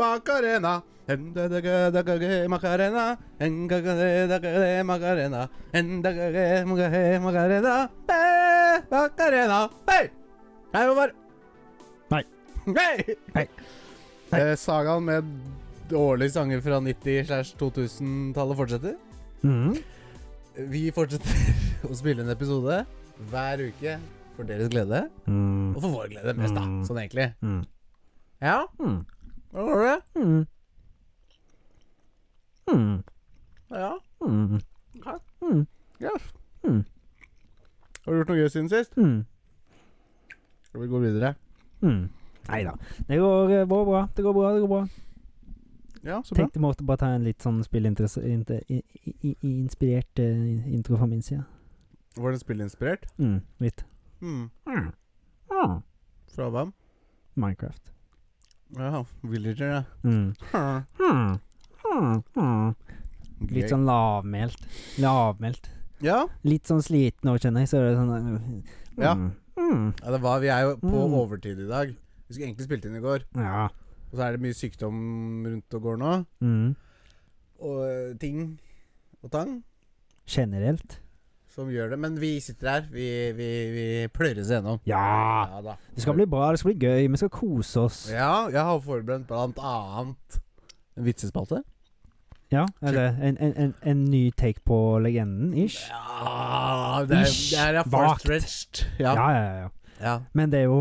Macarena. Macarena. Macarena. Macarena. Macarena. Hei! Hei, Håvard. Nei. Hei! Hei. Hei. Eh, sagaen med årlige sanger fra 90-2000-tallet fortsetter. Mhm. Vi fortsetter å spille en episode hver uke for deres glede, Mm. og for vår glede mest, da. Mm. Sånn egentlig. Mm. Ja, Mm. hva var det? Mm. Mm. Ja, Mm. Mm. ja. Mm. Har du gjort noe gøy siden sist? Mm. Skal vi gå videre? Mm. Nei da. Det går eh, går bra. Det går bra. Det går bra. Ja, så bra. Tenkte jeg måtte bare ta en litt sånn spillinspirert eh, intro fra min side. Var den spillinspirert? Mm. Litt. Hmm. Mm. Ah. Fra hvem? Minecraft. Ja, Villager, ja. Mm. Hmm. Mm. Mm. Mm. Gøy. Litt sånn lavmælt. Lavmælt. Ja. Litt sånn sliten òg, kjenner jeg. Så er det sånn mm. Ja. Mm. ja, det var Vi er jo på Mm. overtid i dag. Vi skulle egentlig spilt inn i går, Ja. og så er det mye sykdom rundt og går nå. Mm. Og eh, ting og tang Generelt. som gjør det. Men vi sitter her. Vi, vi, vi pløyer oss gjennom. Ja! Ja da. Det skal bli bra, det skal bli gøy. Vi skal kose oss. Ja, jeg har forberedt blant annet en vitsespalte. Ja, eller en, en, en, en ny take på legenden, ish. Ja Det er, det er Ish, far vagt. stretched. Ja. Ja. ja, ja, ja. Ja. Men det er jo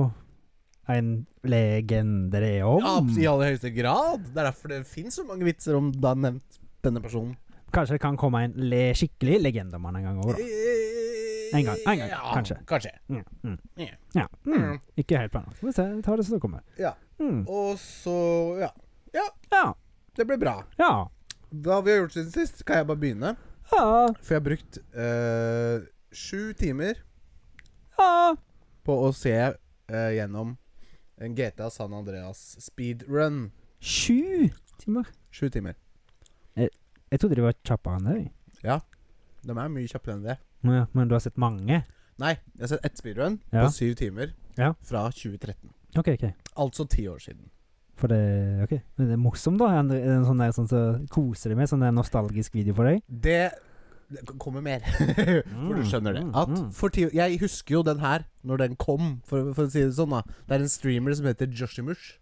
en legende det er om. Ja, I aller høyeste grad. Det er derfor det fins så mange vitser om da nevnt denne personen. Kanskje det kan komme en le skikkelig legendemann en gang òg, da. En gang, en gang, kanskje. Eh, Kanskje. Mm, mm. Ja. Ja. Mm. Mm. Ikke helt planlagt. Skal vi se, vi tar det som det kommer. Ja. Mm. Og så Ja. Ja. Det blir bra. Ja. Da vi har gjort siden sist, kan jeg bare begynne. Ja. For jeg har brukt eh, sju timer Ja. på å se eh, gjennom eh, en GTA San Andreas speedrun. Sju timer. Sju timer. Jeg trodde de var kjappere enn det. jeg. De er mye kjappere enn det. Men, men du har sett mange? Nei, jeg har sett ett speedrun Ja. på syv timer Ja. fra 2013. OK, OK. Altså ti år siden. For det OK. Men det er morsomt, da. Er det en sånn der sånn som koser deg med? Sånn der nostalgisk video for deg? Det, det k- kommer mer. for du skjønner det. Mm, At mm. for ti, jeg husker jo den her, når den kom, for, for å si det sånn. da Det er en streamer som heter Joshimush.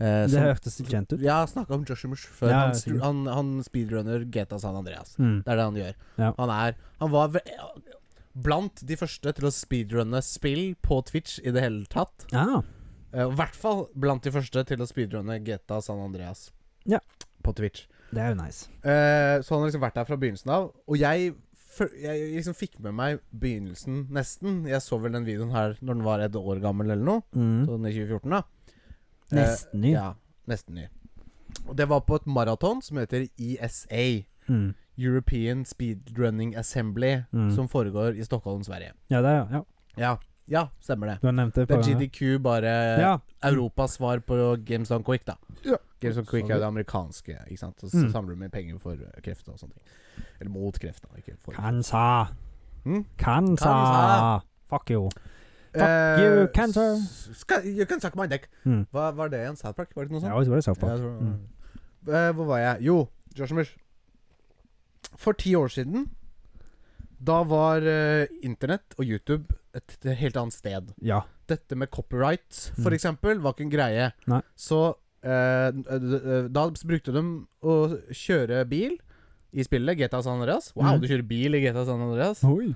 Eh, Det som- hørtes litt kjent ut. Jeg har snakka om Joshimush før. Ja, han, ja, stru- sikkert. han, han speedrunner GTA San Andreas. Mm. Det er det han gjør. Ja. Han er Han var ve blant de første til å speedrunne spill på Twitch i det hele tatt. Ah, Eh, og I hvert fall blant de første til å speedrunne GTA San Andreas Ja. på Twitch. det er jo nice. Eh, så han har liksom vært der fra begynnelsen av. Og jeg, fø- jeg liksom fikk med meg begynnelsen nesten. Jeg så vel den videoen her når den var et år gammel eller noe. Mm. Sånn i 2014, da. Eh, Nesten ny. Ja, nesten ny. Og det var på et maraton som heter ESA. Mm. European Speedrunning Assembly, Mm. som foregår i Stockholm, Sverige. Ja, det er jo ja. Ja, ja, stemmer det. Du har nevnt det. Det er på- GDQ, bare Ja. Europas svar på Games Done Quick, da. Ja. Games Done Quick Så er det- det amerikanske. ikke sant? Så Mm. samler du med penger for eh, kreft og sånne ting. Eller mot kreft, da. Ikke for. Kansa. Mm? Kansa. Kansa. Fuck you. Fuck you, cancer. Eh, Skal, you can suck my dick. Mm. Hva var det igjen? South Park? Var det noe sånt? Ja, det var det South Ja, Park. jeg tror, Mm. Eh, hvor var jeg? Jo, Josh Mush. For ti år siden, da var eh, internett og YouTube et, et helt annet sted. Ja. Dette med copyright, for Mm. eksempel, var ikke en greie. Nei. Så eh, d- d- da brukte de å kjøre bil i spillet GTA San Andreas. Wow, Mhm. du kjører bil i GTA San Andreas. Oi.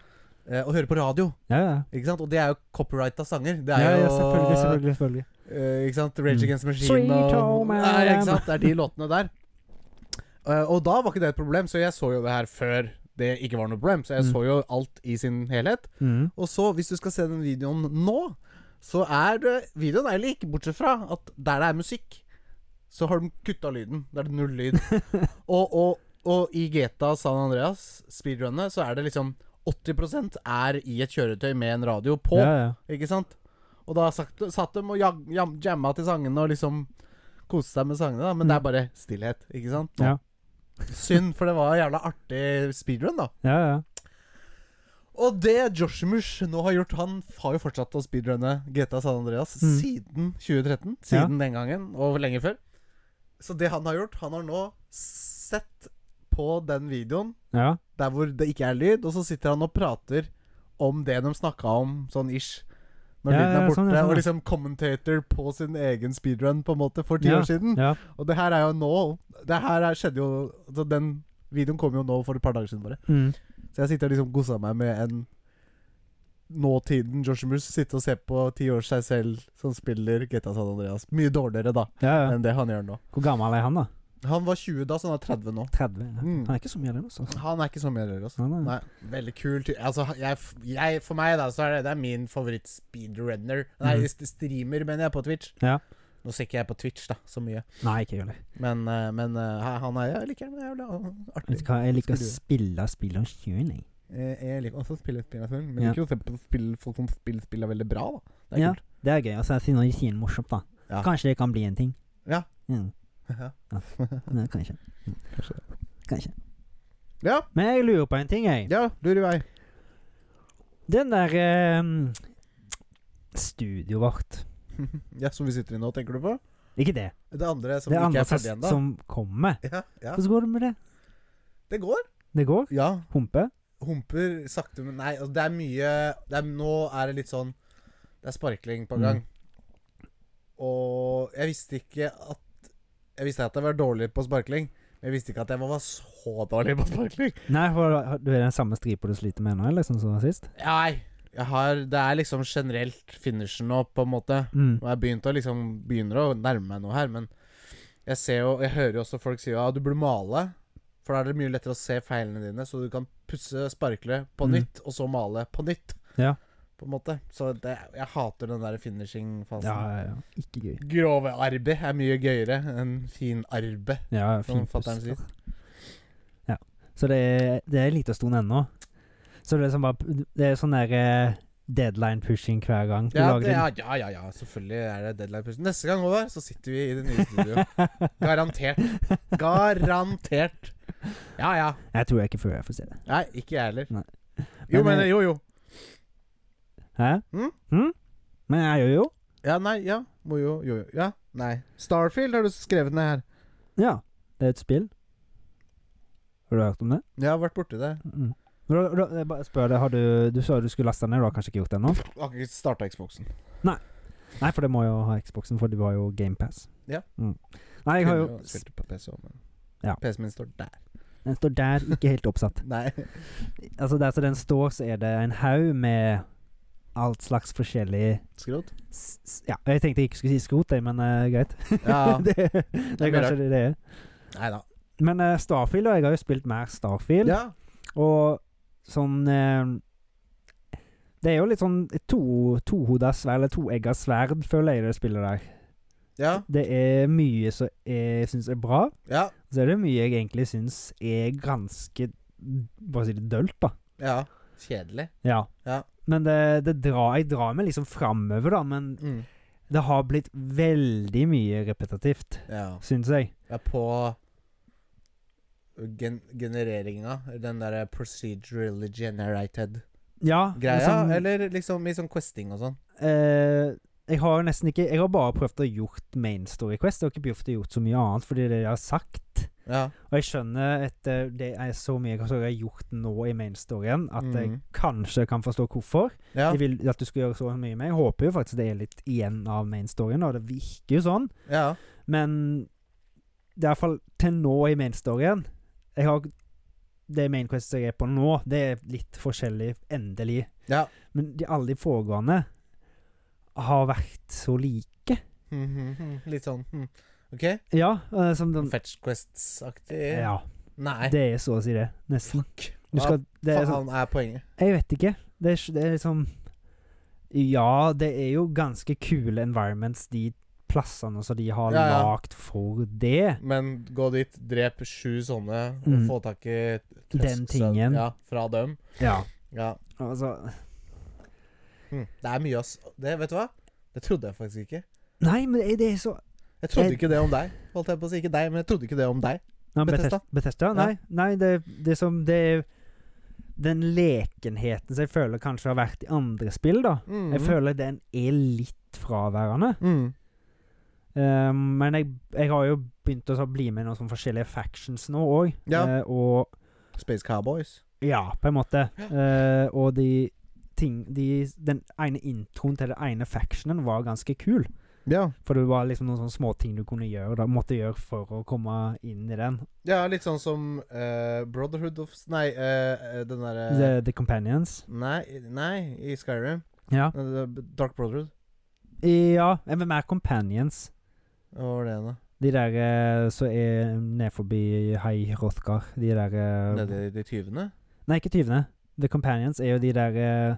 Eh, og høre på radio, Ja, ja. ikke sant? Og det er jo copyrighta sanger. Det ja, er ja jo selvfølgelig, selvfølgelig. selvfølgelig. Eh, ikke sant? Rage Mm. Against the Machine Sweet og Home Nei, ikke Alabama. sant? Det er de låtene der. Eh, og da var ikke det et problem, så jeg så jo det her før det ikke var noe problem. Så jeg Mm. så jo alt i sin helhet. Mm. Og så, hvis du skal se den videoen nå, så er det Videoen er like, bortsett fra at der det er musikk, så har de kutta lyden. Da er det null lyd. og, og, og i GTA San Andreas, speedrunnet, så er det liksom 80 er i et kjøretøy med en radio på. Ja, ja. Ikke sant? Og da sagt, satt de og jag, jam, jamma til sangene og liksom koste seg med sangene, da. Men det er bare stillhet, ikke sant? Mm. Ja. Synd, for det var en jævla artig speedrun, da. ja, ja. Og det Joshmush nå har gjort Han har jo fortsatt å speedrunne GTA San Andreas Mm. siden 2013. Siden den gangen, og lenge før. Så det han har gjort Han har nå sett på den videoen Ja. der hvor det ikke er lyd, og så sitter han og prater om det de snakka om, sånn ish. Når Ja, lyden ja, er ja, borte. sånn, ja, sånn, Og ja. liksom commentator på sin egen speedrun, på en måte, for ti Ja, år siden. ja. Og det her er jo nå Det her er, skjedde jo altså, Den videoen kom jo nå for et par dager siden bare. Mm. Så jeg sitter og liksom koser meg med en nåtiden Joshimus sitte og se på ti år seg selv som spiller GTA San Andreas. Mye dårligere da ja, ja. enn det han gjør nå. Hvor gammel er han, da? Han var 20 da, så han er 30 nå. 30? Ja. Mm. Han er ikke så mye eldre, altså. Han er ikke så mye rød, altså. Nei, nei. Nei, veldig kul ty- Altså, jeg, jeg, for meg da, så er det, det er min favoritt-speedrunner. Nei, Mhm. st- streamer, mener jeg, på Twitch. Ja. Nå ser ikke jeg på Twitch da, så mye. Nei, ikke gjør det. Men, eh, men eh, han er Jeg liker ham. Jeg er jævla Vet artig. du hva, jeg liker å Skulle du- spille spill om sjøen, jeg. Jeg, jeg liker også å spille spill av film, men Ja. liker jo å se på spill, folk som spiller spill er veldig bra, da. Det er Ja. kult. Det er gøy. Altså, siden de sier noe morsomt, da. Ja. Kanskje det kan bli en ting. Ja. Mm. Ja. Nei, kanskje. Kanskje. Kanskje. ja, Men jeg lurer på en ting, jeg. ja, lur i vei. Den der eh, studioet vårt ja, Som vi sitter i nå, tenker du på? Ikke det. Det andre som det ikke andre er ferdig ennå? som kommer. Ja, ja. Hvordan går det med det? Det går. Det går? Ja. Humpe? Humper sakte, men Nei, altså, det er mye det er, Nå er det litt sånn Det er sparkling på gang. Mm. Og jeg visste ikke at Jeg visste at jeg var dårlig på sparkling, men jeg visste ikke at jeg var så dårlig på sparkling. Nei, for du er den samme stripa du sliter med nå, eller sånn som sist? Nei, jeg har Det er liksom generelt finishen nå, på en måte. Mm. Og jeg begynte å liksom begynner å nærme meg noe her, men jeg ser jo Jeg hører jo også folk si ja, du burde male. For da er det mye lettere å se feilene dine, så du kan pusse, sparkle på Mm. nytt, og så male på nytt. Ja. På en måte. Så det, jeg hater den der finishing-fasen. Ja, ja, ja. Ikke gøy. Grove arbeid er mye gøyere enn fin arbeid. Ja, Som fin fatteren pusker. Ja. Så det er, det er en liten stund ennå. Så det er sånn bare Det er sånn der eh, deadline pushing hver gang. Du Ja, lager det, din- ja, ja, ja, ja, selvfølgelig er det deadline push. Neste gang over, så sitter vi i det nye studioet. Garantert. Garantert. Ja, ja. Jeg tror jeg ikke før jeg får se det. Nei, ikke jeg heller. Nei. Jo, Men, men eh, jo, jo. Hæ? Mm? Mm? Men jeg gjør jo Ja, nei, ja. Må jo, jo, jo. Ja, nei. Starfield har du skrevet ned her. Ja. Det er et spill. Har du hørt om det? Jeg har vært borti det. Mm. Men Da, da, jeg bare spør deg, har du, du sa du skulle laste den ned, du har kanskje ikke gjort det ennå? Jeg har ikke starta Xboxen. Nei, for det må jo ha Xboxen, for du har jo GamePass. Ja. Mm. Nei, jeg har jo spilt det på PC også, men Ja. PC-en min står der. Den står der, ikke helt oppsatt. Nei. Altså Der som den står, så er det en haug med alt slags forskjellig Skrot? s s Ja, jeg tenkte jeg ikke skulle si skrot, jeg, men eh, greit. Ja. det, det blir er kanskje det det er. Nei da. Men eh, Starfield, og jeg har jo spilt mer Starfield, Ja. og sånn eh, Det er jo litt sånn et to, tohoda sverd, eller toegga sverd, føler jeg det spillet der. Ja. Det er mye som jeg syns er bra, Ja. så er det mye jeg egentlig syns er ganske Bare si det dølt, da. ja. Kjedelig. Ja. Ja. Men det, det drar, jeg drar meg liksom framover, da. Men Mm. det har blitt veldig mye repetitivt, Ja. syns jeg. Jeg er på gen genereringa. Den derre procedurally generated Ja. greia. liksom, Eller liksom i sånn questing og sånn. Eh, jeg har nesten ikke Jeg har bare prøvd å gjort main story quest. Jeg har ikke prøvd å gjort så mye annet, fordi det jeg har sagt Ja. Og jeg skjønner etter det er så mye jeg har gjort nå i main storyen, at jeg Mhm. kanskje kan forstå hvorfor. Ja. Jeg vil at du skal gjøre så mye mer. Jeg håper jo faktisk det er litt igjen av main storyen, og det virker jo sånn. ja. Men det er iallfall til nå i main storyen Jeg har Det main quest jeg er på nå, det er litt forskjellig, endelig. Ja. Men de, alle de foregående har vært så like. Mhm. Litt sånn hm. OK? Ja, eh, som de Fetch Quests-aktig? Ja, Nei. det er så å si det. Nesten. Fuck. Du skal Det Hva er sånn faen er poenget? Jeg vet ikke. Det er, s- det er liksom Ja, det er jo ganske kule environments, de plassene som de har Ja, ja. lagd for det. Men gå dit, drep sju sånne, og Mm. få tak i trøst- Den tingen. Ja, fra dem. Ja. Ja. Altså Hm. Det er mye, ass. Det, vet du hva? Det trodde jeg faktisk ikke. Nei, men det er- det er så Jeg trodde Jeg- ikke det om deg. Holdt jeg på å si. Ikke deg, men jeg trodde ikke det om deg. Ja, Bethesda? Bethesda? Bethesda? Nei, nei det, det som det er Den lekenheten som jeg føler kanskje har vært i andre spill, da. Mm. Mhm. Jeg føler den er litt fraværende. mm. Eh, men jeg, jeg har jo begynt å så bli med i noen sånne forskjellige factions nå òg. Ja. og Space Cowboys. Ja, på en måte. Eh, og de ting de, Den ene introen til den ene factionen var ganske kul. Ja. For det var liksom noen sånne småting du kunne gjøre da, måtte gjøre for å komme inn i den. ja, litt sånn som eh, Brotherhood of Nei, eh, eh, den derre The, the Companions. Nei, nei, i Skyrim. Ja. Eh, det- Dark Brotherhood. ja men mer Companions. Hva var det igjen, da? De der eh, som er ned forbi Hai Rothgar. De der eh, Nede i de tyvene? Nei, ikke tyvene. The Companions er jo de der eh,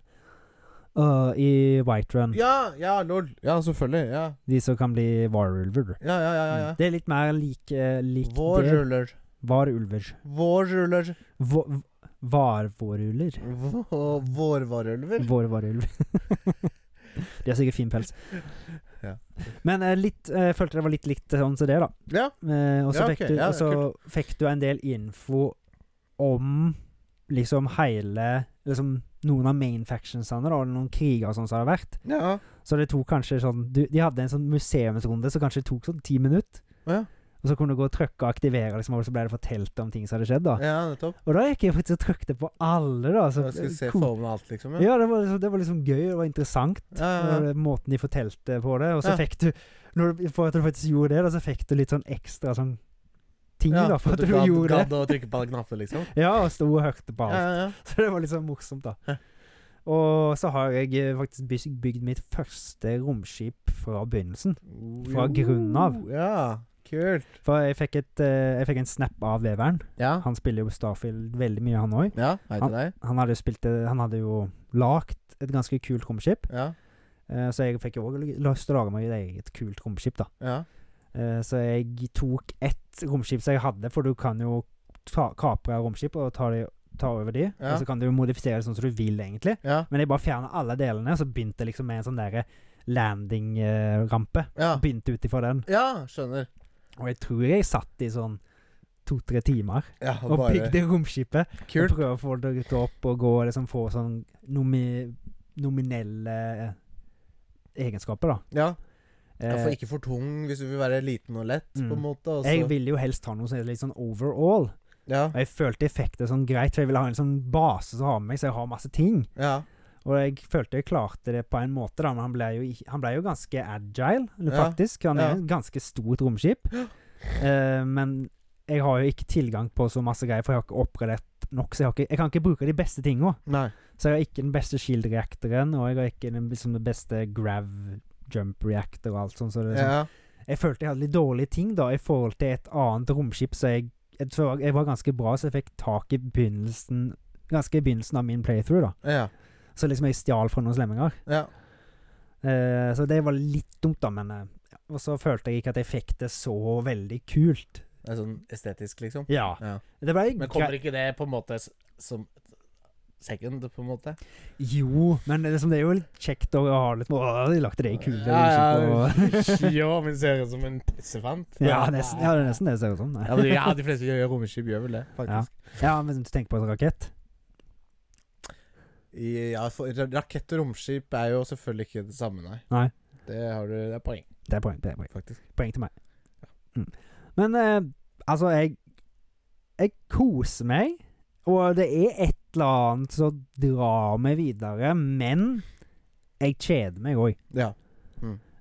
øh, I Whiterun. Ja, ja, lol. Ja, selvfølgelig. Ja, De som kan bli varulver. ja, ja. ja, ja, Det er litt mer lik, eh, lik ja. det. Vårruller. Varulver. Vårruller. Vå- Varvåruller. Vå- Vårvarulver. Vårvarulver. De har sikkert fin pels. Ja. Men eh, litt, eh, jeg følte det var litt likt sånn som det, da. Ja. Eh, og så Ja, fikk, ok. du- Ja, og så fikk du en del info om liksom hele Liksom noen av main factionsene, da, og noen kriger og sånn som det har vært. Ja. Så det tok kanskje sånn du, De hadde en sånn museumsrunde som kanskje tok sånn ti minutter. Ja. Og så kunne du gå og trykke og aktivere, liksom, og så ble det fortalt om ting som hadde skjedd. da ja, nettopp. Og da gikk jeg faktisk og trykte på alle, da. Så, Jeg skulle se Ko- for meg alt, liksom. Ja. ja, det var, liksom, det var liksom gøy, det var interessant. Ja, Det ja, ja. var det- Måten de fortalte på det. Og så Ja. fikk du når du, For at du faktisk gjorde det, da, så fikk du litt sånn ekstra sånn ting, Ja, da, for at du gadd- gjorde det. Gadd å trykke på alle knappene, liksom. Ja, og sto og hørte på Ja, alt. ja, ja. Så det var litt sånn morsomt, da. Og så har jeg eh, faktisk bys- bygd mitt første romskip fra begynnelsen. Fra Jo, grunnen av. Ja, kult. For jeg fikk, et, eh, jeg fikk en snap av veveren. Ja. Han spiller jo Starfield veldig mye, han òg. Ja, hei til deg. Han hadde jo spilt det- Han hadde jo lagd et ganske kult romskip, Ja. eh, så jeg fikk jo òg lyst til å lage meg et eget kult romskip, da. Ja. Eh, så jeg tok ett romskip som jeg hadde, for du kan jo ta, kapre romskip og ta, de, ta over de, Ja. og så kan du jo modifisere det sånn som du vil, egentlig. Ja. Men jeg bare fjerna alle delene, og så begynte jeg liksom med en sånn derre landing-rampe. Ja. Begynte ut ifra den. ja, skjønner. Og jeg tror jeg satt i sånn to-tre timer Ja, og bare bygde romskipet. Og Kult. prøvde å få det ut opp og gå og liksom få sånn nomi nominelle egenskaper, da. Ja. ja, for Eh, ikke for tung hvis du vil være liten og lett, på en Mm. måte. og så- jeg ville jo helst ha noe som er litt sånn overall. Ja. Og jeg følte jeg fikk det sånn greit, for jeg ville ha en sånn base som har med meg, så jeg har masse ting. Ja. Og jeg følte jeg klarte det på en måte, da, men han ble jo, ikke- han ble jo ganske agile, eller Ja, faktisk. Han er ja. jo et ganske stort romskip. Ja. Eh, men jeg har jo ikke tilgang på så masse greier, for jeg har ikke oppgradert nok. Så jeg, har ikke, jeg kan ikke bruke de beste tinga. Nei. Så jeg har ikke den beste shield-reaktoren, og jeg har ikke den, liksom, den beste grav jump-reactor og alt sånt. Så det, er sånn- Ja. Jeg følte jeg hadde litt dårlige ting da, i forhold til et annet romskip, så jeg, jeg, tror jeg var ganske bra, så jeg fikk tak i begynnelsen Ganske i begynnelsen av min playthrough, da. Ja. Så liksom jeg stjal fra noen slemminger. ja. Eh, så det var litt dumt, da, men eh, ja. Og så følte jeg ikke at jeg fikk det så veldig kult. Det er sånn estetisk, liksom. Ja. Ja. Det ble Men kommer ikke det på en måte s- som second, på en måte? Jo, men det, er liksom, det er jo litt kjekt å ha litt Å, de lagde det i kule Ja, romskip, og- ja, men ser ut som en pissefant. ja, nesten, ja, det er nesten det det ser ut som. Ja, Nei. men de- ja, de fleste gjør romskip gjør vel det, faktisk. Ja, men du tenker på en rakett? I- Ja, for ra- rakett og romskip er jo selvfølgelig ikke det samme, nei. Nei. Det, har du, det er poeng, Det er poeng. Det er poeng. faktisk. poeng til meg. Mm. Men eh, altså, jeg Jeg koser meg, og det er et eller annet som drar meg videre, men jeg kjeder meg òg. Ja.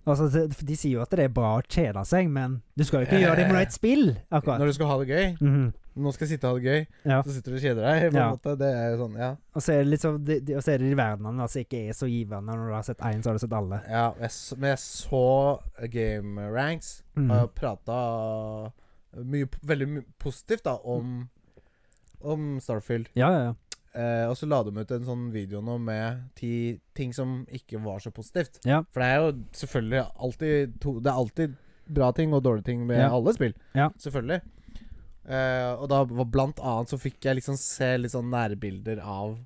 Altså, de, de sier jo at det er bra å kjede seg, men du skal jo ikke gjøre det med et spill, akkurat. Når du skal ha det gøy Mhm. Nå skal jeg sitte og ha det gøy, Ja. så sitter du og kjeder deg. På en Ja. måte. Det er jo sånn, ja. Og så er det litt sånn- de, de, og så er det de verdenene som ikke er så givende. Når du har sett én, så har du sett alle. ja jeg, s- men jeg så Game Ranks Mhm. og Eh, prata eh, mye, p- veldig mye positivt da, om, om Starfield. Ja, ja, ja. Eh, og så la de ut en sånn video nå med ti ting som ikke var så positivt. Ja. For det er jo selvfølgelig alltid to, Det er alltid bra ting og dårlige ting med Ja. alle spill. Ja. Selvfølgelig. Eh, og da var blant annet så fikk jeg liksom se litt sånn nærbilder av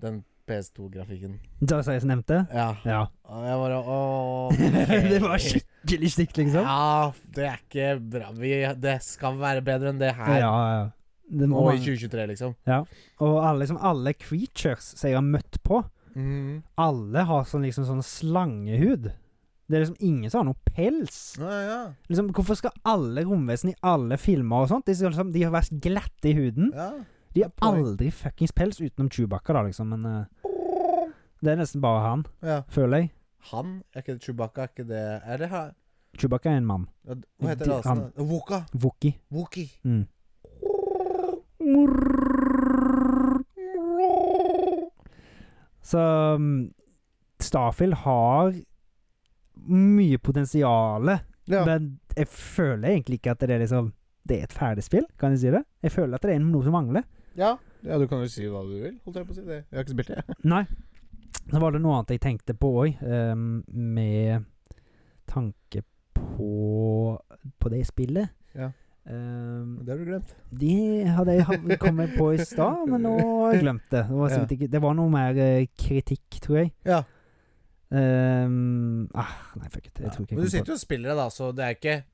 den PS2-grafikken. Da sa jeg som nevnte. Ja. Ja. Og jeg bare Åh det var skikkelig stygt, liksom. Ja, det er ikke bra. Vi, det skal være bedre enn det Ja, her. ja. ja. Det må Nå i man- 2023, liksom. Og alle, liksom, alle creatures som jeg har møtt på, Mhm. alle har sånn, liksom, sånn slangehud. Det er liksom ingen som har noe pels. Ja, ja. Liksom, hvorfor skal alle romvesen i alle filmer og sånt De, skal liksom, de har vært glatte i huden. ja. De har poeng. aldri fuckings pels utenom Chewbacca, da, liksom. Men eh, det er nesten bare han, ja. føler jeg. Han? Er ikke det Chewbacca? Er ikke det Er det her Chewbacca er en mann. Ja, d- Hva heter De- rasen? da? Woka. Wookie. Wookie. Mm. Så mm, Starfield har mye potensial, Ja. men jeg føler egentlig ikke at det er liksom Det er et ferdigspill, kan jeg si det? Jeg føler at det er noe som mangler. ja. Ja, du kan jo si hva du vil, holdt jeg på å si. Det. Jeg har ikke spilt det. Nei. Så var det noe annet jeg tenkte på òg, med tanke på På det spillet. Ja. Ehm, Det har du glemt. de hadde jeg hav- kommet på i stad, men nå har jeg glemt det. Det var, Ja. sikkert ikke, det var noe mer eh, kritikk, tror jeg. Ja. Ehm, ah, nei, fuck it. Jeg tror ikke Men du jeg kommer på sitter jo og spiller det, da, så det er ikke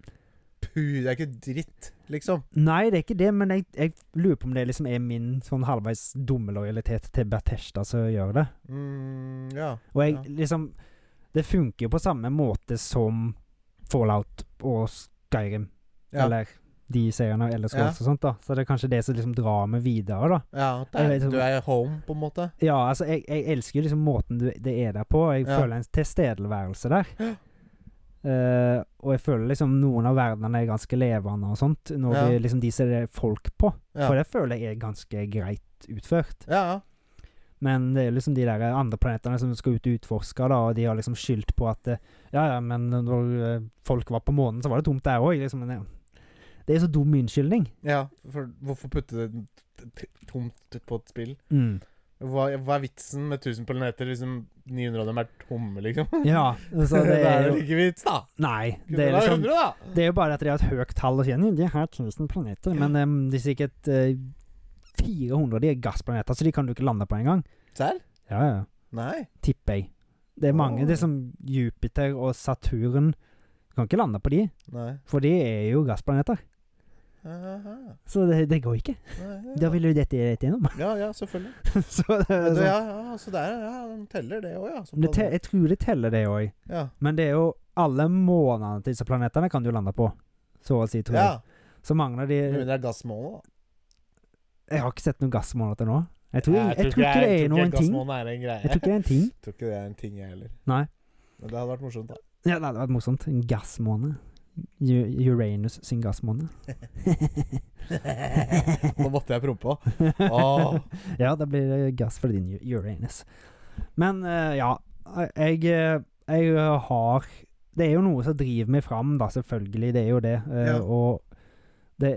pu... Det er ikke dritt, liksom. det. Nei, det er ikke det, men jeg, jeg lurer på om det liksom er min sånn halvveis dumme lojalitet til Berteshta som gjør det. Mm, ja. Og jeg Ja. liksom Det funker jo på samme måte som Fallout og Skyrim. Ja. Eller de seriene, Ja. eller Scrolls og sånt, da. Så det er kanskje det som liksom drar meg videre, da. ja det Jeg vet er, ikke- du er home, på en måte. Ja, altså, jeg, jeg elsker jo liksom måten du, det er der på. og Jeg Ja. føler en tilstedeværelse der. Eh, og jeg føler liksom noen av verdenene er ganske levende og sånt, når Ja. det er liksom de som det er folk på. Ja. For det føler jeg er ganske greit utført. Ja, ja. Men det er liksom de der andre planetene som skal ut og utforske, da, og de har liksom skyldt på at eh, Ja, ja, men når eh, folk var på månen, så var det tomt der òg. Liksom, Men det- det er så dum unnskyldning. Ja, for hvorfor putte det t- t- tomt på et spill? Hva, hva er vitsen med 1000 planeter hvis liksom 900 av dem er tomme, liksom? Ja, så det det er er jo jo like vits, da. Nei. Kunne Det er vært liksom 100, da. Det er jo bare at de har et høyt tall. Og sier, de har 1000 planeter, men em, det er sikkert eh, 400 de er gassplaneter, så de kan du ikke lande på engang. Serr? Ja, ja. Nei. Tipper jeg. Det er mange. Åh. Det er som Jupiter og Saturn. Du kan ikke lande på de, Nei. for de er jo gassplaneter. Aha. Så det, det går ikke. Nei, Da vil du dette rett gjennom. Ja, ja, selvfølgelig. så det, Ja, er det, sånn. ja, ja, så der, ja, den teller det òg, ja. som Men det te, planet. jeg tror det teller, det òg. ja. Men det er jo alle månedene til disse planetene kan du lande på. Så å si, tror ja. jeg. Så mangler de Men det er gassmåne, da. Jeg har ikke sett noen gassmåneder til nå. Jeg tror, jeg, tror ikke- ikke det jeg er tror noen ikke ting. Gassmåne er en greie. Jeg tror ikke det er en ting. Jeg tror ikke det er en ting, jeg heller. Nei. Men det hadde vært morsomt, da. Ja, det hadde vært morsomt. En gassmåne. U- Uranus sin gassmåne. Nå måtte jeg prompe òg. Åh. Ja, da blir det gass for din U- Uranus. Men eh, ja, jeg, eh, jeg har Det er jo noe som driver meg fram, da, selvfølgelig. Det er jo det. eh, Ja. Og det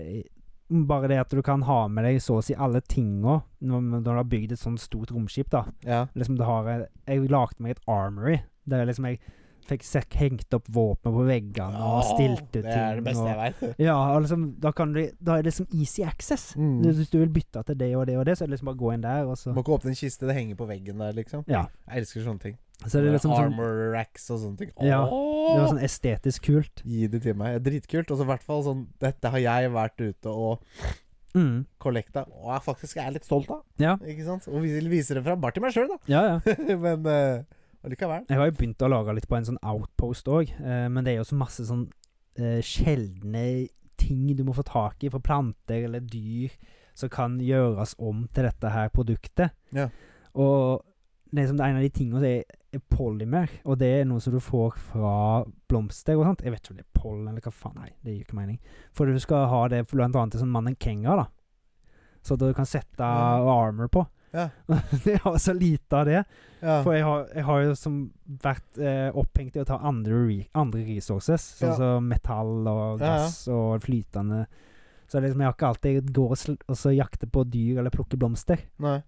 bare det at du kan ha med deg så å si alle tinga når når du har bygd et sånt stort romskip, da. Ja. liksom det har jeg, jeg lagde meg et armory der liksom jeg fikk sek- hengt opp våpen på veggene og Åh, stilt ut ting. Det er det beste jeg veit. og, ja, og liksom, da, kan du, da er det liksom easy access. Mm. Hvis du vil bytte til det og det og det, så er det liksom bare å gå inn der, og så Må ikke åpne en kiste, det henger på veggen der, liksom. Ja. Jeg elsker sånne ting. Så det er liksom sånn, Armor racks og sånne ting. Ja, det var Åh! sånn estetisk kult. Gi det til meg. Det er Dritkult. Og så i hvert fall sånn Dette har jeg vært ute og Mm. kollekta, og jeg faktisk er litt stolt av. Ja. Ikke sant? Og vil vise det fram bare til meg sjøl, da. Ja, ja. Men eh, allikevel. Jeg har jo begynt å lage litt på en sånn outpost òg, eh, men det er jo så masse sånn eh, sjeldne ting du må få tak i fra planter eller dyr som kan gjøres om til dette her produktet. Ja. Og liksom det er en av de tingene som er, er polymer, og det er noe som du får fra blomster og sånt. Jeg vet ikke om det er pollen eller hva faen. Nei, det gir jo ikke mening. For du skal ha det blant annet til sånn mannekenger, da. Så at du kan sette Ja. armor på. Ja. det har så lite av det. Ja. For jeg har, jeg har jo som vært eh, opphengt i å ta andre, re andre resources, sånn Ja. som metall og Ja, ja. gass og flytende Så liksom jeg har ikke alltid går og, sl og så jakter på dyr eller plukker blomster. Nei.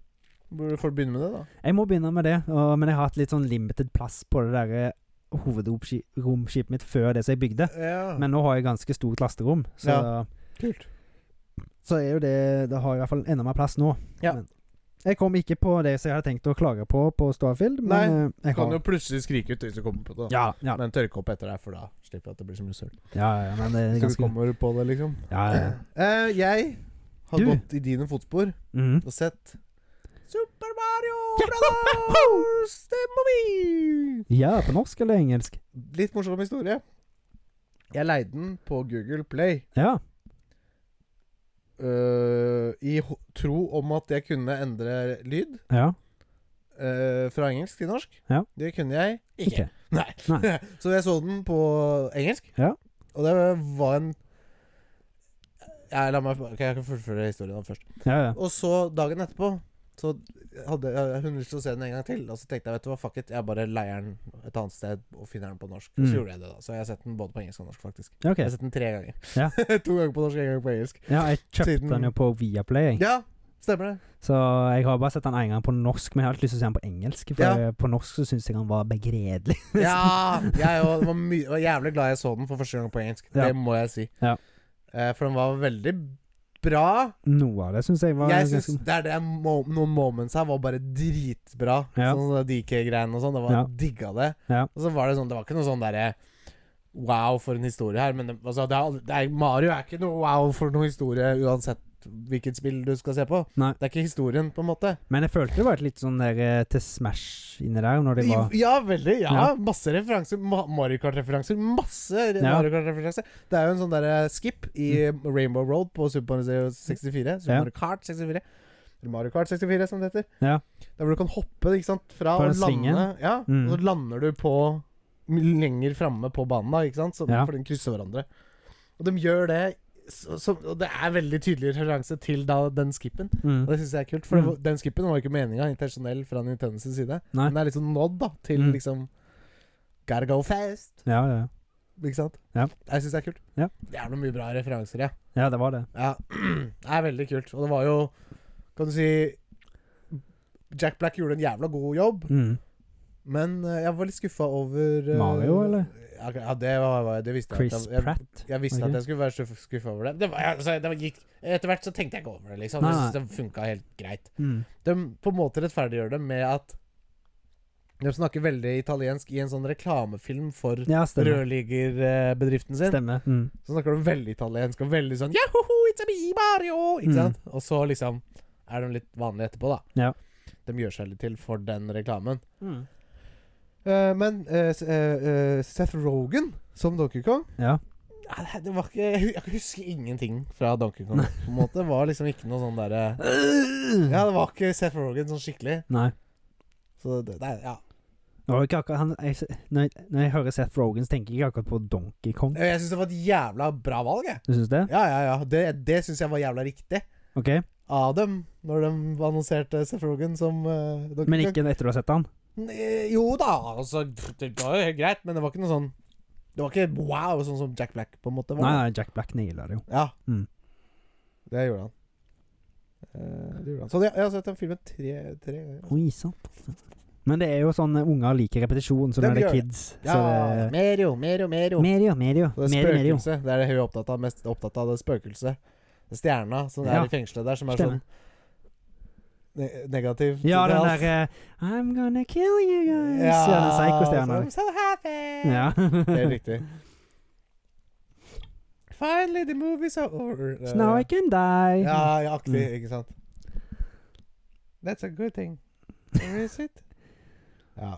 Burde folk begynne med det, da? Jeg må begynne med det, og, men jeg har hatt litt sånn limited plass på det derre hovedromskipet mitt før det som jeg bygde. Ja. Men nå har jeg ganske stort lasterom, så, Kult. så er jo det Det har i hvert fall enda mer plass nå. Ja. Men jeg kom ikke på det som jeg hadde tenkt å klage på på Starfield, men Nei, eh, jeg Du kan har jo plutselig skrike ut hvis du kommer på det. da. ja, ja, Men tørke opp etter deg, for da slipper jeg at det blir så mye søl. ja, ja, men det er Så du ganske kommer på det, liksom. Ja, ja. Eh, jeg har Du. gått i dine fotspor Mhm. og sett Super Super Mario Ja, ho, ho, ho! Brothers! Det må vi! Ja, på norsk eller engelsk? Litt morsom historie. Jeg leide den på Google Play Ja. øh, i ho- tro om at jeg kunne endre lyd Ja. øh, fra engelsk til norsk. Ja. Det kunne jeg ikke. Ikke. Nei. Nei. så jeg så den på engelsk, Ja. og det var en jeg, La meg ok, jeg kan fullføre historien først. Ja, ja. Og så dagen etterpå Så hadde jeg- hun lyst til å se den en gang til. Og så tenkte jeg vet du hva, fuck it, jeg bare leier den et annet sted og finner den på norsk. Og Mm. Så gjorde jeg det, da. Så jeg har sett den både på engelsk og norsk, faktisk. Ja, Ok. Jeg har sett den tre ganger. Ja. to ganger på norsk, én gang på engelsk. Ja, jeg kjøpte Siden- den jo på Viaplay, jeg. Ja, stemmer det. så jeg har bare sett den en gang på norsk, men jeg har alltid lyst til å se den på engelsk. For Ja. eh, på norsk så syns jeg den var begredelig. Ja! Jeg òg var, my- var jævlig glad jeg så den for første gang på engelsk. Ja. Det må jeg si. Ja. Eh, for den var veldig bra. Noe av det syns jeg var Jeg ganske- synes det er det jeg mo Noen moments her var bare dritbra. Ja. Sånn sånne DK-greiene og sånn. Det var Ja. Digga det. Ja. Og så var det sånn Det var ikke noe sånn derre Wow, for en historie her. Men det, altså, det er, aldri- det er, Mario er ikke noe wow for noe historie uansett hvilket spill du skal se på. Nei. Det er ikke historien, på en måte. Men jeg følte det var et litt sånn der eh, til Smash inni der, når det var I- Ja, veldig. Ja, Ja. Masse referanser. Ma Mario Kart-referanser. Masse re- Ja. Mario Mm. Kart-referanser. Det er jo en sånn derre skip i Rainbow Road på Super Mario 64. Super Ja. Mario Kart 64. Eller Mario Kart 64, som det heter. Ja. Der hvor du kan hoppe ikke sant, fra På å den lande svingen. Ja, Mm. og så lander du på lenger framme på banen, da, ikke sant? Så, Ja. for de krysser hverandre. Og de gjør det så, så, Og det er veldig tydelig referanse til da, den skippen. Og mm. det syns jeg er kult, for det Mm. var- den skippen var jo ikke meninga intensjonell fra Nintendos side. Nei. Men det er litt sånn nod da til Mm. liksom Gotta go fast, Ja, ja. ikke sant? Ja. Jeg syns det er kult. Ja. Det er noen mye bra referanser, ja. ja, det var det. Ja, det er veldig kult. Og det var jo, kan du si Jack Black gjorde en jævla god jobb, Mm. men eh, jeg var litt skuffa over eh, Mario, eller? Ja, ok, ja, det, var, var- det visste jeg. Chris at jeg, jeg, Pratt. jeg visste Ok. at jeg skulle være skuffa over det. det, var, altså, det var, gikk, etter hvert så tenkte jeg ikke over det, liksom. Nei, Jeg synes det funka helt greit. Mm. De på en måte rettferdiggjør det med at de snakker veldig italiensk i en sånn reklamefilm for Ja, stemmer. rørleggerbedriften sin. Stemmer. Mm. Så snakker de veldig italiensk og veldig sånn Yahoho, it's a me, Mario! Ikke Mm. sant? Og så liksom er de litt vanlige etterpå, da. Ja. De gjør seg litt til for den reklamen. Mm. Eh, men eh, s- eh, eh, Seth Rogan som Donkey Kong Ja. Nei, det- det var ikke, Jeg hu- jeg husker ingenting fra Donkey Kong. På en måte Det var liksom ikke noe sånn derre Ja, det var ikke Seth Rogan sånn skikkelig. Nei. Så det, nei, ja. Det var jo ikke akkurat han jeg, når, jeg, når jeg hører Seth Rogan, så tenker jeg ikke akkurat på Donkey Kong. Eh, Jeg syns det var et jævla bra valg, jeg. Du syns det? Ja, ja, ja. Det, det syns jeg var jævla riktig OK? av dem, når de annonserte Seth Rogan som eh, Donkey Men Kong. ikke etter du har sett han? Nei, Jo da, altså Det var jo helt greit, men det var ikke noe sånn Det var ikke wow, sånn som Jack Black på en måte var. Nei, nei, Jack Black naila det jo. Ja. Mm. Det gjorde han. Eh, det gjorde han. Så det, jeg har sett den filmen tre, tre ganger. Oi, sant. Men det er jo sånn eh, unger liker repetisjon, så Dem når det gjør er det. kids, Ja, så det Merio, Merio, Merio. Medio, medio. Så det er Medio, medio. spøkelset. Det er det hun er opptatt av. Mest opptatt av det spøkelset. Det Stjerna som Ja. er i fengselet der, som er Stemmer. sånn ne negativ. Ja, til den alt. der eh, I'm gonna kill you guys. Ja, den psykostjerna. so, so happy. Ja. Helt riktig. Finally, the movie's over. So now I can die. Ja, ja, aktig, Mm. ikke sant. That's a good thing. Where is it? ja.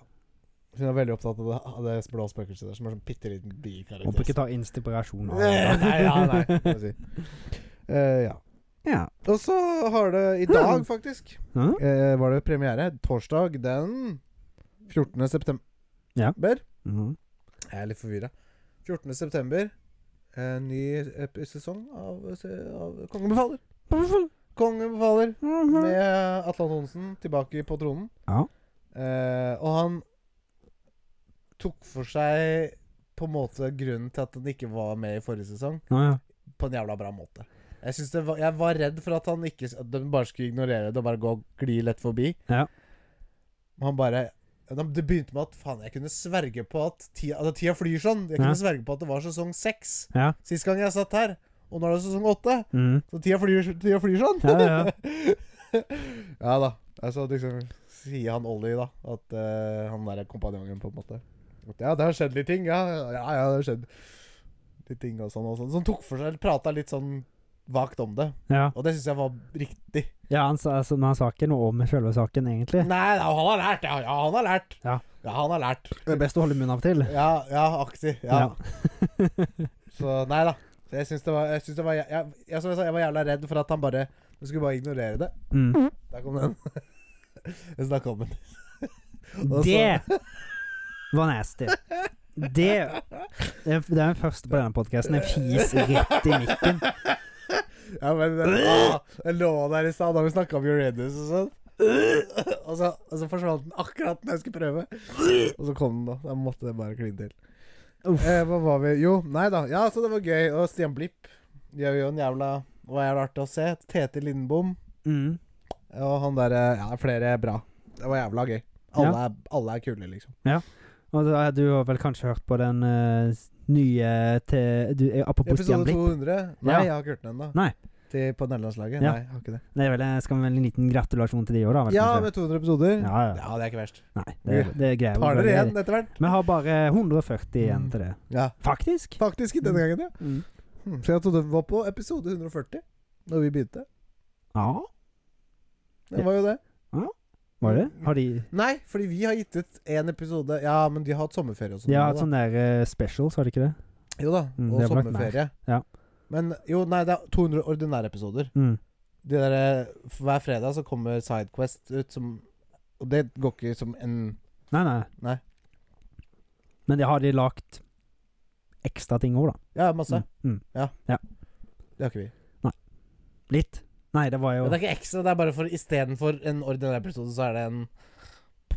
Hun er veldig opptatt av det, av det blå spøkelset der, som er sånn bitte liten Må ikke bikarakter. ta inspirasjon av Nei, nei, ja, nei. må det. jeg Si. Eh, ja. ja. Hm? Og så har det i dag, faktisk, Hæ? eh, var det premiere. Torsdag den 14. september. Ja. Mhm. Jeg er litt forvirra. 14. september. En ny ep- sesong av, av Kongen befaler. Kongen befaler. Med Atle Antonsen tilbake på tronen. Ja. Eh, og han tok for seg på en måte grunnen til at han ikke var med i forrige sesong, Å, ja. på en jævla bra måte. Jeg, synes det var, jeg var redd for at han ikke At de bare skulle ignorere det og bare gå og gli lett forbi. Ja. Men han bare Det begynte med at faen, jeg kunne sverge på at tida, altså, tida flyr sånn. Jeg kunne Ja. sverge på at det var sesong seks Ja. sist gang jeg satt her. Og nå er det sesong åtte. Mhm. Så tida flyr, tida flyr sånn. Ja, ja, ja da. Altså, liksom, sier han Ollie, da, at eh, han der er kompanjongen, på en måte. At, ja, det har skjedd litt ting. Ja, ja, ja det har skjedd litt ting og sånn og sånn. Så han tok for seg, prata litt sånn vagt om det. Ja. Og det syns jeg var riktig. ja han, sa- altså, men han sa ikke noe om selve saken, egentlig. Nei, ja, han har lært. Ja, ja han har lært. Ja. han har lært. Det er best å holde munnen av og til. Ja, ja aktig. Ja. Så nei da. Så Jeg syns det var, jeg, synes det var jeg, jeg, jeg, Som jeg sa, jeg var jævla redd for at han bare Du skulle bare ignorere det. Mm. Der kom den. Jeg snakka om den. Og så- Det var nasty. Det, det er den første på denne podkasten. Jeg fis rett i mikken. Ja, men ah, Jeg lå der i stad da vi snakka om Uranus og sånn. Og så, og så forsvant den akkurat når jeg skulle prøve. Og så kom den, da. Da måtte det bare kline til. Uff. Eh, hva var vi Jo, nei da. Ja, så det var gøy. Og Stian Blipp gjør jo en jævla Det var jævla artig å se. Tete Lindbom Mm. og han derre Ja, flere er bra. Det var jævla gøy. Alle, er, alle er kule, liksom. Og da har du jo vel kanskje hørt på den eh, nye til, du, eh, Apropos Stian Episode Blipp. 200. Nei, Ja. jeg har ikke hørt den ennå. Nei. Til- På nederlandslaget? Ja. Nei, jeg har ikke det. Det er vel, skal vel en liten gratulasjon til de òg, da? vel, Ja, kanskje? med 200 episoder. ja, ja. Ja, det er ikke verst. Nei, det, det er greier. Har dere igjen etter hvert? Vi har bare 140 igjen Mm. til det. Ja. Faktisk. Faktisk, denne gangen, ja. Mm. Hmm, Så jeg trodde vi var på episode 140 Når vi begynte. Ja, Det var jo det. var det? Har de Nei, fordi vi har gitt ut én episode Ja, men de har hatt sommerferie og sånn. De har nå, hatt da. sånn der eh, specials, har de ikke det? Jo da, Mm, og det har vært mer. sommerferie. Ja. Men jo, nei, det er 200 ordinære episoder. Mm. De der, eh, for hver fredag så kommer Sidequest ut som Og det går ikke som en Nei, nei. Nei. Men det har de lagt ekstra ting òg, da. Ja, masse. Mm. Mm. Det har ikke vi. Litt. Nei, det var jo Men det er ikke ekstra, det er bare for istedenfor en ordinær episode, så er det en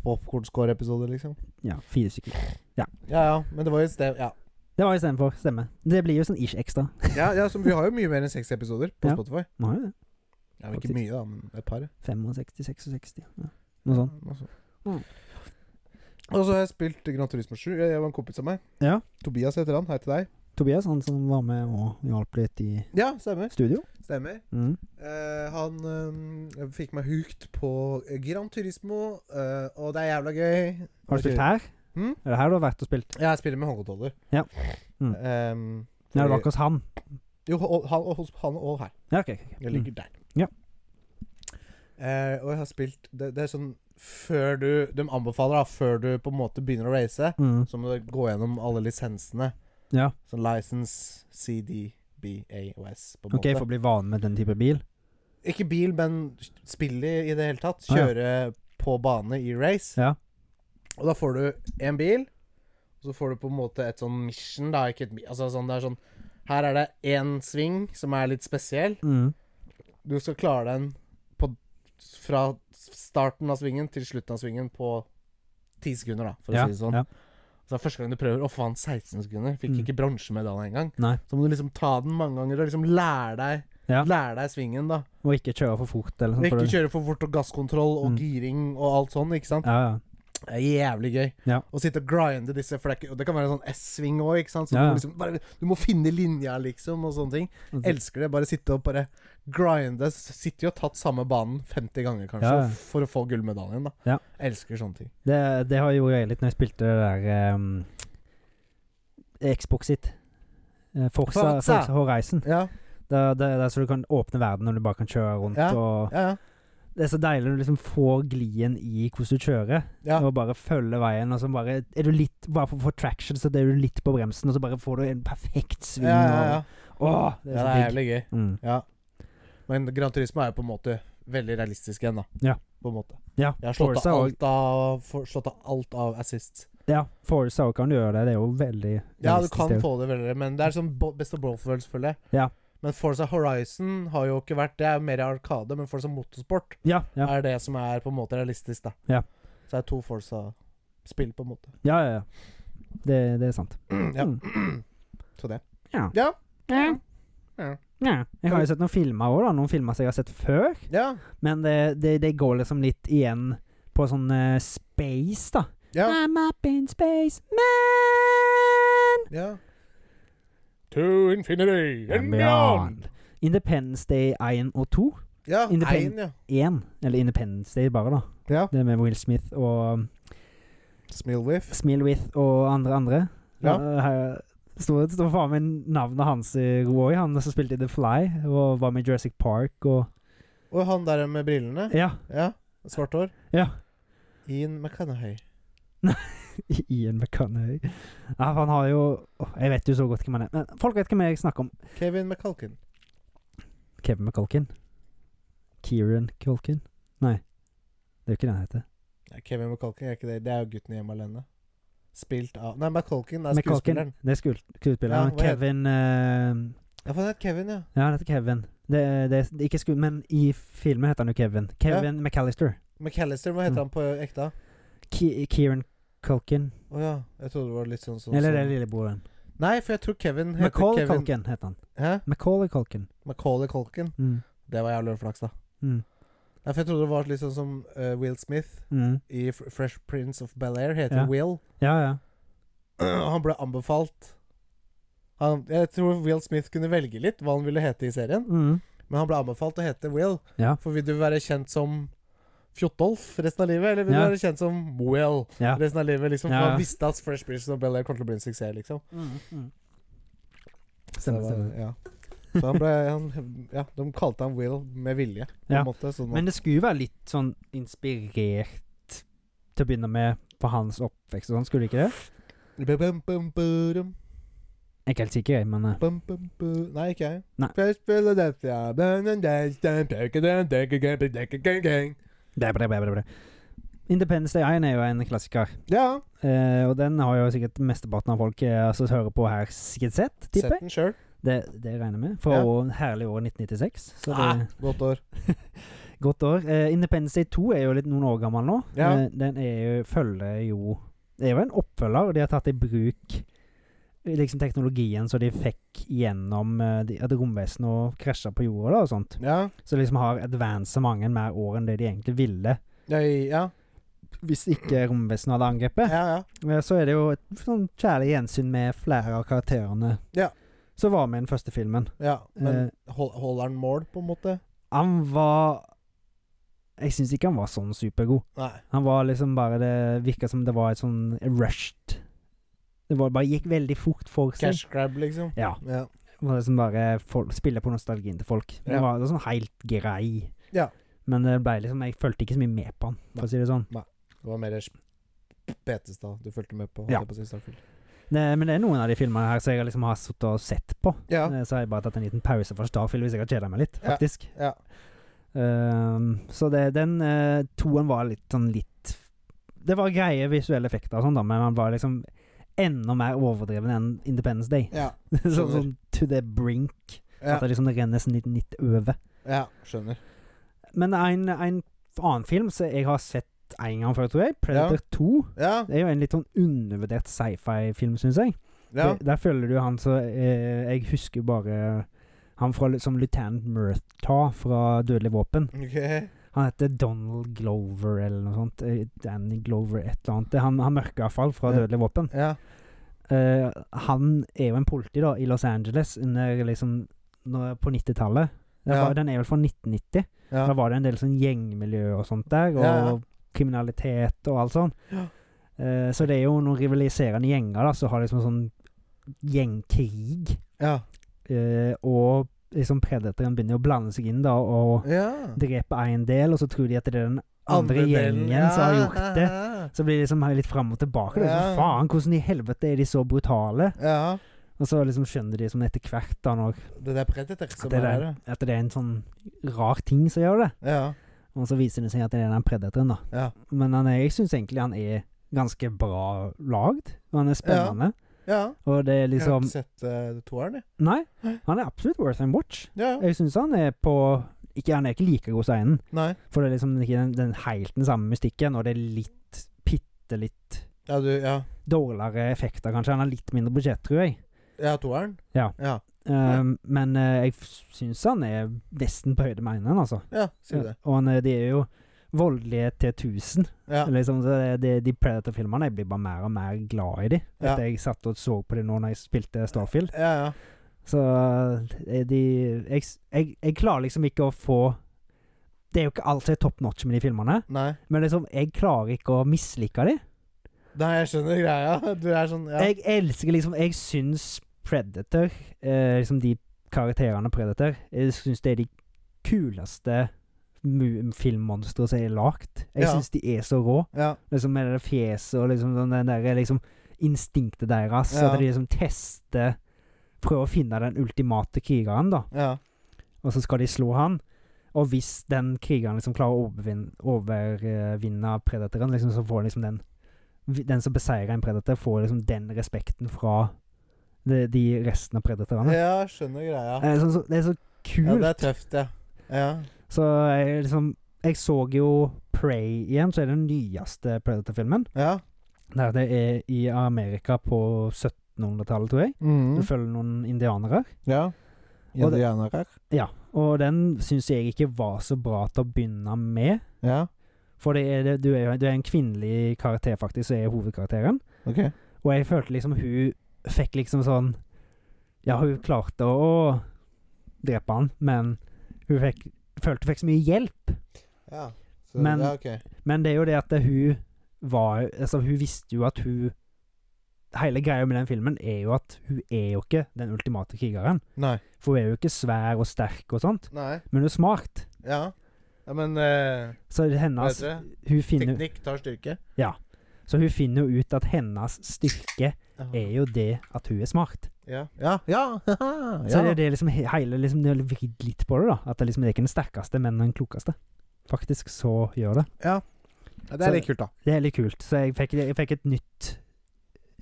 popkornscore-episode, liksom. Ja, fire stykker. Ja ja, men det var jo et sted Ja. Det var istedenfor. Stemme. Det blir jo sånn ish ekstra. Ja, ja så vi har jo mye mer enn seks episoder på Ja. Spotify. Nå har jo det. Ja, men ikke mye, da, men et par. 65, 66 ja. Noe sånt. Noe sånt. Mm. Og så har jeg spilt Gran Turismo 7. Jeg jeg var en kompis av meg. Ja. Tobias heter han. Hei til deg. Tobias, han som var med og hjalp litt i Ja, stemmer. studio. Stemmer. Mm. Eh, han eh, fikk meg hooked på Gran Turismo, eh, og det er jævla gøy. Har du spilt her? Mm? Er det her du har vært og spilt? Ja, jeg spiller med håndkontroller. Ja. Mm. Ehm, Nei, det var fordi- ikke hos han. Jo, og- han og, han og her. Ja, ok. ok, ok. Jeg ligger Mm. der. Ja. Eh, og jeg har spilt det, det er sånn før du De anbefaler, da, før du på en måte begynner å race, Mm. så må du gå gjennom alle lisensene. Ja, Sånn license, CD, B, A og S, på en ok, for måte. å bli vane med den type bil. Ikke bil, men spille i i det hele tatt. Ah, ja. Kjøre på bane i race. Ja. Og da får du en bil, og så får du på en måte et sånn mission, da. Ikke et, mi- altså sånn, det er sånn Her er det én sving som er litt spesiell. Mm. Du skal klare den på, fra starten av svingen til slutten av svingen på ti sekunder, da, for å ja. si det sånn. Ja. Så det er første gang du prøver. Å, faen, 16 sekunder. Fikk Mm. ikke bronsemedalje engang. Nei. Så må du liksom ta den mange ganger og liksom lære deg Ja. Lære deg svingen, da. Og ikke kjøre for fort, eller sånt. for Ikke kjøre det- for fort og gasskontroll og Mm. giring og alt sånn, ikke sant. Ja, ja. Det er jævlig gøy. Ja. Å sitte og grinde disse for det er ikke- Og det kan være en sånn S-sving òg, ikke sant. Så Ja, du, ja. må liksom bare, du må finne linja, liksom, og sånne ting. Elsker det. Bare sitte og bare grinde. Sitter jo og tatt samme banen 50 ganger, kanskje, Ja, ja. for å få gullmedaljen, da. Ja. Elsker sånne ting. Det, det har jo jeg litt når jeg spilte det der um, Xbox sitt. Eh, Forza, Forza. Forza. Horizon. Ja, Der, der, der så du kan åpne verden når du bare kan kjøre rundt. Ja. Og ja, ja. det er så deilig når du liksom får glien i hvordan du kjører. Ja. Og bare følger veien. Og så bare er du litt Bare for, for traction, så er du litt på bremsen, og så bare får du en perfekt sving. ja, ja, ja. Og, åh, det ja er det så er digg. jævlig gøy. Mm. Ja. Men Gran Turismo er jo på en måte veldig realistisk igjen, da. Ja. På en måte. Ja, Jeg har slått Forza av og alt av, for, slått av, alt av assist. ja, Forza også kan du gjøre det. Det er jo veldig Ja, du realistisk, kan det er jo- få det veldig, men det er sånn bo- best of both-følelse, føler jeg. Ja. Men Forza Horizon har jo ikke vært Det er jo mer arkade, men Forza Motorsport ja, ja, er det som er på en måte realistisk, da. Ja. Så det er to Forza-spill, på en måte. ja, ja, ja. Det, det er sant. ja. Mm. Så det. Ja. Ja. Ja. Ja. Jeg har jo sett noen filmer òg, noen filmer som jeg har sett før. Ja. Men det, det, det går liksom litt igjen på sånn eh, space, da. ja. I'm up in space, man! ja. To infinity And beyond. Independence Day 1 og 2. Ja. Independent. Ein, ja. 1, eller Independence Day bare, da. ja. Det med Will Smith og Smilwiff. Smilwith og andre andre. Ja. Eh, her- Sto det står faen meg navnet hans i Roy, han som spilte i The Fly, og var med i Jurassic Park og Og han der med brillene. Ja. Ja. Svart hår. ja. Ian McCannahay. Ian McConaughey. Ja, for han har jo Åh, Jeg vet jo så godt hvem han er. Men folk vet hvem jeg snakker om. Kevin McCalkin. Kevin McCulkin. Kieran Culkin. Nei, det er jo ikke det han heter. Nei, Kevin McCalkin er ikke det. Det er jo gutten hjemme alene. Spilt av Nei, McCalkin er McCulkin, skuespilleren. det er skuel- skuespilleren. Ja, hva heter- Kevin eh, Ja, for han het Kevin, ja. Ja, han heter Kevin. Det, det er ikke sku... Men i filmen heter han jo Kevin. Kevin McAllister. McAllister, hva heter Mm. han på ekte? Ki Kieran Culkin. Å ja. Jeg trodde det var litt sånn sånn Eller det er sånn. lillebroren. Nei, for jeg tror Kevin heter Macaulay Kevin Culkin heter han. Hæ? Macaulay Culkin. Macaulay Culkin. Mm. Det var jævlig flaks, da. Mm. Nei, for jeg trodde det var litt sånn som eh, Will Smith Mm. i F Fresh Prince of Bel-Air. Heter Ja. Will. Ja, ja. Han ble anbefalt han, Jeg tror Will Smith kunne velge litt hva han ville hete i serien, Mm. men han ble anbefalt å hete Will. Ja. For vil du være kjent som Fjotolf resten av livet, eller vil Ja. du være kjent som Will ja. resten av livet? Liksom, for Ja. Han visste at Fresh Prince of Bel-Air kom til å bli en suksess, liksom. Mm. Mm. Så, det Stemmer, var, stemmer. ja. så han ble han, Ja, de kalte han Will med vilje, på Ja. en måte. Sånn Men det skulle jo være litt sånn inspirert til å begynne med på hans oppvekst og sånn, skulle det ikke det? at- bum, bum, burum, Jeg er ikke helt sikker, jeg, men eh, bum, bum, bu- Nei, ikke jeg. Nei. Fresh Philadelphia, dun, dun, dun, dun, dun, dun, dun, dun, dun, dun, dun, dun. det er bra, bra, bra, bra. Independence Day 1 er jo en klassiker, Ja. eh, og den har jo sikkert mesteparten av folk eh, som hører på her, sikkert sett, tipper Sett jeg. den sjøl. Det, det regner jeg med. Fra Ja. år, herlig år 1996. Så det Ah, godt år. Godt år. Eh, Independence Day 2 er jo litt noen år gammel nå. Ja. Eh, den er jo, følger jo Det er jo en oppfølger, og de har tatt i bruk eh, liksom teknologien som de fikk gjennom eh, de, at romvesenet krasja på jorda da, og sånt. Ja. Så liksom har advancementet mer år enn det de egentlig ville. Ja, ja. Hvis ikke romvesenet hadde ja, angrepet. ja. Eh, Så er det jo et sånn kjærlig gjensyn med flere av karakterene Ja. som var med i den første filmen. ja. Men Eh. hol- holder han mål, på en måte? Han var Jeg syns ikke han var sånn supergod. Nei. Han var liksom bare Det virka som det var et sånn rushed Det var, bare gikk veldig fort for seg. Cash grab, liksom. Ja. Ja. Det var liksom bare fol- spille på nostalgien til folk. Det Ja. var, det var sånn helt grei. Ja. Men det ble liksom jeg fulgte ikke så mye med på han, for å si det sånn. Det var mer sp- Betestad du fulgte med på. holdt Ja. jeg på å si, Starfield. Det, men det er noen av de filmene her som jeg liksom har sittet og sett på. ja. Eh, Så har jeg bare tatt en liten pause fra Starfield hvis jeg har kjeda meg litt, Ja. faktisk. ja. Ehm, så det, den eh, toen var litt sånn litt Det var greie visuelle effekter og sånn, da, men han var liksom enda mer overdreven enn Independence Day. Ja. sånn, Skjønner. sånn to the brink. Ja. At det liksom renner sånn litt nytt over. ja. Skjønner. Men en, en annen film som jeg har sett en gang før, tror jeg, Predator 2, Ja. det er jo en litt sånn undervurdert sci-fi-film, syns jeg. Ja. Det, der følger du han som eh, Jeg husker bare han fra, som Lieutenant Murtha fra Dødelig våpen. Ok. Han heter Donald Glover eller noe sånt. eh, Danny Glover, et eller annet. Det er Han, han mørke iallfall fra Ja. Dødelig våpen. Ja. Eh, han er jo en politi da i Los Angeles under, liksom, når, på 90-tallet. Den, Ja. var- den er vel fra 1990. Ja. Da var det en del sånn gjengmiljø og sånt der, og Ja, ja. kriminalitet og alt sånt. Ja. Eh, så det er jo noen rivaliserende gjenger da som har liksom en sånn gjengkrig. Ja. Eh, og liksom predatoren begynner å blande seg inn da og ja. drepe én del, og så tror de at det er den andre, gjengen som har gjort det. Så blir det liksom litt fram og tilbake. Det er Ja. sånn, Faen, hvordan i helvete er de så brutale? Ja. Og så liksom skjønner de som etter hvert da når, Det der Predator at, som det er er, det. at det er en sånn rar ting som gjør det. Ja. Og så viser det seg at det er den predatoren, da. Ja. Men han er, jeg syns egentlig han er ganske bra lagd. Og han er spennende. ja. Og det er Jeg har liksom ikke sett eh, toeren, jeg. Nei, han er absolutt worth a watch. Ja. ja. Jeg syns han er på ikke, Han er ikke like god som einen, Nei. for det er liksom ikke den, den helt den samme mystikken, og det er litt, bitte litt Ja, du Ja. dårligere effekter, kanskje. Han har litt mindre budsjett, tror jeg. Ja, toeren? Ja. Ja, Um, men eh, jeg syns han er nesten på høyde med eneren, altså. ja si det. Og han, eh, de er jo voldelige til tusen. Ja. Liksom, så det- det- de Predator-filmene Jeg blir bare mer og mer glad i de Ja. Etter jeg satt og så på de nå når jeg spilte Starfield. Ja, ja. Så eh, de jeg, s- jeg, jeg klarer liksom ikke å få Det er jo ikke alt som er top notch med de filmene, Nei. men liksom, jeg klarer ikke å mislike de. Nei, jeg skjønner greia. Du er sånn ja. Jeg elsker liksom Jeg syns Predator, eh, liksom de karakterene Predator, jeg syns det er de kuleste mu- filmmonstrene som er lagd. Jeg Ja. syns de er så rå. ja. Liksom med det der fjeset og liksom sånn den der liksom instinktet deres. Ja. At de liksom tester Prøver å finne den ultimate krigeren, da. Ja. Og så skal de slå han. Og hvis den krigeren liksom klarer å overvin- overvinne predatoren, liksom, så får liksom den vi- Den som beseirer en predator, får liksom den respekten fra de, de resten av predatorene. ja, jeg skjønner greia. Det, er så, så- det er så Ja, kult. det er tøft, ja. Ja. Så jeg liksom Jeg så jo Prey igjen, så er det den nyeste predator-filmen. ja. Der det er i Amerika på 1700-tallet, tror jeg. Du Mm. følger noen indianere. ja. Og det- Indianere. Ja. Og den syns jeg ikke var så bra til å begynne med. Ja, For det er, det- du, er, jo- du er en kvinnelig karakter, faktisk, som er hovedkarakteren. ok. Og jeg følte liksom hun fikk liksom sånn Ja, hun klarte å drepe han, men hun fikk, følte hun fikk så mye hjelp. Ja. Så, Men- ja, ok. Men det er jo det at hun var Altså, hun visste jo at hun Hele greia med den filmen er jo at hun er jo ikke den ultimate krigeren. Nei. For hun er jo ikke svær og sterk og sånt, Nei. men hun er smart. Ja. ja men eh, Så hennes Hva heter hun finner, teknikk tar styrke. Så hun finner jo ut at hennes styrke er jo det at hun er smart. Ja. Ja. Ja. ja. Så det er det liksom he- hele liksom, Det er vridd litt på det, da. At det liksom det er ikke den sterkeste, men den klokeste. Faktisk så gjør det. ja. Ja, Det Så- er litt kult, da. Det er litt kult. Så jeg fikk, jeg fikk et nytt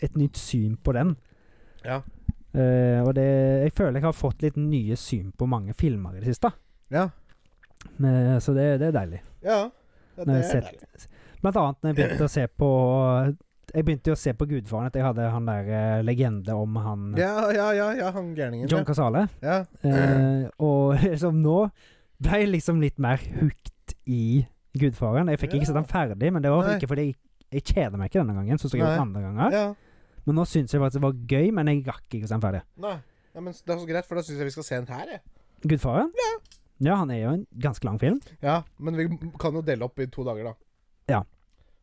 Et nytt syn på den. Ja. Eh, og det Jeg føler jeg har fått litt nye syn på mange filmer i det siste. Ja. Men, eh, så det, det er deilig. Ja. ja Når jeg sett- Blant annet når jeg begynte å se på Jeg begynte jo å se på Gudfaren etter jeg hadde han der eh, legende om han Ja, ja, ja, ja, han gærningen. John Casale. Ja. Eh, og liksom nå ble jeg liksom litt mer hooked i Gudfaren. Jeg fikk Ja. ikke sett den ferdig, men det var Nei. ikke fordi jeg, jeg kjeder meg ikke denne gangen. Sånn som jeg har gjort andre Ja. ganger ja. Men nå syns jeg faktisk det var gøy, men jeg rakk ikke å se den ferdig. Nei. Ja, men det er så greit, for da syns jeg vi skal se den her, jeg. Gudfaren? Ja. han er jo en ganske lang film. Ja, men vi kan jo dele opp i to dager, da. Ja.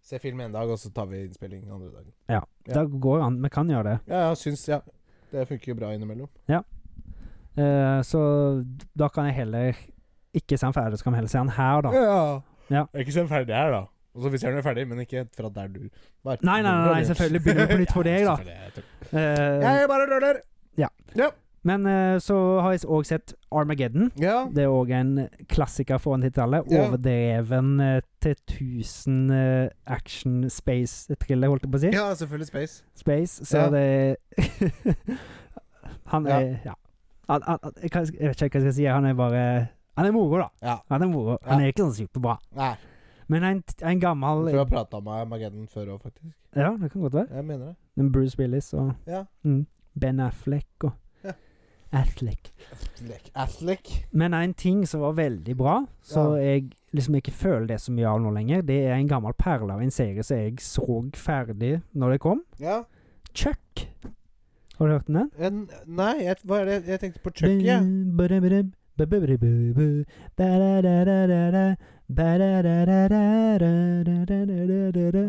Se film en dag, og så tar vi innspilling den andre dagen. Ja. Da går han, Vi kan gjøre det. Ja, ja, syns Ja. Det funker jo bra innimellom. Eh, så da kan jeg heller ikke se den ferdig, så kan vi heller se den her, da. Ja. Ja. Ikke se den ferdig her, da. Og så hvis den er ferdig, men ikke fra der du var. Nei, nei, nei, nei, selvfølgelig begynner vi på nytt for deg, da. da. Eh, Jeg er bare røller. men eh, så har jeg òg sett Armageddon. Ja. Det er òg en klassiker fra 90-tallet. Ja. Overdreven eh, til 1000 eh, action space-thriller, holdt jeg på å si. ja, selvfølgelig Space. Space, så Ja. det Han er Ja. Han, han, han- jeg, kan, jeg vet ikke hva jeg skal si. Han er bare Han er moro, da. Ja. Han er moro. Han Ja. er ikke sånn superbra. Nei. Men en, en Jeg gammel tror jeg har prata med Mageddon før òg, faktisk. Ja, det kan godt være. Jeg mener det. En Bruce Willis og Ja. mm, Ben Affleck og Ja. Affleck. Affleck. Affleck. Men en ting som var veldig bra, så jeg liksom ikke føler det så mye av nå lenger, det er en gammel perle av en serie som jeg så ferdig når det kom. Ja. Chuck. Har du hørt den? En, Eh, nei, jeg, hva er det jeg tenkte på? Chucky. Ja. Chuck? Er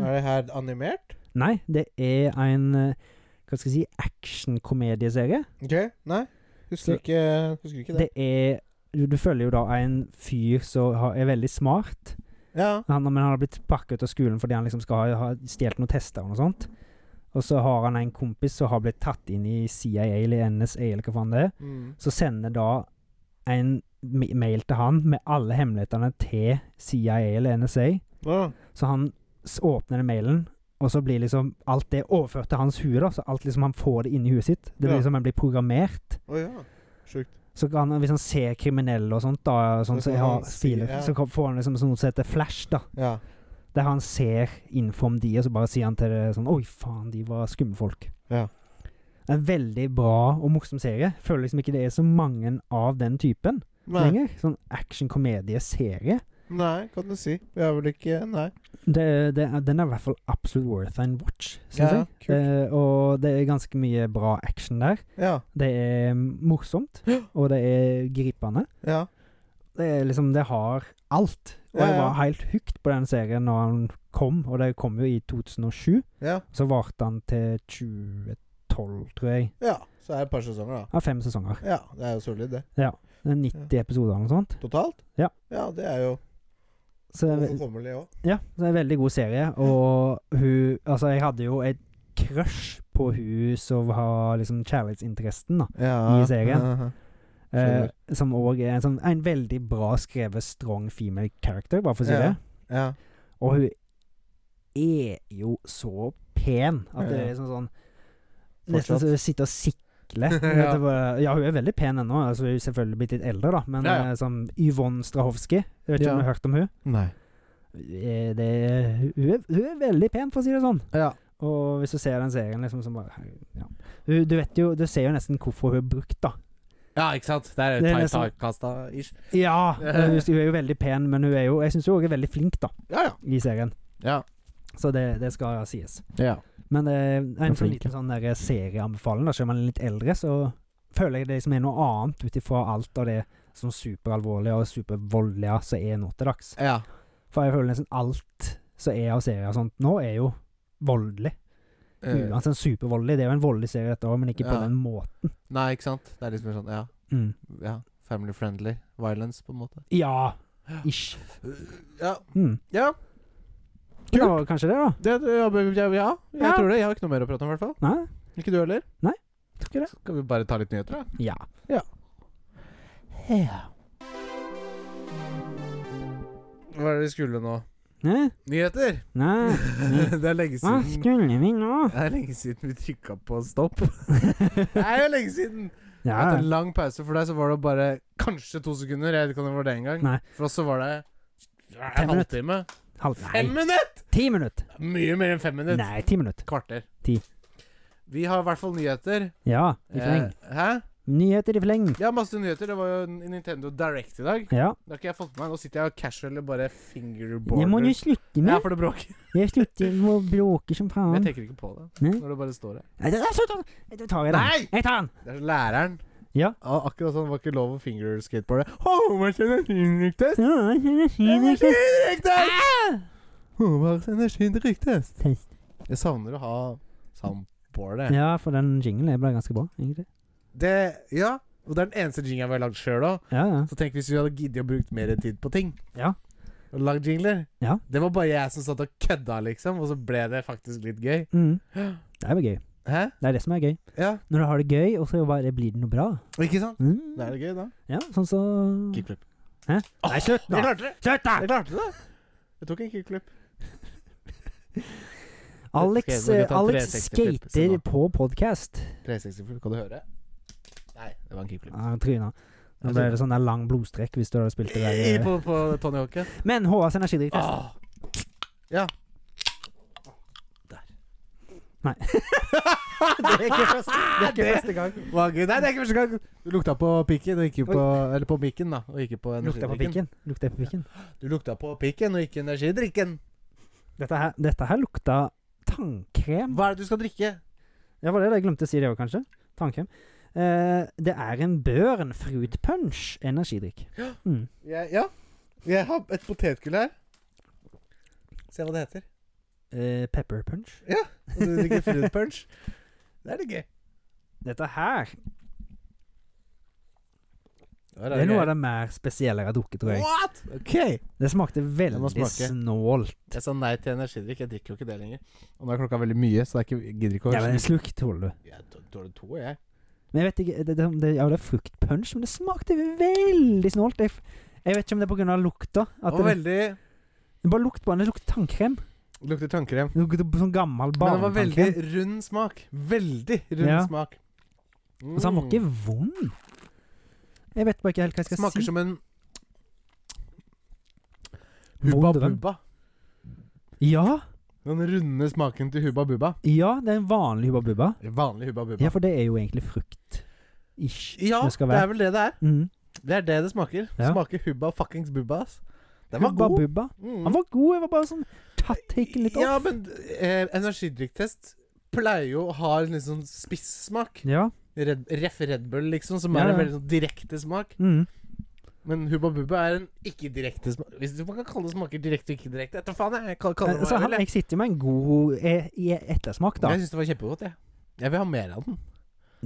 det her animert? Nei, det er en eh, Hva skal jeg si actionkomedieserie. Ok, nei. Så- Husker ikke, husker ikke det. Det er du- Du følger jo da en fyr som har- er veldig smart. Ja. Han, men han har blitt pakket ut av skolen fordi han liksom skal ha, ha stjålet noen tester og noe sånt. Og så har han en kompis som har blitt tatt inn i CIA eller NSA eller hva faen det er. Mm. Så sender da en ma- mail til han med alle hemmelighetene til CIA eller NSA. Ja. Så han s- åpner den mailen, og så blir liksom alt det overført til hans hue. da. Så alt liksom han får det inni huet sitt. Det Ja. blir som han blir programmert. Å ja. Sjukt. Så kan han, hvis han ser kriminelle og sånt, da, sånn, Så så, får jeg har han si- filer, ja. så kan- får han liksom sånn noe som heter flash, da. Ja. Der han ser info om de, og så bare sier han til det sånn Oi, faen, de var skumle folk. Ja. En veldig bra og morsom serie. Føler liksom ikke det er så mange av den typen Nei. lenger. Sånn action-komedieserie. nei, kan du si. Vi er vel ikke Nei. Det- det er- Den er i hvert fall absolutt worth an watch, syns Ja, jeg. Eh, og det er ganske mye bra action der. Ja. Det er morsomt, og det er gripende. Ja. Det, er liksom, det har alt. Og jeg Ja, ja. var helt hooked på den serien når han kom, og det kom jo i 2007. Ja. Så varte han til 2012, tror jeg. ja. Så er det et par sesonger, da. Ja, fem sesonger. Ja, det er jo solid, det. Det er 90 episoder eller noe sånt. Totalt? Ja. ja det er jo Så det er ve- overkommelig òg. Ja, det er en veldig god serie, og hun Altså, jeg hadde jo et crush på hun som har liksom kjærlighetsinteresten, da. Ja. I serien. ja, ja. Eh, Skjønner. som òg er en, sånn, en veldig bra skrevet strong female character, bare for å si Ja. det. Ja. Og hun er jo så pen at det er Ja. liksom sånn Fortsatt. Nesten så hun sitter og sikler. Ja. ja. ja, hun er veldig pen ennå. Altså, hun er selvfølgelig blitt litt eldre, da. Men Ja, ja. eh, som Yvonne Strahovski, jeg vet ikke Ja. om du har hørt om hun Nei. Eh, det, hun, er, hun er veldig pen, for å si det sånn. Ja. Og hvis du ser den serien, liksom, så bare herregud, ja. du, du vet jo Du ser jo nesten hvorfor hun er brukt, da. ja, ikke sant? Det er Det er tight liksom- typecasta-ish. Ja! Hun hun er jo veldig pen, men hun er jo Jeg syns hun også er veldig flink, da, Ja, ja. i serien. Ja. Så det, det skal sies. ja. Men det er en sånn flink, liten sånn der serieanbefaling, da. Selv om man er litt eldre, så føler jeg det som er noe annet ut ifra alt av det sånn superalvorlige og supervoldelige som er nå til dags. ja. For jeg føler nesten alt som er av serier og sånt nå, er jo voldelig. Eh, Uansett supervoldelig. Det er jo en voldelig serie dette òg, men ikke på Ja. den måten. Eh, Mm. nei, ikke sant? Det er liksom sånn Ja. ja family friendly violence, på en måte. Ja, ish. Ja. Mm. Ja. Det var kanskje det, da. Det, ja, ja, ja, ja, jeg Ja. tror det. Jeg har ikke noe mer å prate om, i hvert fall. Nei, Ikke du heller? tror ikke det. Skal vi bare ta litt nyheter, da? Ja. Ja. Hva er det vi skulle nå? Nei, Nyheter! nei. det er lenge Hva siden skulle vi nå? Det er lenge siden vi trykka på stopp. Det er jo lenge siden! Jeg ja. har hatt en lang pause for deg, så var det bare kanskje to sekunder. Jeg vet ikke om det var det engang. Nei. For oss så var det Fem en minutter. halvtime. Halv, Fem nei, minutter! ti minutter. Mye mer enn fem minutter. Nei, ti minutter. Kvarter. Ti. Vi har i hvert fall nyheter. Ja, i fleng. Eh, hæ? Nyheter i fleng. Ja, masse nyheter. Det var jo en Nintendo Direct i dag. Ja. Det har ikke jeg fått med meg. Nå sitter jeg og casual og bare fingerboarder. Det må du slutte Ja, med. for det bråker. Jeg slutter med å bråke som Jeg faen. tenker ikke på det Nei. når det bare står her. Nei, det- det- Slutt! da. Da tar jeg den. Nei! Jeg tar den. Det er så læreren. Ja. Og akkurat sånn var ikke lov å fingerskateboarde. Håvards energidrikktest! Ja, jeg skjønner ikke. Energidrikktest! Ah! Håvards energidrikktest! Test. Jeg savner å ha soundboardet. Ja, for den jinglen ble ganske bra, egentlig. Det Ja. Og det er den eneste jingeren vi har lagd sjøl òg. Ja, ja. Så tenk hvis vi hadde giddet å bruke mer tid på ting. Ja. Og lagd jingler. Ja. Det var bare jeg som satt og kødda, liksom. Og så ble det faktisk litt gøy. Mm. Det er jo gøy. Hæ? Det er det som er gøy. Ja. Når du har det gøy, og så bare blir det noe bra. Ikke sant? Mm. Da er det gøy, da. Ja, sånn så Kickflip. Hæ? Nei, slutt nå. Jeg klarte det! Slutt, da! Jeg klarte det! Jeg tok en kickflip. Alex, Ok, nå kan vi eh, ta Alex 360-flip. Se skater nå. på podkast. 360-flip, kan du høre? Nei, det var en kickflip. Ja, tryna. Nå Jeg ble tror- det sånn der lang blodstrekk hvis du hadde spilt det I, der. eh. på, på Tony Hawken. Men HAs energidrikk test. Ah. Ja. Der. Nei. det er ikke første, det er ikke første gang. Var gøy. Nei, det er ikke første gang. Du lukta på pikken, og ikke på, eller på mikken, da. Og ikke på Lukta på energidrikken. pikken. Lukta på pikken. Du lukta på pikken, og ikke energidrikken. Dette her, dette her lukta tannkrem. Hva er det du skal drikke? Ja, var det det jeg glemte å si det òg, kanskje? Tannkrem. Eh, det er en Børen Fruit Punch energidrikk. Mm. Jeg, ja. Jeg har et potetgull her. Se hva det heter. Eh, pepper Punch. Og du drikker fruit punch. Det er litt gøy. Dette her Det er noe av det mer spesielle jeg har drukket, tror jeg. What? Ok. Det smakte må veldig smake. snålt. Jeg sa nei til energidrikk. Jeg drikker jo ikke det lenger. Og nå er klokka veldig mye, så det er ikke, jeg gidder ikke å Ja, men en slurk tåler du. Jeg tå- tåler to, jeg. Men jeg vet ikke Det, det, det, ja, det er fruktpunch, men det smakte veldig snålt. Jeg, f- jeg vet ikke om det er pga. lukta. At Og det, veldig det bare lukter på den. Det lukter tannkrem. Lukter tannkrem. Det lukter på sånn gammel Men det var veldig barnetannkrem. rund smak. Veldig rund Ja. smak. Mm. Så Altså, han var ikke vond. Jeg vet bare ikke helt hva jeg skal Smaker si. som en Hubba Vond drøm. Bubba. Ja, Den runde smaken til Hubba Bubba. ja, det er en vanlig Hubba Bubba. Vanlig Hubba Bubba. Ja, for det er jo egentlig frukt. Ish. Ja, det det, skal være. er vel det det er. Mm. Det er det det smaker. Ja. Smaker Hubba fuckings Bubba, ass. Den var Hubba god. Bubba. Mm. Han var god, jeg var bare sånn tatt taken litt Ja, off. men eh, energidrikktest pleier jo å ha en litt sånn spissmak. Ja. Red, ref Red Bull, liksom, som Ja, er en ja. veldig sånn direkte smak. Mm. Men Hubba Bubba er en ikke-direkte smak... Hvis man kan kalle det smaker direkte og ikke-direkte. Etter faen, jeg kan kalle det Så hva jeg han, vil. jeg. jeg sitter med en god eh, i ettersmak, da. Jeg syns det var kjempegodt, jeg. Jeg vil ha mer av den.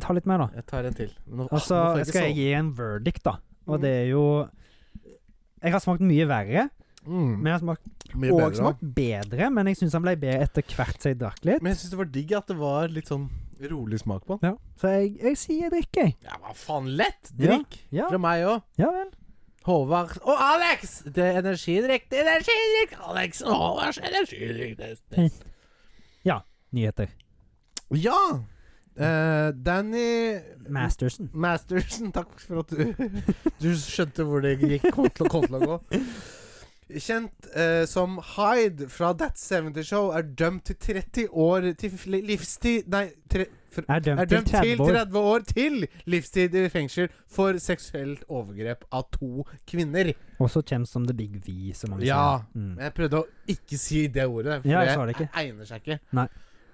Ta litt mer, da. Jeg tar en til. Nå, Og så nå får ikke Mm. skal jeg gi en verdict, da. Og det er jo Jeg har smakt mye verre, sove. mm. men jeg har smakt, Mye bedre, og da. smakt bedre. Men jeg syns han ble bedre etter hvert som jeg drakk litt. Men jeg syns det var digg at det var litt sånn rolig smak på den. Ja. Så jeg, jeg sier drikk, jeg. Ja, hva faen? Lett Ja. drikk! Ja, Fra meg òg. ja vel. Håvard og Alex! Det er energidrikk, det er energidrikk! Alex og Håvards energidrikk. Det er- det Nyheter. er- Ja! Eh, Danny Masterson. Mastersen, takk for at du, du skjønte hvor det gikk, kom til, kom til å gå. Kjent eh, som Hyde fra That 70 Show er dømt til 30 år til fl- livstid Nei, tre, for, Er dømt, er dømt til 30 år. 30 år til livstid i fengsel for seksuelt overgrep av to kvinner. Også kjent som The Big V, som mange Ja. Eh, sier. Mm. Men jeg prøvde å ikke si det ordet, for Ja, jeg det, sa det ikke. egner seg ikke. Nei.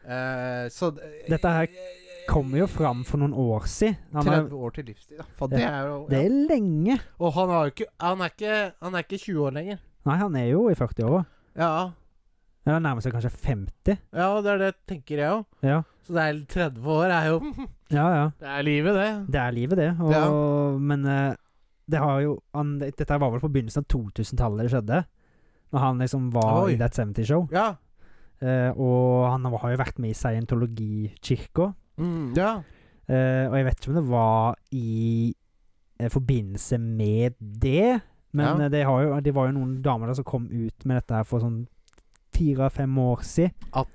Eh, så d- Dette her eh, Kommer jo fram for noen år siden. Han er, 30 år til livstid, da. Faen, det er jo det er lenge. Og han, har jo ikke, han, er ikke, han er ikke 20 år lenger. Nei, han er jo i 40-åra. Ja, Eller nærmer seg kanskje 50. ja det er det tenker jeg òg. Ja, Så det er 30 år er jo ja. ja. Det er livet, det. Det er livet, det. Og, Men eh, det har jo han, Dette var vel på begynnelsen av 2000-tallet det skjedde. Når han liksom var Oi. i That 70 Show. Ja. Eh, og han har jo vært med i scientologikirka. Mm, ja. Eh, og jeg vet ikke om det var i eh, forbindelse med det, men Ja. eh, det, har jo, det var jo noen damer der som kom ut med dette her for sånn fire-fem år siden. At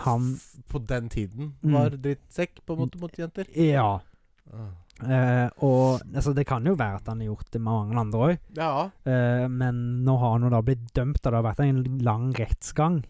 Han f- på den tiden Mm. var drittsekk på en måte mot jenter. Ah. Ja. Mm. Eh, og altså, det kan jo være at han har gjort det med mange andre òg, Ja, eh, men nå har han jo da blitt dømt, og det har vært en lang rettsgang.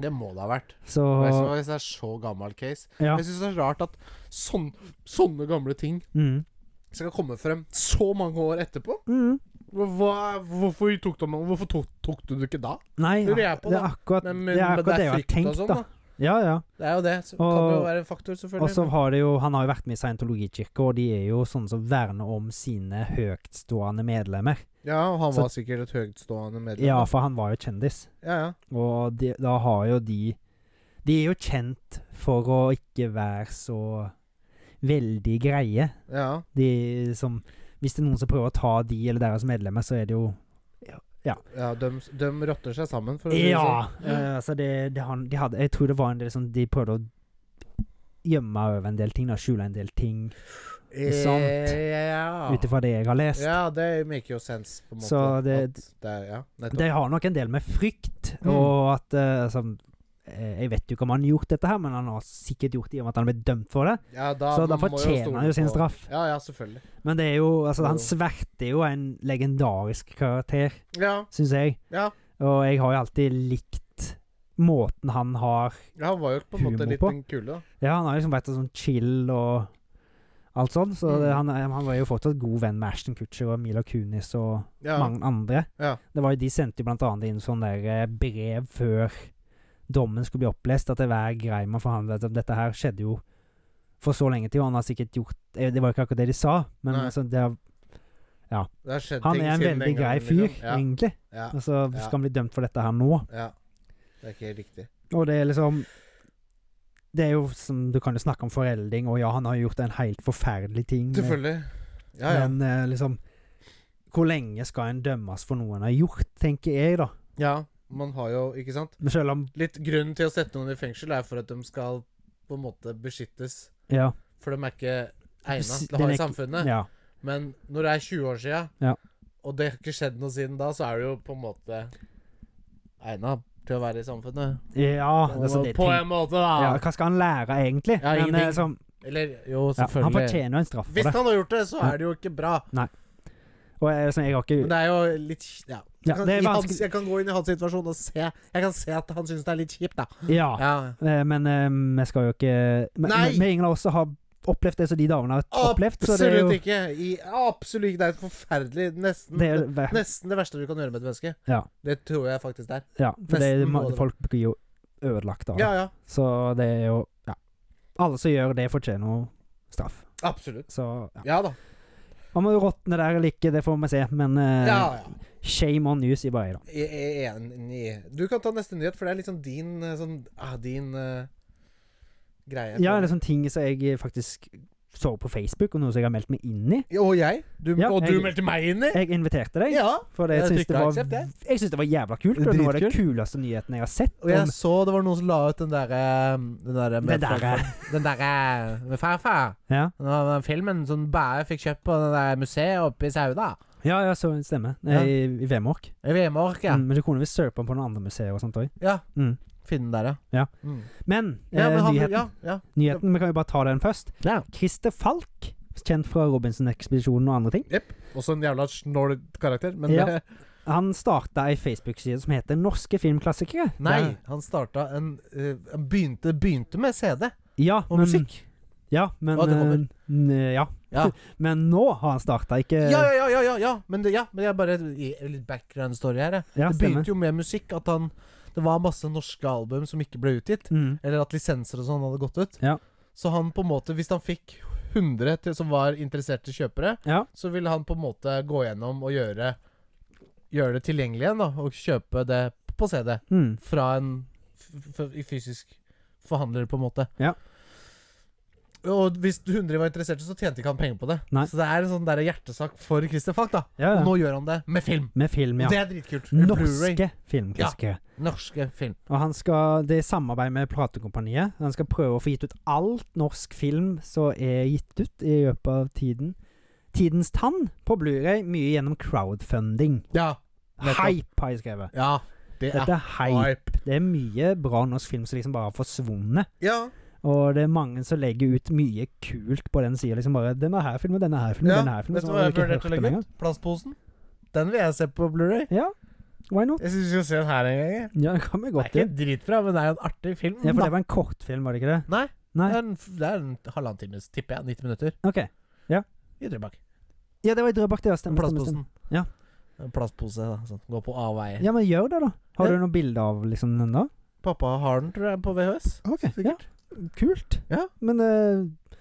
det må det ha vært. Så Hvis det er så gammel case. ja. Jeg syns det er rart at sånn, sånne gamle ting Mm. skal komme frem så mange år etterpå. Mm. Hva, hvorfor tok du, hvorfor tok, tok du det ikke da? Nei, Lurer jeg på, det er da. akkurat Men, det, er men akkurat det jeg har frykt og tenkt, sånn, da. Ja, ja. Det er jo det. Så kan Og- det jo være en faktor, selvfølgelig. Og så har det jo Han har jo vært med i Scientologikirka, og de er jo sånne som verner om sine høytstående medlemmer. Ja, og han Så- var sikkert et høytstående medlem. Ja, for han var jo kjendis. ja, ja. Og de, da har jo de De er jo kjent for å ikke være så veldig greie. ja. De som Hvis det er noen som prøver å ta de eller deres medlemmer, så er det jo ja de, de rotter seg sammen, for å si det Ja! sånn. eh, så det, det han, de hadde Jeg tror det var en del sånn De prøvde å gjemme over en del ting, da, skjule en del ting, Eh, sant. Ja. ut ifra det jeg har lest. ja, det make jo sense, på en måte. Så det- at det er, ja, nettopp. Det har nok en del med frykt Mm. og at eh, altså, eh, Jeg vet jo ikke om han har gjort dette her, men han har sikkert gjort det i og med at han ble dømt for det. ja, da, så da man må fortjener stole han jo sin på- straff. Ja, ja, selvfølgelig. Men det er jo altså, Jo. han Sverte er jo en legendarisk karakter, Ja, syns jeg. ja. Og jeg har jo alltid likt måten han har ja, han var jo på en måte Humor litt på. en kule, da. Ja, han har liksom vært sånn chill og alt sånn, så Mm. det, han, han var jo fortsatt god venn med Ashton Kutcher og Mila Kunis og Ja. mange andre. Ja. Det var jo, de sendte jo blant annet inn sånne der eh, brev før dommen skulle bli opplest, at det var grei man forhandlet om. Dette her skjedde jo for så lenge til, og han har sikkert gjort eh, Det var jo ikke akkurat det de sa, men Nei. altså, det har, Det har skjedd han ting er en siden veldig den grei gangen, fyr, liksom. Ja, egentlig. ja, Og så Ja. skal han bli dømt for dette her nå. ja. Det er ikke helt riktig. Og det er liksom Det er jo som Du kan jo snakke om forelding, og ja, han har jo gjort en helt forferdelig ting. men- Selvfølgelig. Ja, ja. Men eh, liksom Hvor lenge skal en dømmes for noe en har gjort, tenker jeg, da. ja. Man har jo, ikke sant Men selv om Litt grunnen til å sette noen i fengsel er for at de skal på en måte beskyttes. Ja. For de er ikke egna s- til å ha den i er ikke- samfunnet. ja. Men når det er 20 år sia, Ja. og det har ikke skjedd noe siden da, så er du jo på en måte egna til å være i samfunnet. Ja, altså, det på tenk- en måte, ja, da! Hva skal han lære, egentlig? Ja, Men, eh, ingenting. som- Eller jo, ja, han selvfølgelig. fortjener jo en straff for Hvis det. han har gjort det, så Ja. er det jo ikke bra. Og jeg, liksom, jeg har Men ikke det er jo litt kj- Ja. Ja, Jeg kan, det er i hans- vanskelig. jeg kan gå inn i hans situasjon og se Jeg kan se at han syns det er litt kjipt, da. Ja. Ja. eh, Men eh, vi skal jo ikke men- Nei! men- Men ingen av oss har opplevd det som de damene har opplevd, så det er jo Absolutt ikke. I, absolutt ikke. Det er forferdelig. Nesten det er, ver- Nesten det verste du kan gjøre med et menneske. Ja. Det tror jeg faktisk det er. ja, for det, nesten må er- det folk blir jo ødelagt av det. Ja, ja. Så det er jo ja. Alle som gjør det, fortjener jo straff. Absolutt. Så ja. Ja da. Om hun råtner der eller ikke, det får vi se, men eh, Ja, ja. shame on you, sier bare jeg, da. Jeg er enig. Du kan ta neste nyhet, for det er liksom din eh, sånn ah, Din eh, greie. Ja, eller sånne ting som jeg faktisk så på Facebook, og noe som jeg har meldt meg inn i. Ja, Og jeg? Du, Ja, og du jeg- meldte meg inn i? Jeg inviterte deg, Ja. for det, jeg jeg syns det, trykket var- aksept, jeg. jeg syns det var jævla kult. Og noe av de Dritkult. kuleste nyhetene jeg har sett. Og jeg om- eh. så det var noen som la ut den derre Den derre Det derre. Den derre med farfar. ja. Den der filmen som Bæe fikk kjøpt på det der museet oppe i Sauda. ja, ja, så stemmer. Ja. I, i Vemork. I Vemork, ja. Mm, men du kunne visst søke på den på noen andre museer og sånt òg. Ja. Mm. Finne den der, ja. Ja. Mm. Men, ja, men eh, han, nyheten, ja, ja. nyheten Vi kan jo bare ta den først. ja. Christer Falk, kjent fra Robinson-ekspedisjonen og andre ting, Også en jævla snål karakter, men eh, Ja. han starta ei Facebook-side som heter Norske filmklassikere. Nei, Der- han starta en eh, Han begynte, begynte med CD Ja, og men, musikk. Ja, men Ja, det kommer. eh, n- ja. Ja. Men nå har han starta, ikke Ja, ja, ja, ja, ja, ja. Men, det, ja, men jeg bare gir litt background story her. jeg. Ja, det stemmer. begynte jo med musikk. At han Det var masse norske album som ikke ble utgitt. Mm. Eller at lisenser og sånn hadde gått ut. Ja. Så han på en måte, hvis han fikk 100 til, som var interesserte kjøpere, Ja. så ville han på en måte gå gjennom og gjøre Gjøre det tilgjengelig igjen, da. Og kjøpe det på CD. Mm. Fra en f f i fysisk forhandler, på en måte. Ja. Og hvis 100 var interesserte, så tjente ikke han penger på det. Nei. Så det er en sånn der hjertesak for Christer Falk, da. ja, Og ja. nå gjør han det med film. Med film, Og det ja. er dritkult. Med Blu-ray. Norske filmklassikere. Norske film. Og han skal, det er samarbeid med platekompaniet. Han skal prøve å få gitt ut alt norsk film som er gitt ut i løpet av tiden. Tidens tann på Blu-ray, mye gjennom crowdfunding. Ja. Nettopp. Hype, har jeg skrevet. Ja. Det er Dette er hype. hype. Det er mye bra norsk film som liksom bare har forsvunnet. Ja. Og det er mange som legger ut mye kult på den sida. Liksom bare 'Denne her filmen, denne her filmen, Ja, denne her filmen'. Vet som du man hva jeg ikke har vurderte å hørt om legge engang. ut? Plastposen. Den vil jeg se på Blu-ray. Ja, why not? Jeg syns vi skal se den her en gang. jeg. Ja, det kan vi Det er godt ikke gjøre. dritbra, men det er jo en artig film. Ja, for da. det var en kortfilm, var det ikke det? Nei. Nei, Det er en, det er en halvannen times, tipper jeg. 90 minutter. ok. I Drøbak. Ja, det var i Drøbak, det. ja, Stemmer, stemmer, stemmer. Plastposen. Ja. En plastpose. Da, sånn. Gå på avveie. Ja, men gjør det, da. Har Ja. du noe bilde av liksom den, da? Pappa har den, tror jeg, på VHS. Ok, Sikkert. ja. Kult. Ja. Men eh,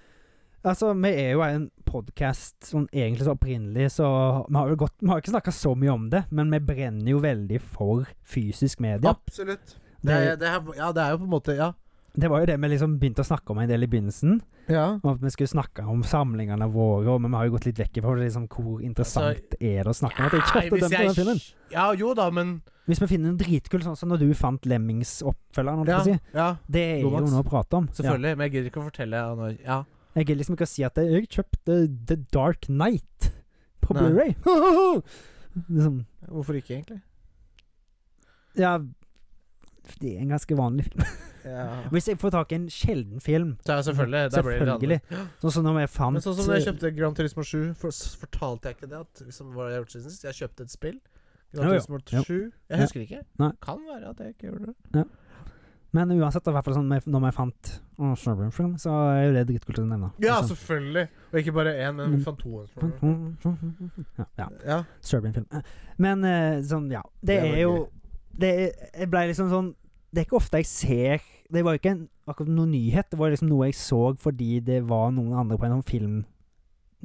Altså, vi er jo en podkast sånn egentlig så opprinnelig, så vi har jo gått Vi har ikke snakka så mye om det, men vi brenner jo veldig for fysisk media. Absolutt. Det Det, er, det er, ja, det er jo på en måte Ja. det var jo det vi liksom begynte å snakke om en del i begynnelsen. ja. Om at vi skulle snakke om samlingene våre, og- men vi har jo gått litt vekk ifra det, liksom, hvor interessant er det å snakke om at jeg ikke har Altså, Nei, fått hvis dømt den jeg- filmen. Ja, jo da, men Hvis vi finner en dritkull, sånn som når du fant Lemmings-oppfølgeren, holdt jeg ja, på å si. ja, Det er jo Lomax. noe å prate om. Ja. selvfølgelig. Men jeg gidder ikke å fortelle. han har- Ja. Jeg gidder liksom ikke å si at jeg kjøpte The Dark Night på Nei. Blu-ray. liksom, Hvorfor ikke, egentlig? ja Det er en ganske vanlig film. Ja. Hvis jeg får tak i en sjelden film, Så ja, selvfølgelig. Da blir det Selvfølgelig. eh, det andre. sånn som når jeg fant Men sånn som når jeg kjøpte Grand Turismo 7, for, s- fortalte jeg ikke det? At, liksom, hva jeg har gjort siden sist? Jeg kjøpte et spill. Grand Jo, jo. Turismo Jo. 7. Ja. Jeg husker ikke. Nei. Kan være at jeg ikke gjorde det. Men uansett, da, i hvert fall sånn med- når jeg fant å, Snowboard Film, så er jo det dritkult å nevne. Ja, Sånn. selvfølgelig. Og ikke bare én, men Men- Fantomen. ja, ja. Ja. Serbian-film. Eh, Men eh, sånn, ja. Det, Det var er jo det er, Jeg blei liksom sånn Det er ikke ofte jeg ser Det var jo ikke en, akkurat noen nyhet. Det var liksom noe jeg så fordi det var noen andre på en sånn film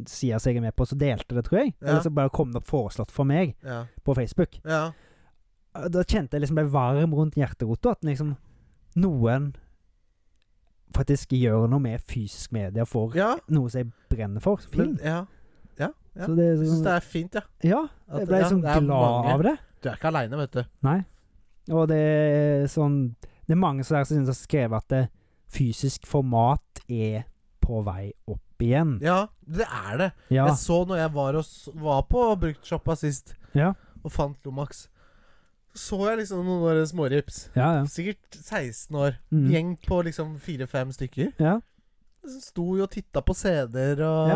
sida som jeg er med på, så delte det, tror jeg. Ja. Eller så bare kom det opp foreslått for meg Ja. på Facebook. ja. Eh, Da kjente jeg liksom ble varm rundt hjerterota. At liksom noen faktisk gjør noe med fysisk media for ja. noe som jeg brenner for. Film. Men, ja. ja. Så det er Jeg syns det sånn, er fint, ja. ja, At- jeg ble ja, liksom det er glad mange. av det. Du er ikke aleine, vet du. Nei. Og det er sånn Det er mange som der som synes har skrevet at det fysisk format er på vei opp igjen. Ja, det er det. Ja. Jeg så når jeg var, og, s- var på bruktsjappa sist Ja. og fant Lomax, så jeg liksom noen sånne smårips. Ja, ja. Sikkert 16 år. Mm. Gjeng på liksom fire-fem stykker. ja. Som sto jo og titta på CD-er og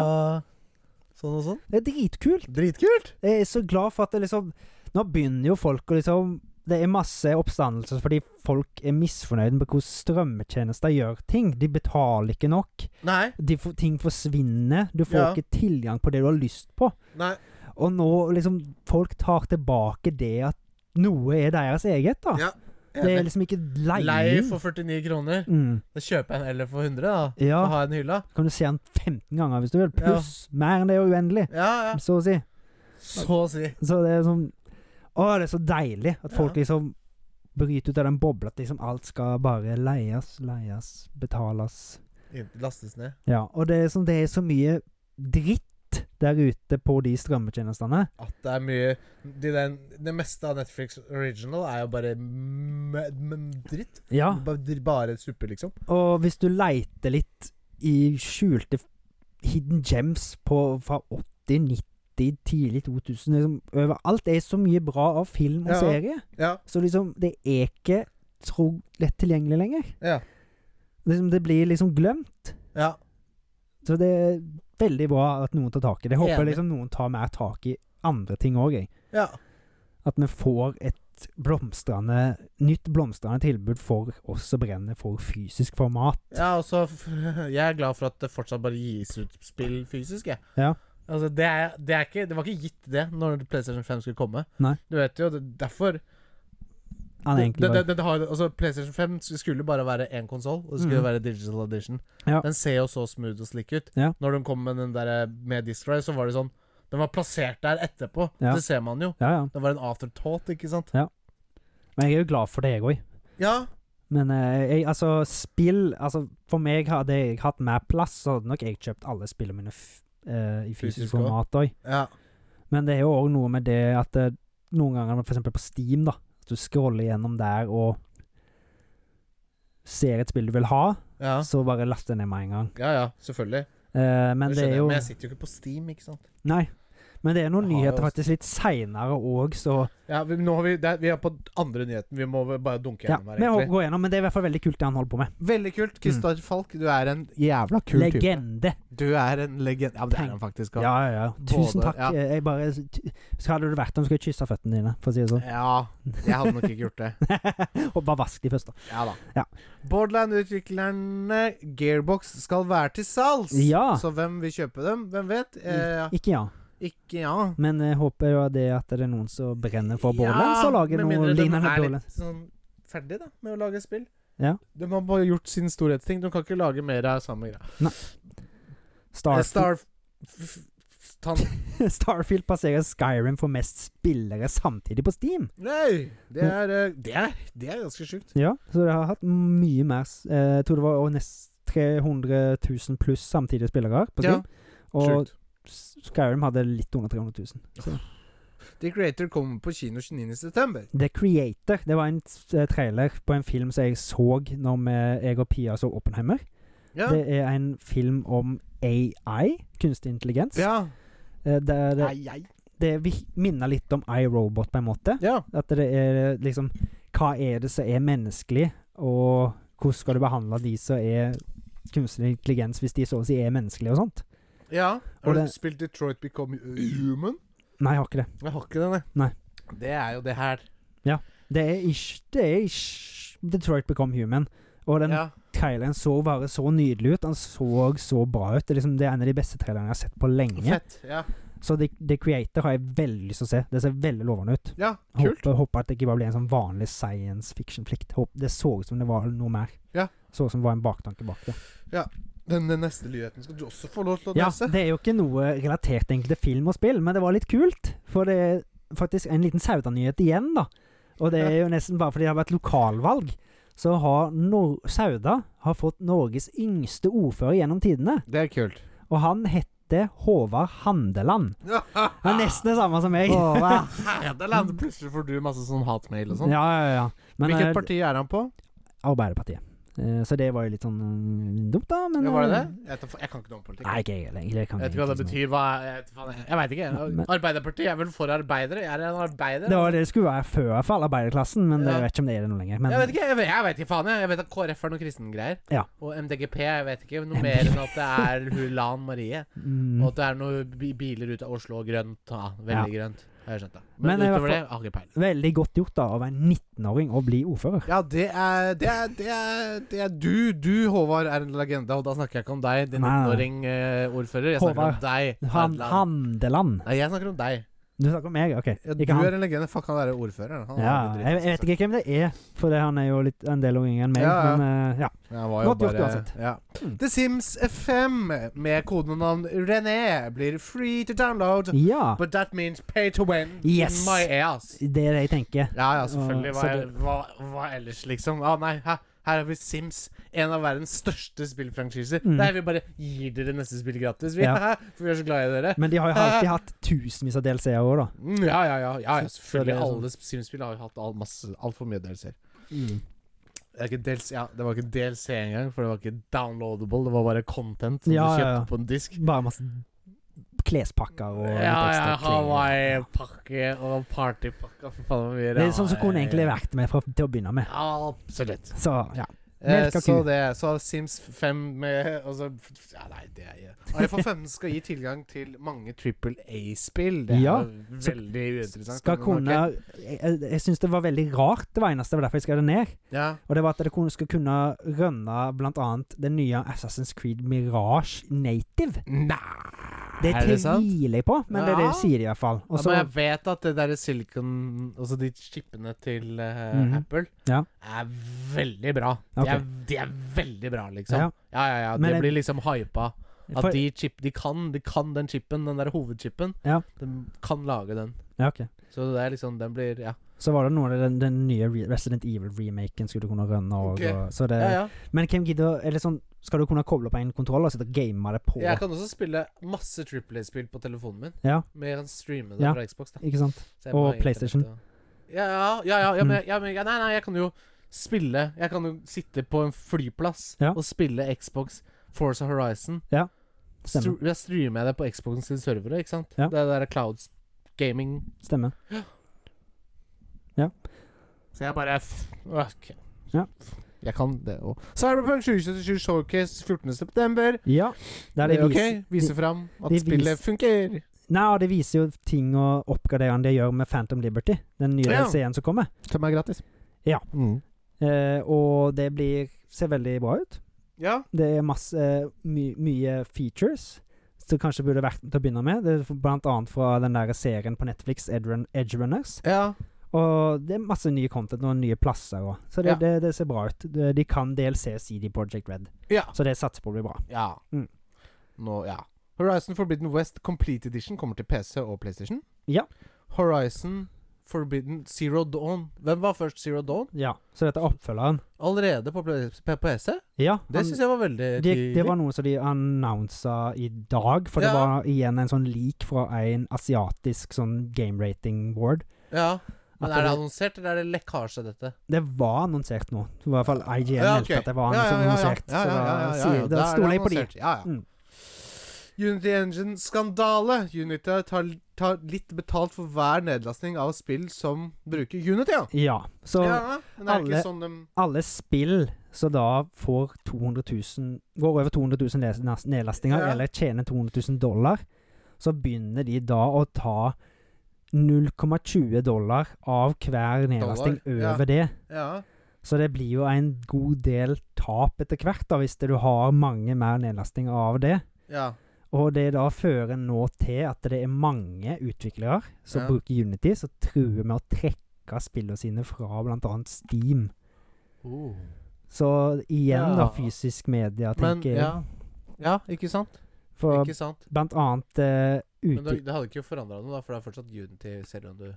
sånn og sånn. Det er dritkult. Dritkult! Jeg er så glad for at det liksom Nå begynner jo folk å liksom det er masse oppstandelser fordi folk er misfornøyde med hvordan strømmetjenester gjør ting. De betaler ikke nok. Nei. De får, ting forsvinner. Du får Ja. ikke tilgang på det du har lyst på. Nei. Og nå liksom Folk tar tilbake det at noe er deres eget, da. Ja. Det er liksom ikke leiing. Lei for 49 kroner. mm. Da kjøper jeg en LF for 100, da. Ja, Og har en hylla. kan du se den 15 ganger hvis du vil. Pluss mer enn det er uendelig, Ja, ja. så å si. Så å si. Så det er sånn Å, det er så deilig at folk Ja. liksom bryter ut av den bobla at liksom alt skal bare leies, leies, betales. Inn- Lastes ned. Ja, og det er, sånn, det er så mye dritt der ute på de strømmetjenestene. At det er mye de den, Det meste av Netflix original er jo bare m- m- dritt. Ja. Ba- dr- Bare suppe, liksom. Og hvis du leiter litt i skjulte f- hidden gems på, fra 80, 90, tidlig 2000 liksom, Overalt er så mye bra av film og Ja. serie. Ja. Så liksom, det er ikke tro, lett tilgjengelig lenger. Ja. Liksom, det blir liksom glemt. ja. Så det er veldig bra at noen tar tak i det. Jeg håper Enig. liksom noen tar mer tak i andre ting òg, jeg. ja. At vi får et blomstrende, nytt blomstrende tilbud for oss som brenner for fysisk format. Ja, og så f- Jeg er glad for at det fortsatt bare gis ut spill fysisk, jeg. Ja. Altså, det, er, det, er ikke, det var ikke gitt, det, når PlayStation 5 skulle komme. Nei. Du vet jo, det, derfor Han er det, egentlig det, bare- det, det har, altså, PlayStation 5 skulle bare være én konsoll, og det skulle Mhm. være Digital Edition. Ja. Den ser jo så smooth og slick ut. Ja. Når de kom med den der eh, med Disk Drive, så var det sånn Den var plassert der etterpå. Ja. Det ser man jo. Ja, ja. Det var en afterthought, ikke sant? Men jeg er jo glad for det, jeg òg. Ja. Men eh, jeg, altså, spill altså, For meg hadde jeg hatt mer plass, så hadde nok jeg kjøpt alle spillene mine f eh, i fysisk Fysisk også. format òg. Ja. Men det er jo òg noe med det at eh, noen ganger, f.eks. på Steam, da at du scroller gjennom der og ser et spill du vil ha, Ja, så bare laster jeg ned med en gang. ja, ja selvfølgelig. Eh, men Det det skjønner er jeg, jo men jeg sitter jo ikke på Steam, ikke sant. Nei. Men det er noen Jeg har jo nyheter også- faktisk litt seinere òg, så Ja, vi, nå har vi, det er, vi er på andre nyheten. Vi må vel bare dunke ja, gjennom Vi her, egentlig. Mm. går gjennom, men det er i hvert fall veldig kult, det han holder på med. Veldig kult. Kristoffer Falk, du er en jævla kul type. Legende. Du er en legend... Ja, men det er han faktisk. også. Ja, ja, ja. Både- Tusen takk. ja. Jeg bare så Hadde du vært om skulle jeg kysse føttene dine, for å si det sånn. Ja, jeg hadde nok ikke gjort det. og bare vask de først, da. Ja da. Ja. Borderland-utviklerne Gearbox skal være til salgs. Ja. Så hvem vil kjøpe dem? Hvem vet? Eh, Ikke ja. ikke ja. Men jeg håper jo det at det er noen som brenner for Borderlands Ja, og lager med noe mindre de lignende er Borderlands. litt Sånn ferdig da med å lage spill. Ja. De har bare gjort sin storhetsting. De kan ikke lage mer av samme greia. Eh, Starf Star... f- f- f- Tan... Starfield passerer Skyrim for mest spillere samtidig på Steam. Nei! Det er, eh, det er, det er ganske sjukt. Ja, så det har hatt mye mer s- eh, Jeg tror det var over nest 300 000 pluss samtidige spillere på Ja, Steam. og sjukt. s- Skyrim hadde litt under 300 000. Så. The Creator kommer på kino 29.9. The Creator. Det var en eh, trailer på en film som jeg så når vi- jeg og Pia så Oppenheimer. Ja. Det er en film om AI, kunstig intelligens. ja. Eh, Der det, Ai, ai. det vi- minner litt om iRobot, på en måte. Ja. At det er liksom Hva er det som er menneskelig, og hvordan skal du behandle de som er kunstig intelligens, hvis de så å si er menneskelige og sånt? ja. Og Har du det- spilt Detroit Become Human? Nei, jeg har ikke det. Jeg har ikke den, jeg. Nei. Det er jo det her. Det er ikke, det er ikke Detroit Become Human. Og den Ja. traileren så bare så nydelig ut. Han så så bra ut. Det er, liksom, det er en av de beste trailerne jeg har sett på lenge. Fett. Ja. Så The, The Creator har jeg veldig lyst til å se. Det ser veldig lovende ut. ja. Kult. Håper, håper at det ikke bare blir en sånn vanlig science fiction-plikt. Håper- Det så ut som det var noe mer. Ja. Så ut som det var en baktanke bak det. Den neste nyheten skal du også få lov til å Ja, lese. det er jo ikke noe relatert egentlig til film og spill, men det var litt kult. For det er faktisk en liten Sauda-nyhet igjen, da. Og det er jo nesten bare fordi det har vært lokalvalg. Så har Nor Sauda har fått Norges yngste ordfører gjennom tidene. Det er kult. Og han heter Håvard Handeland. Det er nesten det samme som meg. Håvard. Herdeland. Plutselig får du masse sånn hatmail og ja, sånn. ja, ja. Men eh, Hvilket parti er han på? Arbeiderpartiet. Eh, så det var jo litt sånn mm, dumt, da. Men Ja, var det det? eh, Jeg, vet, jeg kan ikke noe om politikk. Nei, ikke jeg heller. Det Jeg kan vet ikke hva det egentlig betyr. Hva, jeg vet faen, jeg- jeg veit ikke. Nei, men- Arbeiderpartiet er vel for arbeidere? Jeg er en arbeider. ikke. Det var det det skulle være før, i hvert fall. Arbeiderklassen. Men Ja. jeg vet ikke om det er det nå lenger. Men jeg vet ikke, jeg vet, jeg vet ikke faen. Jeg Jeg vet at KrF er noe kristengreier. Ja. Og MDGP, jeg vet ikke noe mer enn at det er hun Lan Marie. Mm, Og at det er noen bi- biler ut av Oslo og grønt. Ja, veldig grønt. Jeg har skjønt det. Men, Men eh, i hvert utover det, jeg har ikke peiling. veldig godt gjort da av en 19-åring å bli ordfører. Ja, det er, det, er, det, er, det er du. Du, Håvard, er en legende. Og da snakker jeg ikke om deg, din Nei, nei. 19-åring eh, ordfører. Jeg snakker Håvard. om deg. Han, Hadeland. Handeland. Nei, jeg snakker om deg. Du snakker om meg? OK. Ja, Ikke du han. er en legende. Fuck, han derre ordføreren. Han Ja, jeg, jeg vet ikke hvem det er, for det- han er jo litt en del yngre enn meg. Ja, ja. Men eh, ja. Han var jo Godt gjort bare- uansett. Ja. Mm. The Sims FM med kodenavn René blir free to download, ja. but that means pay to win. Yes. My ass. Det er det jeg tenker. Ja, ja, selvfølgelig. Og- Hva, så er- det- hva, hva ellers, liksom? Ah, nei, hæ? Her har vi Sims, en av verdens største spillfranchiser. Mm. Nei, vi bare gir dere neste spill gratis, vi. Ja. For vi er så glad i dere. Men de har jo alltid hatt tusenvis av DLC-er òg, da. Mm, Ja, ja, ja. ja, ja Så- så det selvfølgelig. er sånn- Alle Sims-spill har jo hatt all, masse- altfor mye DLC-er. Mm. Det, er ikke DLC, ja, det var ikke DLC engang, for det var ikke downloadable. Det var bare content som Ja, du ja, kjøpte ja. på en disk. Bare masse klespakker og litt Ja, ja, ekstra klær. Hawaii-pakke og partypakke. For faen hvor mye Det er sånn som kunne egentlig vært med fra, til å begynne med. Ja, absolutt. Så ja. Eh, Melka så ku. det Så Sims 5 med og så- Ja, nei, det er iPhone 15 skal gi tilgang til mange Triple A-spill. Det er Ja, jo veldig uinteressant. Skal men kunne ok. Jeg, jeg- jeg syns det var veldig rart, det var eneste. Det var derfor jeg skrev det ned. Ja. Og det var at det kunne, skulle kunne rønne blant annet det nye Assassin's Creed Mirage native. Nei Det Er det sant? tviler jeg på, men det er det Ja. de sier i hvert fall. ja, Og så men jeg vet at det derre silicon Altså de chipene til eh, Mhm. Apple Ja. er veldig bra. De, Ok. er, de er veldig bra, liksom. Ja. Ja, ja, ja. Men det jeg- blir liksom hypa. At for- de, chip, de, kan, de kan den chipen, den der hovedchipen. Ja. De kan lage den. ja, ok. Så det er liksom Den blir Ja, Så var det noe av den, den nye Re- Resident Evil-remaken skulle kunne rønne òg. Ok. og- Så det ja. ja. Men hvem gidder Eller sånn Skal du kunne koble på en kontroll og sitte og game det på? Jeg kan også spille masse Triple A-spill på telefonen min. Ja. Men jeg kan streame det Ja. fra Xbox. da Ikke sant? Så jeg må Og ha internett PlayStation. og- Ja, ja, ja, ja, ja, men, Mm. ja, men ja, Nei, nei, jeg kan jo spille Jeg kan jo sitte på en flyplass Ja. og spille Xbox Forza Horizon. Ja, Stru, stemmer. jeg streamer jeg det på Xboxen sine servere, ikke sant? Ja. Det der clouds gaming Stemmer. Så jeg bare f- Ok. Ja. Jeg kan det òg. Cyberpunk 2077 Showcase 14.9. Ja. Der det Det er viser, ok. Viser fram at de spillet funker. Nei, og det viser jo ting og oppgraderende de gjør med Phantom Liberty. Den nye Ja. DLC-en som kommer. Som er gratis. Ja. Mm. Eh, og det blir Ser veldig bra ut. Ja. Det er masse eh, my, mye features som kanskje burde vært til å begynne med. Det er for- blant annet fra den der serien på Netflix, Edrun, Edge Runners. ja. Og det er masse nye content og nye plasser òg. Så det, Ja. det, det ser bra ut. De, de kan DLC CD Project Red. Ja. Så det satser på å bli bra. Ja. Mm. Nå, ja. Horizon Forbidden West Complete Edition kommer til PC og PlayStation. Ja. Horizon Forbidden Zero Dawn. Hvem var først Zero Dawn? Ja, så dette er oppfølgeren. Allerede på ple- p- PC? Ja, Det han- syns jeg var veldig det, tidlig. det var noe som de annonsa i dag, for Ja. det var igjen en sånn leak fra en asiatisk sånn game rating board. Ja. Men At er det det- annonsert, eller er det lekkasje, dette? Det var annonsert nå. I hvert fall IGN Ja, meldte ok. at det var sånn annonsert. Ja, ja, ja, ja, ja, ja, ja. Da Så da, da er det stoler jeg på de. annonsert. Ja, ja. Mm. Unity Engine-skandale. Unity tar, tar litt betalt for hver nedlastning av spill som bruker Unity, ja. Ja. Så ja men er det alle- ikke sånn de alle spill som da får 200 000 Går over 200 000 les- nas- nedlastinger, Ja. eller tjener 200 000 dollar, så begynner de da å ta 0,20 dollar av hver nedlasting Dollar, ja. over det. Ja. Så det blir jo en god del tap etter hvert, da, hvis det du har mange mer nedlasting av det. Ja. Og det da fører nå til at det er mange utviklere som Ja. bruker Unity, som truer med å trekke spillene sine fra bl.a. Steam. Oh. Så igjen, da, Ja. fysisk media, Men tenker ja. jeg. ja, ikke sant? For ikke sant? blant annet eh, Men det, uti... det hadde ikke forandra noe, da, for det er fortsatt Unity selv om du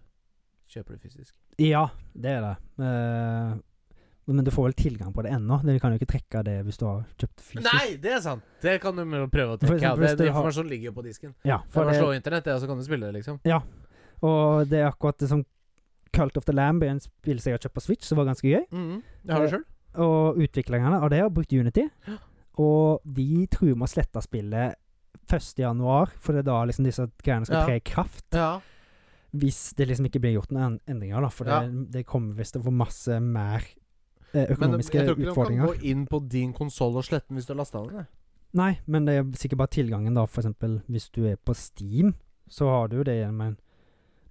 kjøper det fysisk. Ja, det er det. Eh, men du får vel tilgang på det ennå. Du kan jo ikke trekke det hvis du har kjøpt fysisk. Nei, det er sant! Det kan du med å prøve å For trekke. Ja, eksempel det, hvis det du har- informasjonen ligger jo på disken. Ja, Det for er bare å det, slå internett, det, og så kan du spille det, liksom. Og det er akkurat det som Cult of the Lamb er en spill som jeg har kjøpt på Switch, som var ganske gøy. Jeg har det sjøl. Og utviklingene av det har brukt Unity. Og de truer med å slette spillet 1.1., for det er da liksom disse greiene skal Ja. tre i kraft. Ja. Hvis det liksom ikke blir gjort noen en- endringer, da. For det, det kommer visst til å få masse mer eh, Men de, økonomiske jeg tror ikke de kan utfordringer. gå inn på din konsoll og slette den hvis du har lasta den. det. Nei, men det er sikkert bare tilgangen, da. For eksempel hvis du er på Steam, så har du det gjennom en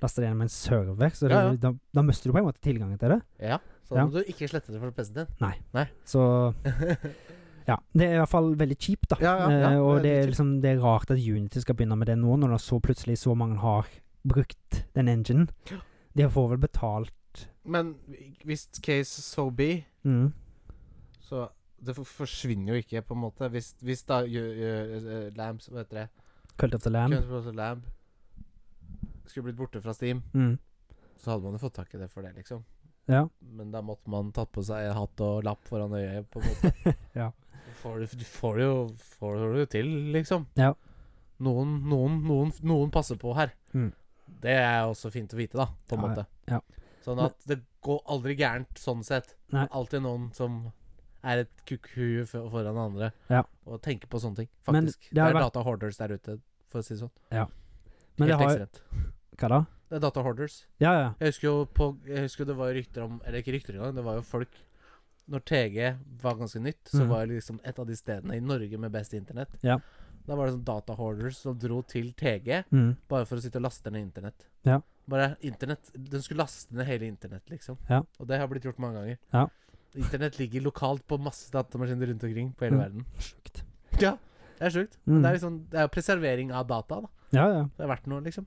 Laster det gjennom en server, så det, Ja, ja. Da, da mister du på en måte tilgangen til det. Ja, så da Ja. må du ikke slette det fra PC-en din. Så ja. Det er i hvert fall veldig kjipt, da. Ja, ja, ja, eh, det er og det er, litt liksom, det er rart at Unity skal begynne med det nå, når det så plutselig så mange har brukt den enginen. De får vel betalt Men hvis case so be, mm. så Det for- forsvinner jo ikke, på en måte. Hvis, hvis da gjør, gjør, eh, Lambs Hva heter det? Cult of the Lamb. Guns N' Roses Lamb skulle blitt borte fra Steam, Mm. så hadde man jo fått tak i det for det, liksom. Ja. Men da måtte man tatt på seg hatt og lapp foran øyet, på en måte. ja. Du får det- du får det jo får det jo til, liksom. Ja. Noen, noen, noen, noen passer på her. Mm. Det er også fint å vite, da, på en Ja, måte. ja. Sånn at det går aldri gærent, sånn sett. Det Nei. er Alltid noen som er et kukkhue f- foran andre, Ja. og tenker på sånne ting, Men faktisk. det det har er vært- data hoarders der ute, for å si det sånn. Men det Helt har ekstremt. Hva da? Det er data hoarders. Ja, ja. Jeg husker jo på, jeg husker det var rykter om Eller ikke rykter engang, det var jo folk Når TG var ganske nytt, så Mhm. var det liksom et av de stedene i Norge med best internett. Ja. Da var det sånn data hoarders som dro til TG Mm. bare for å sitte og laste ned internett. Ja. Bare internett Den skulle laste ned hele internett, liksom. Ja. Og det har blitt gjort mange ganger. Ja. Internett ligger lokalt på masse datamaskiner rundt omkring på hele Mm. verden. Sjukt. Ja, det er sjukt. Mm. Det er liksom Det er jo preservering av data, da. Ja, ja. Det er verdt noe, liksom.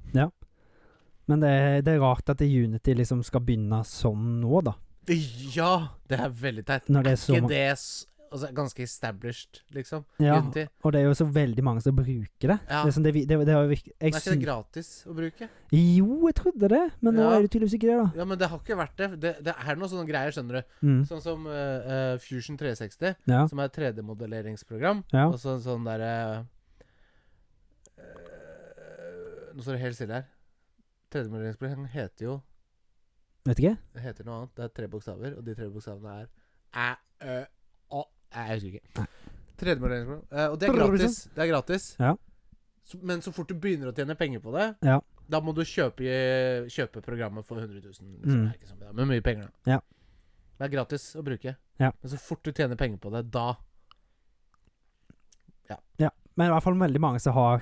Men det, er- det er rart at Unity liksom skal begynne sånn nå, da. Ja! Det er veldig teit. Når det er så ikke mange det s- altså, ganske established, liksom. ja, Unity. Og det er jo så veldig mange som bruker det. Ja. Det er sånn, det, vi- det, det har jo virk- jeg Men er ikke det syn- gratis å bruke? Jo, jeg trodde det, men nå Ja. er det tydeligvis ikke det, da. Ja, men det har ikke vært det. Det, det er noen sånne greier, skjønner du. Mm. Sånn som eh, eh, Fusion 360, Ja. som er et 3D-modelleringsprogram. Ja. Og så en sånn derre eh, Nå står det helt stille her. 3D-modelleringsprogram heter jo Vet ikke. det heter noe annet. Det er tre bokstaver, og de tre bokstavene er æ, ø, å. Nei, Jeg husker ikke. Tredjemodelleringsprogram. Eh, Og det er Brrr, gratis. Det er gratis. sånn. Ja. Så, men så fort du begynner å tjene penger på det, Ja. da må du kjøpe, kjøpe programmet for 100 000. Liksom. Mm. Det er ikke så mye, men mye penger, da. Ja. Det er gratis å bruke. Ja. Men så fort du tjener penger på det, da Men i hvert fall veldig mange som har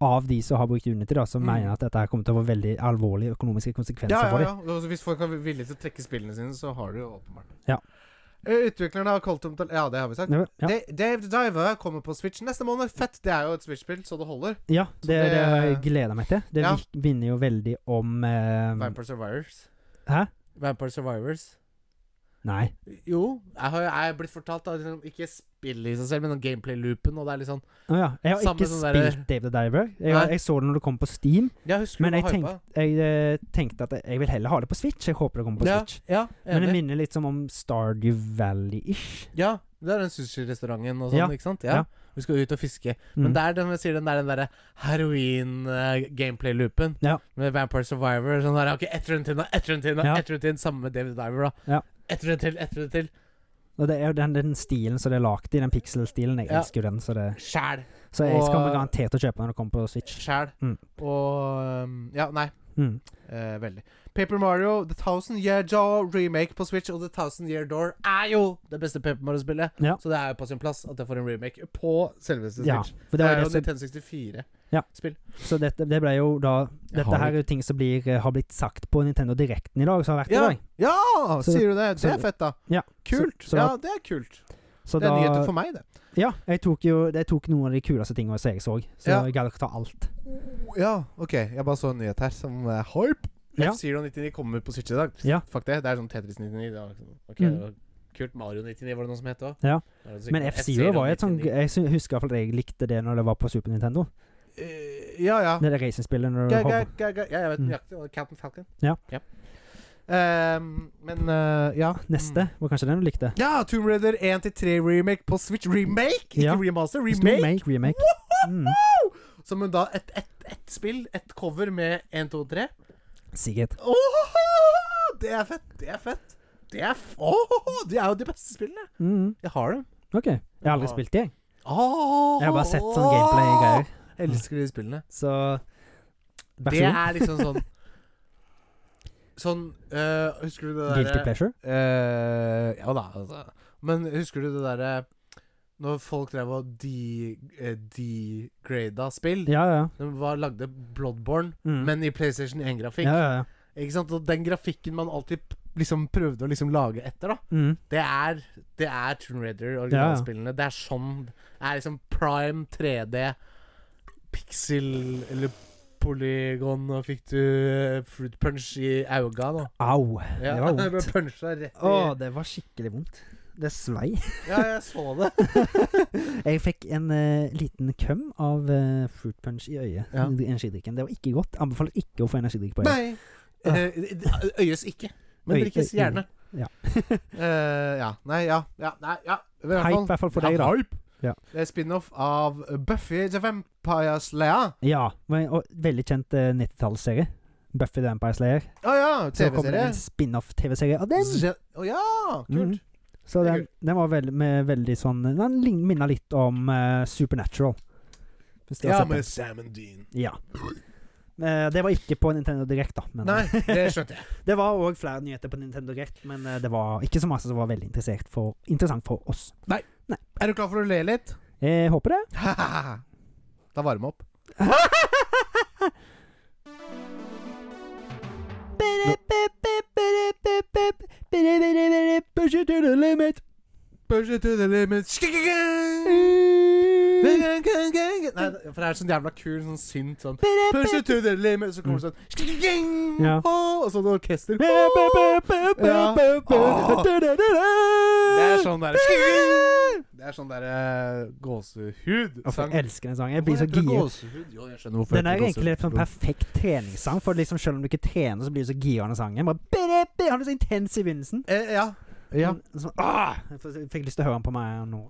av de som har brukt Unity, da, som Mm. mener at dette her kommer til å få veldig alvorlige økonomiske konsekvenser for dem. altså, Hvis folk er villige til å trekke spillene sine, så har du jo åpenbart Eh, Ja. Utviklerne har kalt om til Ja, det har vi sagt. Ja, ja. Da- Dave the Diver kommer på Switch neste måned. Fett! Det er jo et Switch-spill, så det holder. ja, Så det, det, jeg det- gleder jeg meg til. Det Ja. virk- minner jo veldig om eh, Vampire Survivors. Hæ? Vampire Survivors. Nei. Jo, jeg har jeg er blitt fortalt da, liksom, ikke spillet i seg selv, men den gameplay-loopen, og det er litt sånn Å ja. Jeg har Samme ikke som der- spilt Dave the Diver. Jeg, Nei. jeg så det når det kom på Steam, Ja, husker men du jeg, var tenk, hypa? jeg eh, tenkte at jeg- jeg vil heller ha det på Switch. Jeg håper det kommer på Ja, Switch. ja, Men det enig. minner litt som om Stardew Valley-ish. Ja, det er den sushirestauranten og sånn, Ja, ikke sant? ja. Ja. Vi skal ut og fiske. Mm. Men det er den, jeg sier den der, den derre heroin-gameplay-loopen Ja. med Vampire Survivor. Sånn der, ok, ett runde til, nå, ett runde til, nå, Ja. ett runde til. Samme med David Diver, da. Ja. Ett runde til, ett runde til. Og det er jo den, den stilen som det er lagd i, den pixel-stilen. Jeg Ja. elsker jo den, så, det, Sjæl. så jeg skal Og- garantert å kjøpe den når det kommer på Switch. Sjæl. Mm. Og um, Ja, nei. Mm. Eh, veldig. Paper Mario, The Thousand Year Door remake på Switch og The Thousand Year Door er jo det beste Paper Mario-spillet. Ja. Så det er jo på sin plass at jeg får en remake på selveste Ja, Switch. for Det det var er jo det som, Nintendo 64. så dette det ble jo da Jeg Dette har her det. er jo ting som blir, eh, har blitt sagt på Nintendo Direkten i dag, som har vært Ja, i dag. ja Så- sier du det? Det så- er fett, da. Ja, Kult. så- så ja, da- det er kult. Så det er nyheter da for meg, det. Ja, jeg tok jo Jeg tok noen av de kuleste tingene som jeg så, så Ja. jeg gadd ikke ta alt. Ja, OK. Jeg bare så en nyhet her som er hype. Ja. F-Zero 99 kommer på Switch i dag. Ja. Fuck det. Det er sånn Tetris 99. Det var, liksom- ok, Mm. det var kult. Mario 99 var det noen som het òg. Ja. Men F-Zero var jo et sånn Jeg sy- husker i hvert fall at jeg likte det når det var på Super Nintendo. Eh, Ja, ja. Det der racingspillet når du Ga, ga, hopper. ga, ga. Ja, jeg vet Mm. nøyaktig. hva- Captain Falcon. Ja. Ehm, men eh, ja. Neste var kanskje den du likte. Ja, Tomb Raider 1-3 remake på Switch. Remake, ikke Ja. remaster. Det sto Remake! Make, remake. Mm. Som en da et, et, et spill, et cover med 1, 2, 3. Sikkert. Åh, det er fett! Det er fett. Det er, f Åh, det er jo de beste spillene. Mm. Jeg har dem. OK. Jeg har aldri Ja. spilt de, jeg. Åh, Jeg har bare sett sånn gameplay-greier. Elsker de spillene. Så Vær Det så god. er liksom sånn Sånn eh, Husker du det Guilty derre pleasure. Eh, ja da, altså. Men husker du det derre Når folk drev og de, eh, degrada spill? Ja, ja. De var, lagde Bloodborne, Mm. men i PlayStation 1-grafikk. Ja, ja, ja. Ikke sant? Og den grafikken man alltid p- liksom prøvde å liksom lage etter, da. Mm. Det er, det er Tomb Raider, Ja, ja. originalspillene. Det er sånn Det er liksom prime 3D, pixel Eller polygon, og fikk du eh, fruit punch i auga, da. Au. Ja, Det jeg var ble vondt. punchet rett i Å, det var skikkelig vondt. Det svei. Ja, jeg så det. Jeg fikk en eh, liten køm av eh, fruit punch i øyet. Ja. Energidrikken. Det var ikke godt. Anbefaler ikke å få energidrikk på øyet. Nei. eh, det øyes ikke, men Øy- drikkes øy- gjerne. ja. Eh, ja. Nei, ja. ja nei, ja. I hvert Hype, fall- i hvert fall for Ja, deg, da. Hype. Ja. Det er spin-off av Buffy the Vampire Slayer. Ja. men- Og veldig kjent eh, 90-tallsserie. Buffy the Vampire Slayer. Å ja, Så kommer det TV-serie. en spin-off-TV-serie av den. Å ja, kult. Mm. Så Det er den, den var veld, med veldig sånn Den lign- minner litt om eh, Supernatural. Hvis du har Ja, sett den. med Sam and Dean. Ja. Eh, Det var ikke på Nintendo Direct, da. Men Nei, det skjønte jeg. det var òg flere nyheter på Nintendo Direct, men eh, det var ikke så masse som var veldig interessert for, interessant for oss. Er du klar for å le litt? Jeg håper det. Ta varme opp. Push it to the limit. Push it to the limit. Skikkigang! Nei, for det er sånn jævla kul sånn synt sånn Push it to the limit, så kommer det sånn Skikkigang! Mm. Ja. Åh, Og sånn orkester. Ja. Det er Det sånn der Skikkigang! Det er sånn der eh, gåsehud-sang. Jeg elsker den sangen. Jeg blir så Hvorfor heter det gira. gåsehud? Jo, jeg skjønner hvorfor Den heter er det egentlig litt sånn gåsehud. perfekt treningssang, for liksom selv om du ikke trener, så blir du så girende sangen. Bare bidi, bidi, Han er så intens i begynnelsen. Eh, ja. Ja. Men Sånn, ah, jeg får- jeg fikk lyst til å høre den på meg nå.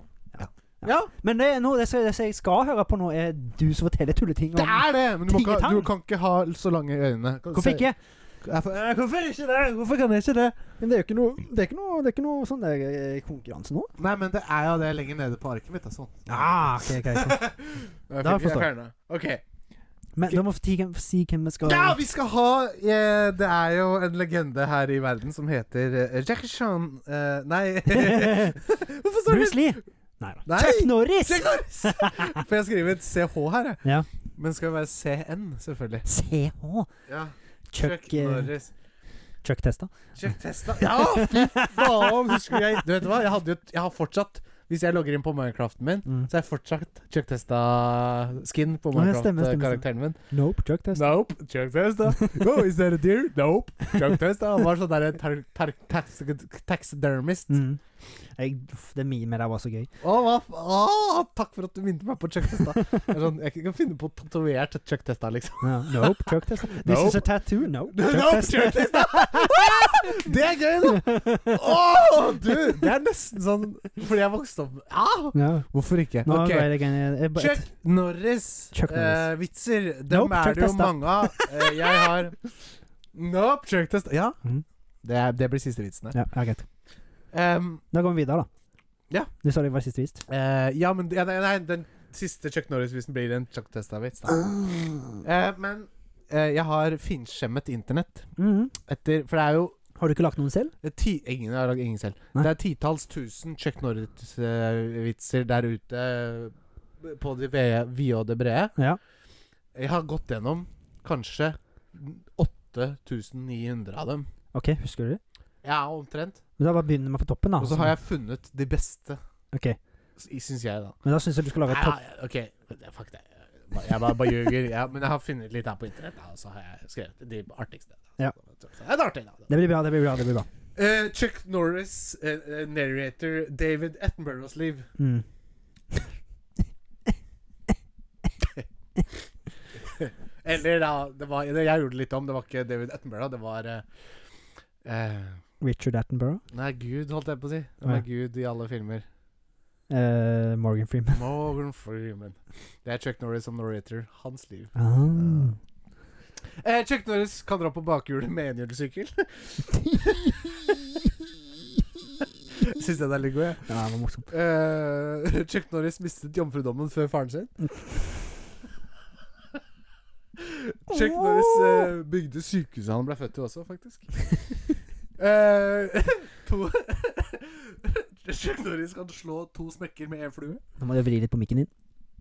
ja. Men det, nå, det, som- det som jeg skal høre på nå, er du som forteller tulleting Det om er det! Men du, må ikke, Tingetan. du kan ikke ha så lange øyne. Kan du Hvorfor se- ikke? Jeg får- eh, Hvorfor ikke det? Hvorfor kan jeg ikke det? Men det er jo ikke noe, det er ikke noe, det er ikke noe sånn der eh, konkurranse nå. Nei, men det er jo det lenger nede på arket mitt. Altså. Ah, ok, ok, ok. Jeg Da fikk- jeg forstår jeg. fjerner det. Ok. Men da må vi si- si hvem vi skal Ja, vi skal ha eh, Det er jo en legende her i verden som heter eh, Jackson eh, Nei Hvorfor står det Bruce Lee! Nei da. Nei. Chuck Norris! Jack Norris? For jeg har skrevet CH her, jeg. Ja. Men det skal være CN, selvfølgelig. CH. Ja. Chuck, Chuck eh, Norris. Chuck Testa. Chuck Tesla. Ja, fy faen! Husker jeg Du vet hva, jeg, hadde jo, jeg har fortsatt Hvis jeg logger inn på Minecraften min, Mm. så har jeg fortsatt Chuck Testa-skin på Ja, stemmer, stemmer, Minecraft-karakteren min. Nope, Chuck Testa. Nope, Chuck Testa. Oh, is that a deer? Nope, Chuck Testa. Han var sånn derre tar- tar- tax- taxidermist. Mm. Jeg, uff, det memet der var så gøy. Å, hva f... Å, takk for at du minnet meg på Chuck Testa. Jeg, er sånn, jeg kan ikke finne på å tatovert Chuck Testa, liksom. Ja. Nope, Chuck Testa. This Nope. is a tattoo. Nope, Chuck Nope, Testa. Chuck Testa. Det er gøy, da! Å, du! Det er nesten sånn fordi jeg vokste opp ah, ja. Hvorfor ikke? Nå Ok. ble det gøy. Jeg bare- Chuck Norris. Chuck Norris. eh, vitser. Dem Nope, er Chuck det jo Testa. mange av. Eh, jeg har Nope, Chuck Testa. Ja. Mhm. Det, er, det blir siste vitsen her. Ja, ja, greit. Ehm, Da går vi videre, da. Ja. Du sa det var sist vist. eh, ja, men ja, nei, nei, den siste Chuck Norris-vitsen blir en Chuck Testa-vits. da. Eh, men eh, jeg har finskjemmet internett Mhm. etter For det er jo Har du ikke lagt noen selv? det er ti, ingen, Jeg har lagd ingen selv. Nei. Det er titalls tusen Chuck Norris-vitser der ute eh, på det ve- vide og det brede. Ja. Jeg har gått gjennom kanskje 8900 av dem. OK, husker du det? Ja, omtrent. Men Da bare begynner vi på toppen, da. Og så har jeg funnet de beste, Ok. syns jeg, da. Men da syns jeg du skal lage et Ja, topp. ja, OK, fuck det. Jeg bare, bare ljuger. Ja, men jeg har funnet litt her på internett, da, og så har jeg skrevet de artigste. Da. Ja. Så Det er artig, da. Det blir bra, det blir bra. det blir bra Eh, Chuck Norris, eh, eh, narrator David Attenboroughs liv. mm. Eller da det var, det Jeg gjorde det litt om. Det var ikke David Attenborough, det var eh, eh, Richard Attenborough. Nei, Gud, holdt jeg på å si. Å, Han ja. er Gud i alle filmer. Eh, Morgan Freeman. Morgan Freeman. Det er Chuck Norris som narrator. Hans liv. Ah. Eh, Chuck Norris kan dra på bakhjulet med enhjulssykkel. Syns jeg det er litt god, jeg. Ja, det var morsomt. Eh, Chuck Norris mistet jomfrudommen før faren sin. Chuck Norris eh, bygde sykehuset han ble født til også, faktisk. Eh, to Chuck Norris kan slå to smekker med én flue. Nå må jeg vri litt på mikken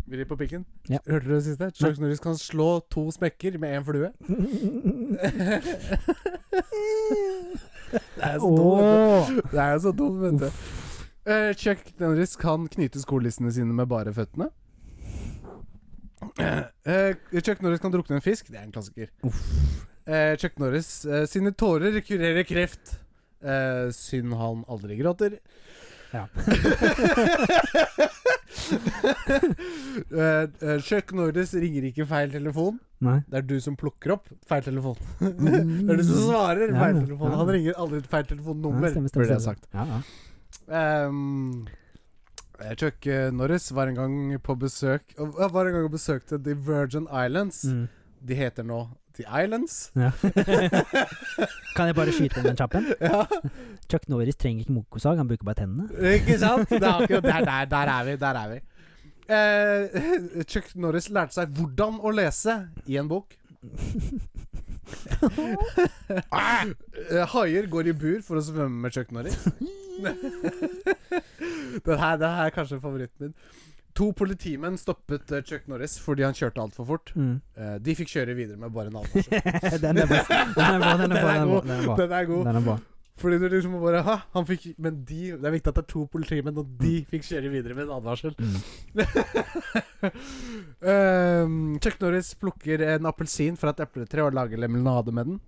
Vri på pikken. Ja. Hørte du det siste? Chuck Norris kan slå to smekker med én flue. din. Det er så dumt. vet Åh du. Det er så dumt, vet du. Eh, Chuck Norris kan knyte skolissene sine med bare føttene. Eh, Chuck Norris kan drukne en fisk. Det er en klassiker. Uff. Eh, Chuck Norris eh, sine tårer kurerer kreft. Eh, synd han aldri gråter. Ja. eh, eh, Chuck Norris ringer ikke feil telefon. Nei. Det er du som plukker opp feil telefon. det er du som svarer Mm. Ja, feil ja. telefon. Han ringer aldri et feil telefonnummer, Ja, stemmer, stemmer, burde jeg stemmer. sagt. Ja, ja. Ehm, eh, Chuck eh, Norris var en gang på besøk eh, Var en gang og besøkte The Virgin Islands. Mm. De heter nå The Islands. Ja. kan jeg bare skyte inn den kjappen? Ja, Chuck Norris trenger ikke mokosag, han bruker bare tennene. ikke sant? Det er akkurat der, der, der er vi. Der er vi. Eh, Chuck Norris lærte seg hvordan å lese i en bok. Ah! Eh, Haier går i bur for å svømme med Chuck Norris. den her, den her er kanskje favoritten min. To politimenn stoppet eh, Chuck Norris fordi han kjørte altfor fort. Mm. Eh, de fikk kjøre videre med bare en advarsel. den er best. Den er bra, den er bra. Den er bra. Den er bra. Den er god. Den er bra. Fordi du liksom bare Hæ, han fikk Men de Det er viktig at det er to politimenn, og de fikk kjøre videre med en advarsel. Mm. Ehm, Chuck Norris plukker en appelsin fra et epletre og lager lemonade med den.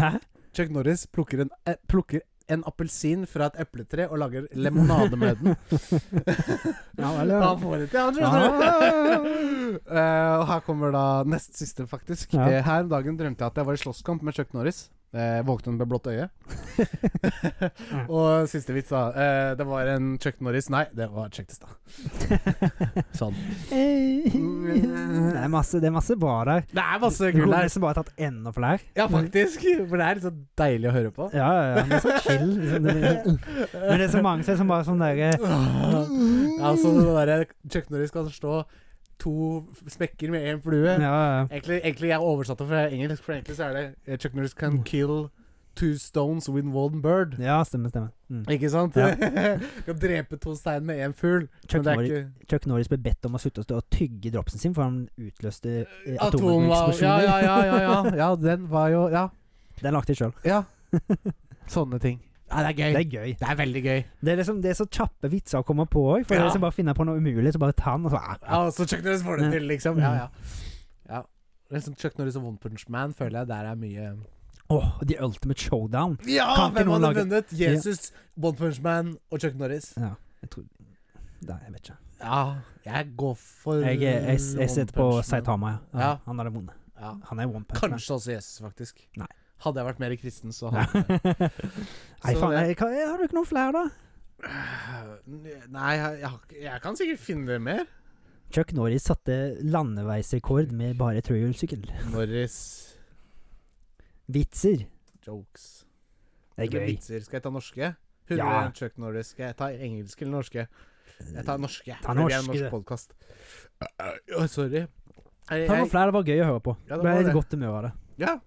Hæ? Chuck Norris plukker en, eh, plukker en appelsin fra et epletre og lager lemonade med den. Ja vel, ja. Han får det til, han Chuck Ja. Norris. Eh, og her kommer da nest siste, faktisk. Ja. Eh, her om dagen drømte jeg at jeg var i slåsskamp med Chuck Norris. Eh, våknet med blått øye. og siste vits, da. Eh, det var en Chuck Norris Nei, det var Chuck Testad. sånn. Det er masse, det er masse bra der. Det er masse Du gull kunne her. nesten bare tatt enda flere. Ja, faktisk. For det er litt så deilig å høre på. Ja, ja, ja. Det er så chill. Liksom. Det blir- Men det er så mange som er sånn bare sånn derre Ja, så det derre Chuck Norris kan slå to smekker med én flue. ja, ja. Egentlig, egentlig jeg oversatte fra engelsk, for egentlig så er det eh, Chuck Norris Mm. can kill two stones with one bird. ja, stemmer, stemmer. Mm. Ikke sant? Ja. kan drepe to stein med én fugl. Men Chuck, det er Norris, ikke Chuck Norris ble bedt om å slutte å stå og tygge dropsen sin, for han utløste eh, Atom var ja, atomeksplosjoner. ja, ja, ja, ja. ja, den var jo Ja. Den lagde de sjøl. ja. Sånne ting. Ja, det er gøy. Det Det er, er gøy. veldig gøy. Det er, liksom, det er så kjappe vitser å komme på òg. For Ja. det er liksom bare å finne på noe umulig, så bare ta den, og så ah, Ja, så Chuck Norris får det Ja. til, liksom. Ja, ja. ja. Liksom Chuck Norris og One Punch Man føler jeg der er mye ah, Åh, The Ultimate Showdown. Ja! Kan ikke Hvem noen hadde lage- vunnet? Jesus, One Punch Man og Chuck Norris? Ja, jeg tror Nei, jeg vet ikke. Ja, jeg går for Jeg, jeg, jeg, One jeg sitter på Punch Man. Saitama, ja. Ja. ja. Han hadde vunnet. Ja. Han er one punch. man. Kanskje også Jesus, faktisk. Nei. Hadde jeg vært mer kristen, så Nei, hadde Så faen. det- Jeg, kan- jeg, har du ikke noen flere, da? Nei, jeg, jeg, har ikke- jeg kan sikkert finne mer. Chuck Norris satte landeveisrekord med bare trehjulssykkel. Norris Vitser. jokes. Det er Eller gøy. Vitser. Skal jeg ta norske? Ja. 101 Chuck Norris. Skal jeg ta engelske eller norske? Jeg tar norske. Ta fordi det er en norske, norsk du. podkast. Oi, sorry. Jeg, Ta noen jeg, flere. Det var gøy å høre på. Ja, det Ble var litt det. Mm. godt humør av det. ja.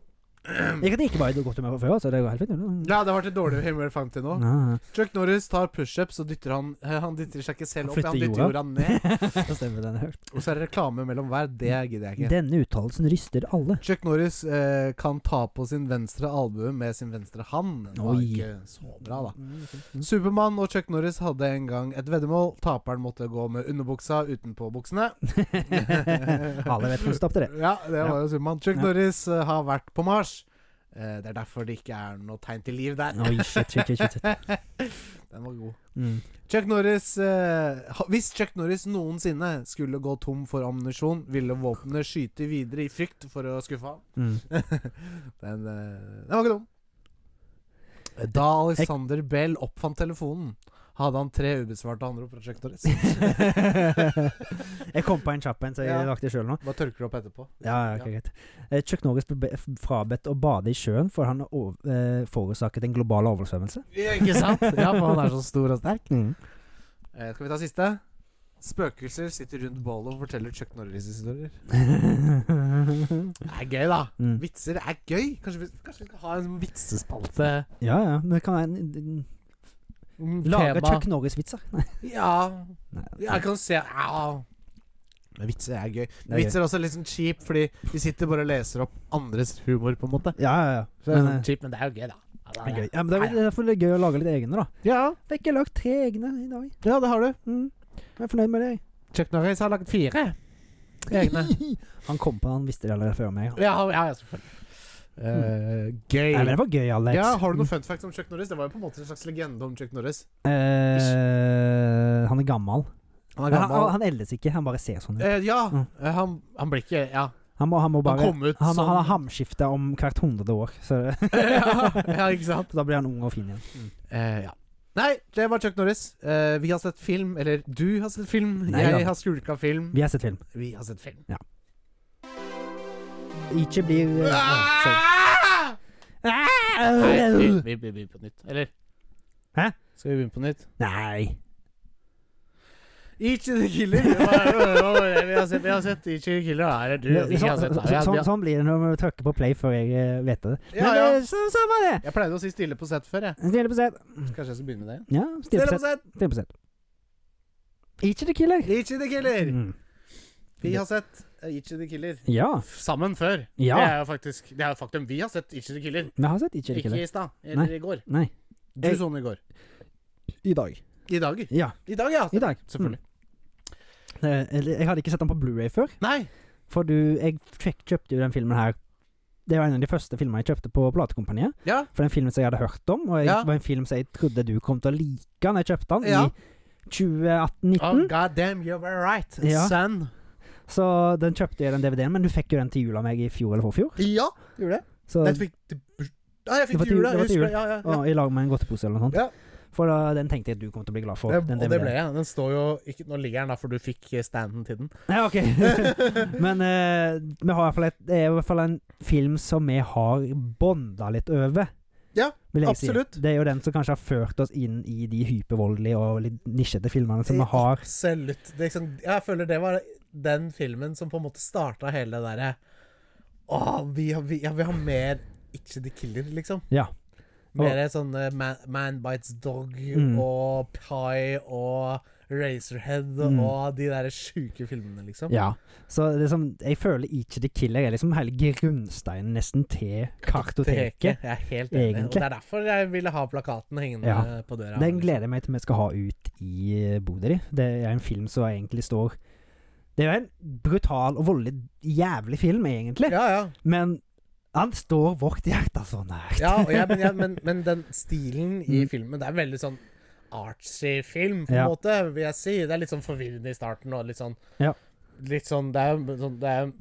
Jeg kan ikke være i godt humør fra før, så det går helt fint. ja, det har vært et dårlig humør frem til nå. Ja. Chuck Norris tar pushups og dytter han eh, Han dytter seg ikke selv Han opp, han flytter dytter jorda. jorda ned. Stemmer den hørt. Og så er det reklame mellom hver. Det gidder jeg ikke. Denne uttalelsen ryster alle. Chuck Norris eh, kan ta på sin venstre albue med sin venstre hand. Det var Oi. ikke så bra, da. Mm, Supermann og Chuck Norris hadde en gang et veddemål. Taperen måtte gå med underbuksa utenpå buksene. Alle vet hvordan stoppet det. Ja, det var jo Supermann. Chuck Ja. Norris eh, har vært på Mars. Eh, det er derfor det ikke er noe tegn til liv der. Oi, shit, shit, shit, shit. Den var god. Mm. Chuck Norris eh, ha- Hvis Chuck Norris noensinne skulle gå tom for ammunisjon, ville våpenet skyte videre i frykt for å skuffe ham. Mm. Den, eh, den var ikke dum. Da Alexander Bell oppfant telefonen, hadde han tre ubesvarte andre fra Chuck Norris. Jeg kom på en kjapp en, så jeg Ja. lagde det sjøl nå. Bare tørker du opp etterpå. Ja, ja, ok, greit. Eh, Chuck Norris ble be- frabedt å bade i sjøen, for han har over- eh, forårsaket en global oversvømmelse. Ja, Ikke sant? Ja, for han er så stor og sterk. Eh, skal vi ta siste? Spøkelser sitter rundt bålet og forteller Chuck Norris-historier. Det er gøy, da. Mm. Vitser er gøy. Kanskje vi, kanskje vi skal ha en sånn vitsespalte? Ja, ja. Men det kan være en Mm, Lage tema. Chuck Norris-vitser. Nei. Ja. Nei. ja, jeg kan se ja. Men vitser er gøy. Det er Vitser er også litt sånn kjip, fordi vi sitter bare og leser opp andres humor, på en måte. Ja, ja, ja. Så det er Men, eh, sånn kjipt, men det er jo gøy, da. Ja, det er gøy. Ja, men det er det er derfor det er gøy å lage litt egne, da. Ja, Fikk jeg lagd tre egne i dag. ja, det har du. Mm. Jeg er fornøyd med det. jeg. Chuck Norris har laget fire. Egne. Han kom på det, han visste det allerede før meg. Ja, ja, ja selvfølgelig. Eh, gøy. Nei, men det var gøy, Alex. Ja, Har du noen fun facts om Chuck Norris? Det var jo på en måte en slags legende om Chuck Norris. Mm. Eh, han er gammel. Han Men Han, han eldes ikke, han bare ser sånn ut. Eh, ja, Mm. eh, han, han blir ikke Ja. Han må, han må Han bare Han, kom ut han, som har hamskifte om hvert hundrede år, så ja, ja, ikke sant? da blir han ung og fin igjen. Eh, ja. Nei, det var Chuck Norris. Eh, vi har sett film. Eller du har sett film. Nei jeg da. har skulka film. Vi har sett film. Vi har sett film. Ikke blir eh, sorry. Ah! Nei, vi, Ah! vi, vi begynner på nytt. Eller? Hæ? Skal vi begynne på nytt? Nei. Ichi the Killer. Det var- Vi har sett, vi har sett Ichi the Killer. Her er du. Vi har Sånn, sett sånn, her. sånn, Ja, sånn blir det når vi trykker på play før jeg eh, vet det. Men ja. eh, så, samme det. Jeg pleide å si stille på sett før, jeg. Stille på sett. Kanskje jeg skal begynne med det? Ja, stille på sett! sett. Stille på sett. Ikke the killer. Ichi the Killer. Mm. Vi har sett eh, Ichi the Killer Ja. sammen før. Ja. Det er jo faktisk Det er jo faktum. Vi har sett Ichi the Killer. Vi har sett ikke the Ikke killer. i stad, eller i går. Nei. Du Jeg- så den i går. I dag. I dag. Ja. I dag, ja. I dag. Selvfølgelig. Mm. Eh, eller, Jeg hadde ikke sett den på Blu-ray før. Nei! For du, jeg kjøp- kjøpte jo den filmen her Det var en av de første filmene jeg kjøpte på platekompaniet. Ja. For den filmen som jeg hadde hørt om, og jeg, Ja. var en film som jeg trodde du kom til å like når jeg kjøpte den Ja. i 2018-19. Oh, God damn, you were right, Ja. son. Så den kjøpte jeg den DVD-en, men du fikk jo den til jul av meg i fjor eller forfjor. Ja, gjorde det. Så, Nei, du fikk til burs- Nei, jeg Det fikk var til til- jul, ja. det var Jeg husker til jul. det. Ja, ja, ja. og i lag med en godtepose eller noe sånt. Ja. For da, den tenkte jeg at du kom til å bli glad for. Det, den og det DVD-en. ble jeg. Den står jo ikke, Nå ligger den der, for du fikk eh, standen til den. Ja, ok. Men eh, vi har i hvert fall et, det er i hvert fall en film som vi har bonda litt over. Ja, vil jeg absolutt. Si. Det er jo den som kanskje har ført oss inn i de hypervoldelige og litt nisjete filmene som vi har. Absolutt. Det er liksom, jeg føler det var den filmen som på en måte starta hele det derre Å, vi, har- vi, ja, vi har mer Itchy the Killer, liksom. Ja. Mer sånn eh, man, man Bites Dog Mm. og Pie og Razorhead Mm. og de derre sjuke filmene, liksom. Ja. Så det er som, jeg føler ikke The Killer er liksom hele grunnsteinen nesten til kartoteket. Jeg er helt enig. Og Egentlig. det er derfor jeg ville ha plakaten hengende Ja. på døra. Den gleder jeg meg til vi skal ha ut i eh, bodet di. Det er en film som egentlig står Det er jo en brutal og voldelig jævlig film, egentlig. Ja, ja. Men han står vårt hjerte så nært. ja, og jeg, men, jeg, men, men den stilen i Mm. filmen, det er veldig sånn artsy film, på en Ja. måte, vil jeg si. Det er litt sånn forvirrende i starten, og litt sånn Ja. Litt sånn Det er jo sånn Det er,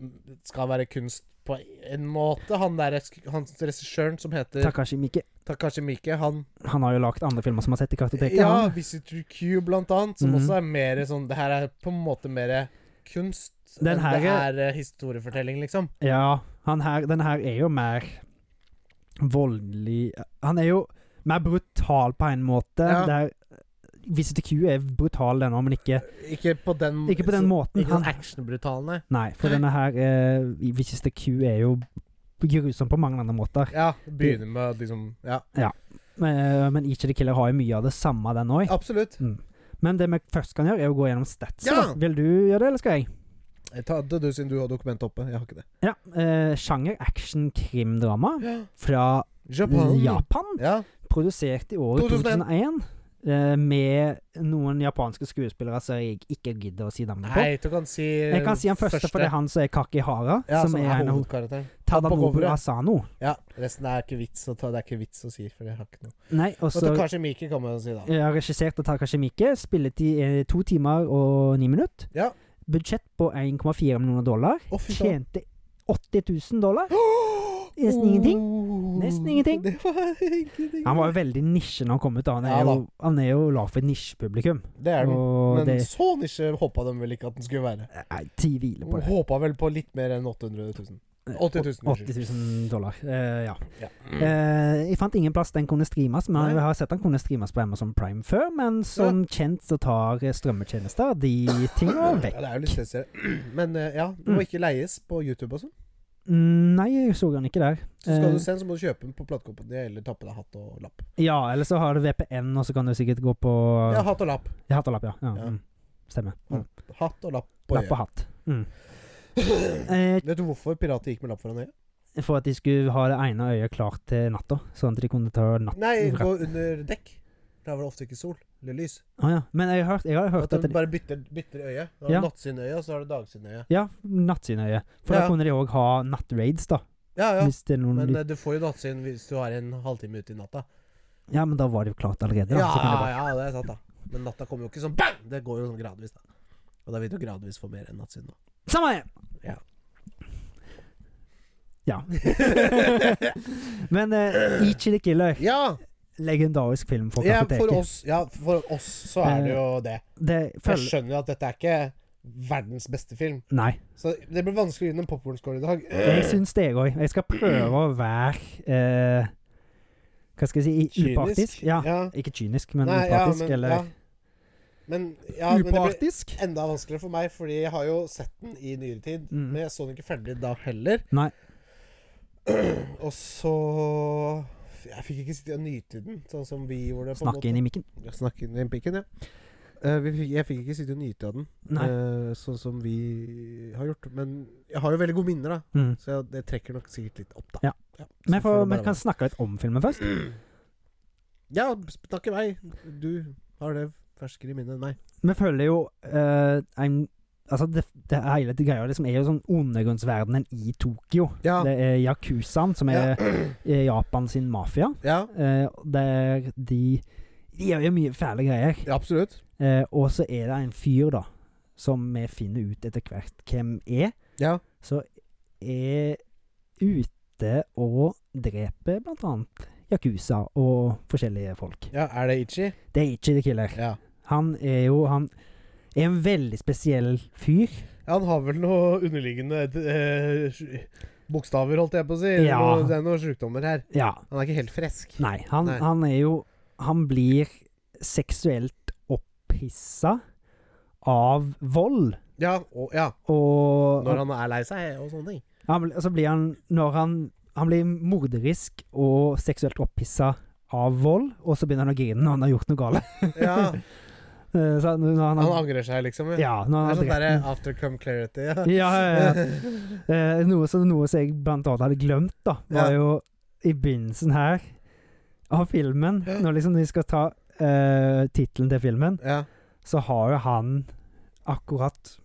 skal være kunst på en måte. Han der sk- han regissøren som heter Takashi Miike. Takashi Miike, han Han har jo lagd andre filmer som har sett i kartoteket. Ja, han. Visitor Q, blant annet, som Mhm. også er mer sånn Det her er på en måte mer kunst. Den enn det her er eh, historiefortelling, liksom. ja han her, den her er jo mer voldelig Han er jo mer brutal på en måte. Ja. Der Visitor Q er brutal, den òg, men ikke, Ikke på den ikke på den måten. Ikke Han, sånn actionbrutal, nei. nei, for denne her eh, Visitor Q er jo grusom på mange andre måter. Ja, begynner med liksom Ja, Men, men Each of the Killer har jo mye av det samme, den òg. absolutt. Men det vi først kan gjøre, er å gå gjennom statsa. Ja. da. Vil du gjøre det, eller skal jeg? Jeg tar det du siden du har dokumentet oppe. Jeg har ikke det. Ja. eh, sjanger action-krimdrama fra Japan. Japan. Ja. Produsert i året 2001. 2001. eh, med noen japanske skuespillere som jeg ikke gidder å si navnet på. Nei, du kan si Jeg kan si han første, for det er han som er Kakihara. ja, sånn som er en av hovedkarakteren. Han på Tadanobu coveret. Asano. Ja, resten er ikke vits å ta. Det er ikke vits å si, for jeg har ikke noe. Nei, og Og så Takashi Miki kan man jo si, da. eh, regissert av Takashi Miike. Spilletid er eh, to timer og ni minutter. Ja. Budsjett på 1,4 millioner dollar. Å, fy faen. Tjente 80 000 dollar. Nesten Nesten ingenting. Nesten ingenting. Det var ingenting. Han var jo veldig nisje når han kom ut. da. Han er Ja da. jo, han er jo lag for et nisjepublikum. Det er den. Og Men det så nisje håpa de vel ikke at den skulle være. Nei, tviler på det. Håpa vel på litt mer enn 800 000. 80 000, unnskyld. 80 000 dollar. Eh, ja. Ja. Eh, jeg fant ingen plass den kunne streames, men Nei. jeg har sett den kunne streames på Amazon Prime før. Men som kjent så tar strømmetjenester de tinga Ja, vekk. det er jo litt stressere. Men eh, ja, den må ikke leies på YouTube og sånn. Mm, Nei, jeg så den ikke der. Så skal Eh, du se den, så må du kjøpe den på platekompaniet eller tappe deg hatt og lapp. Ja, eller så har du VPN, og så kan du sikkert gå på Ja, hatt og lapp. Ja, hatt og lapp, ja. ja. Ja. Mm. Stemmer. Mm. Hatt og lapp på Lapp øyet. og hatt. Mm. Eh, Vet du hvorfor pirater gikk med lapp foran øyet? for at de skulle ha det ene øyet klart til natta, sånn at de kunne ta natt Nei, Rett. gå under dekk. Der var det ofte ikke sol. Eller lys. Å ja. Men jeg har hørt, jeg har hørt At at de det, bare bytter, bytter øye. Da har Ja. du nattsynøye, og så har du dagsynøye. Ja, nattsynøye. For da Ja. kunne de òg ha nattraids, da. Ja, ja. Hvis det er noen Men litt- eh, du får jo nattsyn hvis du har en halvtime ute i natta. Ja, men da var det jo klart allerede, Ja, da. ja, så kan de bare det er sant, da. Men natta kommer jo ikke sånn bang! Det går jo sånn gradvis, da. Og da vil du gradvis få mer enn nattsyn nå. Samme det! Ja. Ja. men uh, Ichi the Killer, Ja, legendarisk film for ja, for Kaffeteket. oss, ja, for oss så er det jo Eh, det. Det For jeg følger skjønner jo at dette er ikke verdens beste film. Nei. Så det blir vanskelig å gi den en popkornskål i dag. Jeg syns det òg. Jeg skal prøve å være eh, Hva skal jeg si i- Upartisk? Ja. Ikke kynisk, men Nei, ja, upartisk. men, eller ja. men, ja, men det blir Upartisk? enda vanskeligere for meg, fordi jeg har jo sett den i nyere tid. Mm. Men jeg så den ikke ferdig da heller. Nei. Og så Jeg fikk ikke sitte og nyte den, sånn som vi gjorde. på en Snakke inn i mikken? måte. Ja, Snakke inn i pikken, ja. Eh, vi fikk, jeg fikk ikke sitte og nyte av den, Nei. eh, sånn som vi har gjort. Men jeg har jo veldig gode minner, da. Mm. Så jeg, det trekker nok sikkert litt opp, da. Ja. så får Men for, det vi bare kan snakke litt om filmen først. være. Ja, snakk i vei. Du har det ferskere i minnet enn meg. Vi følger jo eh, en Altså, det, det er hele det greia liksom er jo sånn undergrunnsverdenen i Tokyo. Ja. Det er Yakuzaen, som er eh, Japan sin mafia. ja. eh, der de De gjør jo mye fæle greier. ja absolutt. Eh, og så er det en fyr, da, som vi finner ut etter hvert hvem er, Ja. er ute og dreper blant annet Yakuza og forskjellige folk. ja. Er det Ichi? Det er ikke The Killer. Ja. Han er jo Han er en veldig spesiell fyr. Han har vel noe underliggende eh, sj- bokstaver, holdt jeg på å si. eller Ja. Noe, det er noen sjukdommer her. Ja. Han er ikke helt frisk. Nei, han, Nei. han er jo Han blir seksuelt opphissa av vold. Ja, og, ja. Og Når han er lei seg og sånne ting. Han, bl- og så blir han Når han Han blir morderisk og seksuelt opphissa av vold, og så begynner han å grine når han har gjort noe galt. Ja, Eh, så han- når han, Han har- angrer seg, liksom. Ja. ja, Det når han er har sånn drept derre den. after come clarity. Ja. ja, ja, ja. Eh, noe, som- noe som jeg blant annet hadde glemt, da, var Ja. jo i begynnelsen her av filmen Når liksom de skal ta uh, tittelen til filmen, Ja. så har jo han akkurat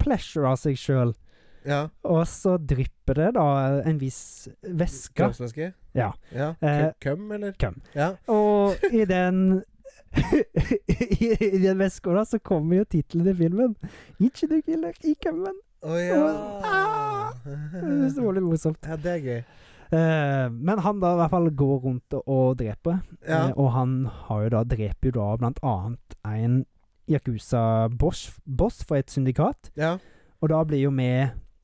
pleasure av seg sjøl. ja. Og så drypper det da en viss væske Kroppsvæske? Ja. ja. Eh, Køm, eller? køm. Ja. Og i den I, i den veska da, så kommer jo tittelen til filmen. 'Ikke du killer i kømmen'. Å ja. Ah. Det var litt morsomt. ja. Det er gøy. Eh, men han da i hvert fall går rundt og- og dreper. Ja. Eh, og han har jo da, dreper jo da blant annet en Yakuza-boss boss for et syndikat. ja. Og da blir jo vi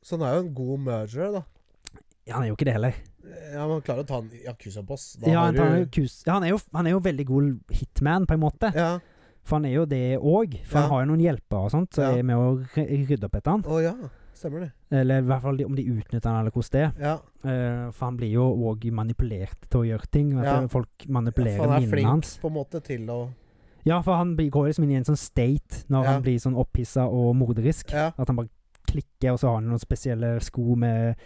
Så han er jo en god merger, da. ja, Han er jo ikke det heller. Ja, Man klarer å ta en Yakuza-boss. Da Ja, har han, tar du- Yakuza- ja, han, er jo, han er jo veldig god hitman, på en måte. Ja. For han er jo det òg. For Ja. han har jo noen hjelpere og sånt, så Ja. er med å ry- rydde opp etter han. Å ja. Stemmer det. Eller i hvert fall de- om de utnytter han, eller hvordan det er. Ja. Eh, for han blir jo òg manipulert til å gjøre ting. At Ja. folk Ja, for manipulerer han er flink. minnene hans. På en måte til å Ja, for han blir, går liksom inn i en sånn state når Ja. han blir sånn opphissa og morderisk. Ja. At han bare klikker, og så har han noen spesielle sko med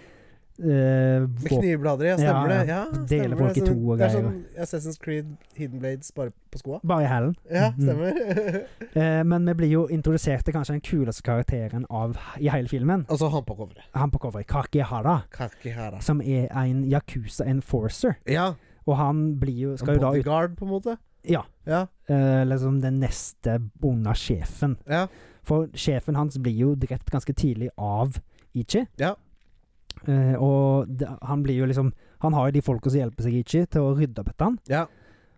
eh, Med våpen. knivblader, ja. Stemmer Ja, ja. det. Ja, Dele stemmer folk det. Sånn- i to og Det er greier. sånn Assassin's Creed Hidden Blades bare på skoa. Bare i hælen. Ja, Mhm. stemmer. Eh, men vi blir jo introdusert til kanskje den kuleste karakteren av, i hele filmen. og så han på coveret. Han på coveret, Kakihara, Kakihara. som er en Yakuza enforcer. Ja. Og han blir jo, skal jo da ut Bodyguard, på en måte. Ja. Ja. eh, liksom den neste bonde sjefen. Ja. For sjefen hans blir jo drept ganske tidlig av Ichi. Ja. Eh, og det, han blir jo liksom Han har jo de folka som hjelper seg Ichi til å rydde opp etter han. ja.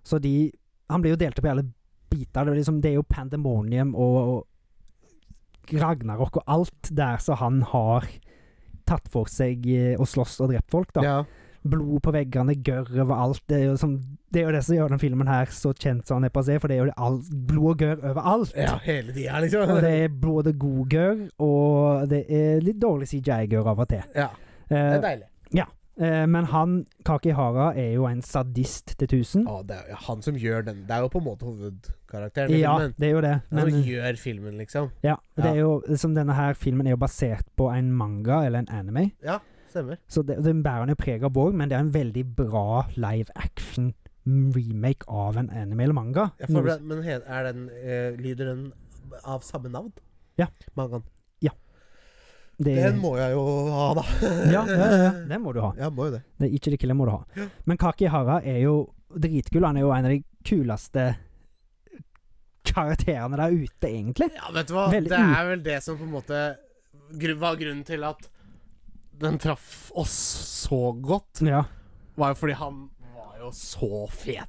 Så de Han blir jo delt opp i alle biter. Det er, liksom, det er jo pandemonium og, og Ragnarok og alt der som han har tatt for seg eh, og slåss og drept folk, da. ja. Blod på veggene, gørr overalt. Det er, jo som, det er jo det som gjør den filmen her så kjent som den er passé, for det er jo det all, blod og gørr overalt. Ja, hele tida, liksom. Og det er både god gørr, og det er litt dårlig CJI-gørr av og til. Ja. Det Eh, er deilig. eh, men han, Kakihara, er jo en sadist til tusen. Ja, det er jo han som gjør den. Det er jo på en måte hovedkarakteren i Ja, filmen. det er jo det. Han som Men, gjør filmen, liksom. ja, det Ja. er jo, som denne her filmen er jo basert på en manga eller en anime, Ja, stemmer. så det, den bærer han jo preg av òg, men det er en veldig bra live action remake av en anime eller manga. Jeg får, Noe- bre- men he- er den, eh, lyder den av samme navn? Ja. Mangaen. det, Den må jeg jo ha, da. ja, ja, ja, ja, det må du ha. Jeg må jo det. Det er ikke det kille må du ha. Men Kakihara er jo dritkul. Han er jo en av de kuleste karakterene der ute, egentlig. Ja, vet du hva? Veldig det er vel det som på en måte gru- var grunnen til at den traff oss så godt. Ja. Var jo fordi han var jo så fet.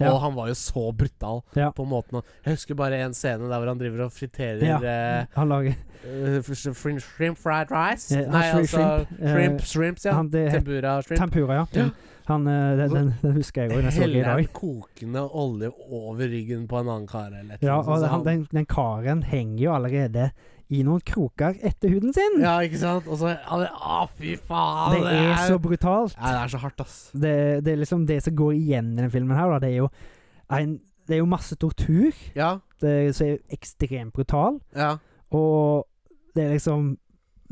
Ja. Og han var jo så brutal Ja. på måten å- Jeg husker bare en scene der hvor han driver og friterer Ja. eh, Han lager eh, fr- shrimp, shrimp fried rice. Eh, Nei, shrimp- altså shrimp, eh, Shrimp, shrimps, ja. han, eh, det, heter Tempura shrimp. Tempura, ja. Ja. Han, eh, den, den, den husker jeg òg. Den så jeg i Heller dag. en kokende olje over ryggen på en annen kar eller et Ja, eller annet og sånt, så han, den, den karen henger jo allerede i noen kroker etter huden sin. Ja, ikke sant? Og så ja, det- Å, fy faen! det er så brutalt. Ja, det er så hardt, ass. Det, det er liksom det som går igjen i denne filmen her, da. Det er jo, en, det er jo masse tortur Ja. det, som er ekstremt brutal. Ja. Og det er liksom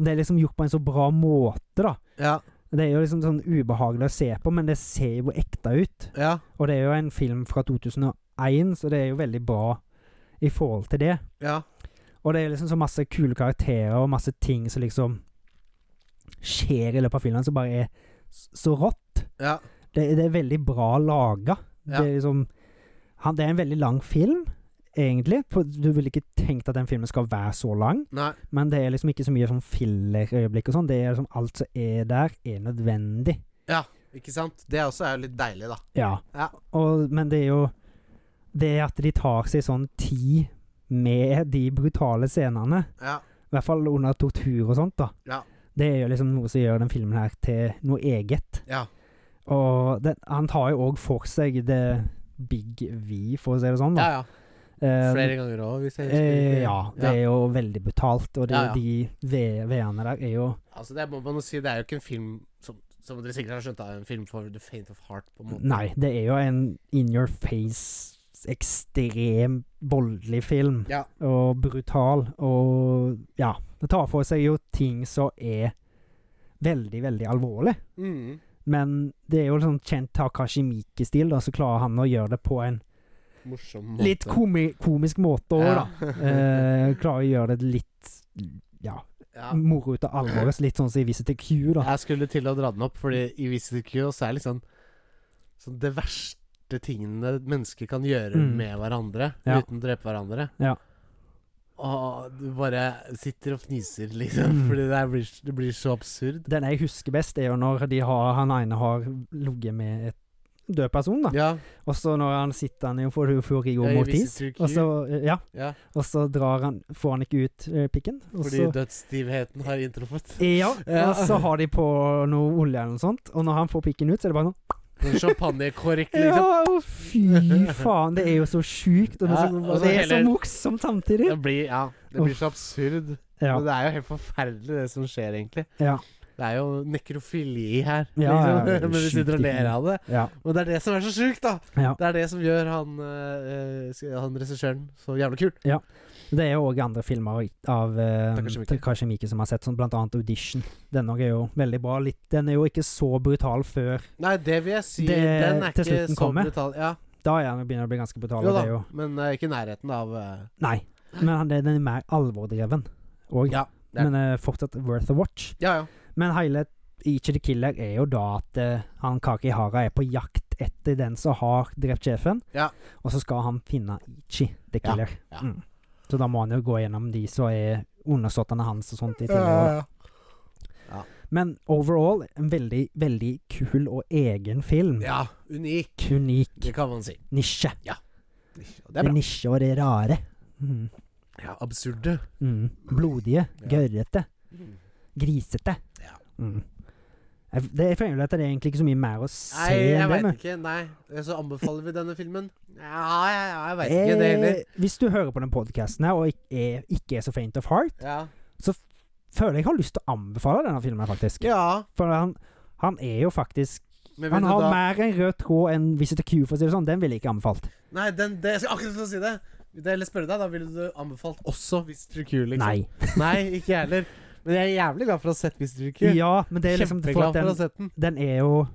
Det er liksom gjort på en så bra måte, da. Ja. Det er jo liksom sånn ubehagelig å se på, men det ser jo ekte ut. Ja. Og det er jo en film fra 2001, så det er jo veldig bra i forhold til det. Ja. Og det er liksom så masse kule karakterer og masse ting som liksom skjer i løpet av filmen, som bare er s- så rått. Ja. Det, det er veldig bra laga. Ja. Det er liksom han, Det er en veldig lang film, egentlig. For Du ville ikke tenkt at den filmen skal være så lang, Nei. men det er liksom ikke så mye sånn fillerøyeblikk og sånn. Det er liksom alt som er der, er nødvendig. Ikke sant? Det også er jo litt deilig, da. Ja. Ja. Og, men det er jo Det at de tar seg sånn tid med de brutale scenene, Ja. i hvert fall under tortur og sånt, da. Ja. Det er jo liksom noe som gjør den filmen her til noe eget. Ja. Og den, han tar jo òg for seg det big V, for å si det sånn. Da. Ja, ja. Eh, Flere ganger òg, hvis jeg husker eh, riktig. ja, det er jo veldig betalt, og det, Ja, ja. de V- V-ene der er jo Altså, det må man jo si, det er jo ikke en film som som dere sikkert har skjønt, er en film for the faint of heart, på en måte. Nei, det er jo en in your face, ekstrem voldelig film. Ja. Og brutal. Og ja. Det tar for seg jo ting som er veldig, veldig alvorlig. Mm. Men det er jo sånn kjent Takashi Miike-stil, da, så klarer han å gjøre det på en Morsom måte. litt komi komisk måte òg, da. Eh, klarer å gjøre det litt ja, ja. moro ut av alvoret. Litt sånn som i Visit til Q, mm, da. Jeg skulle til å dra den opp, Fordi i Visitor Q også er liksom sånn det verste tingene mennesker kan gjøre Mm. med hverandre, Ja. uten å drepe hverandre. Ja. Og du bare sitter og fniser, liksom, Mm. fordi det, er, blir, det blir så absurd. Den jeg husker best, er jo når de har, han ene har ligget med et død person, da. Ja, Og så når han sitter han jo for eufori og Ja, i mortis, Visit to og så, ja, ja. og så drar han, får han ikke ut eh, pikken. Og Fordi så, dødsstivheten har inntruffet. ja, Ja. og så har de på noe olje eller noe sånt, og når han får pikken ut, så er det bare sånn Sånn champagnekork, liksom. Ja, å, fy faen. Det er jo så sjukt. Og det, er så- Ja, og så det er så heller- morsomt samtidig. Det blir, ja, det blir så absurd. Ja, Men det er jo helt forferdelig, det som skjer, egentlig. ja, Det er jo nekrofili her, Ja, ja, liksom. det er Men vi sitter og sjukt. ler av det. ja, Og det er det som er så sjukt, da! ja. Det er det som gjør han, eh, eh, han regissøren så jævla kul. Det er jo òg andre filmer av eh, Takashi Miike. Takashi Miike som har sett, som blant annet Audition. Den òg er jo veldig bra. Litt, den er jo ikke så brutal før Nei, det vil jeg si. Det- den er til ikke slutten så kommer. brutal. Ja, Da er den begynner å bli ganske brutal. jo og da, det er jo, men eh, ikke i nærheten av eh, nei. Men han- den er mer alvordreven òg. Ja. det er- Men eh, fortsatt worth a watch. Ja, ja. Men hele Ichi the Killer er jo da at eh, han Kakihara er på jakt etter den som har drept sjefen, Ja. og så skal han finne Ichi the Ja, Killer. ja. Mm. Så da må han jo gå gjennom de som er undersåttene hans og sånt. i tillegg. Men overall en veldig, veldig kul og egen film. ja, unik. Unik Det kan man si. nisje. Og Det er bra. nisje og det rare. Mm. Ja, absurde. Mm. Blodige, Ja. gørrete, grisete. Ja. Mm. Jeg, det, jeg føler at det er egentlig ikke så mye mer å se Nei, jeg enn det. veit men- ikke. Nei. eh, Så anbefaler vi denne filmen? Ja, ja, ja jeg veit ikke det heller. Eh, Hvis du hører på den podkasten her og ikke er, ikke er så faint of heart, Ja. så f- føler jeg jeg har lyst til å anbefale denne filmen, faktisk. ja. For han, han er jo faktisk Men Han vil har du da mer en rød tråd enn Visitor Q, for å si det sånn. Den ville jeg ikke anbefalt. Nei, den, det, jeg skal akkurat til å si det. Det jeg spørre deg, da ville du anbefalt også Visitor Q, liksom? Nei. Nei, ikke jeg heller. Men jeg er jævlig glad for å ha sett Visitor Q. Ja, men det er liksom for Kjempeglad at for å ha den, sett den. den er jo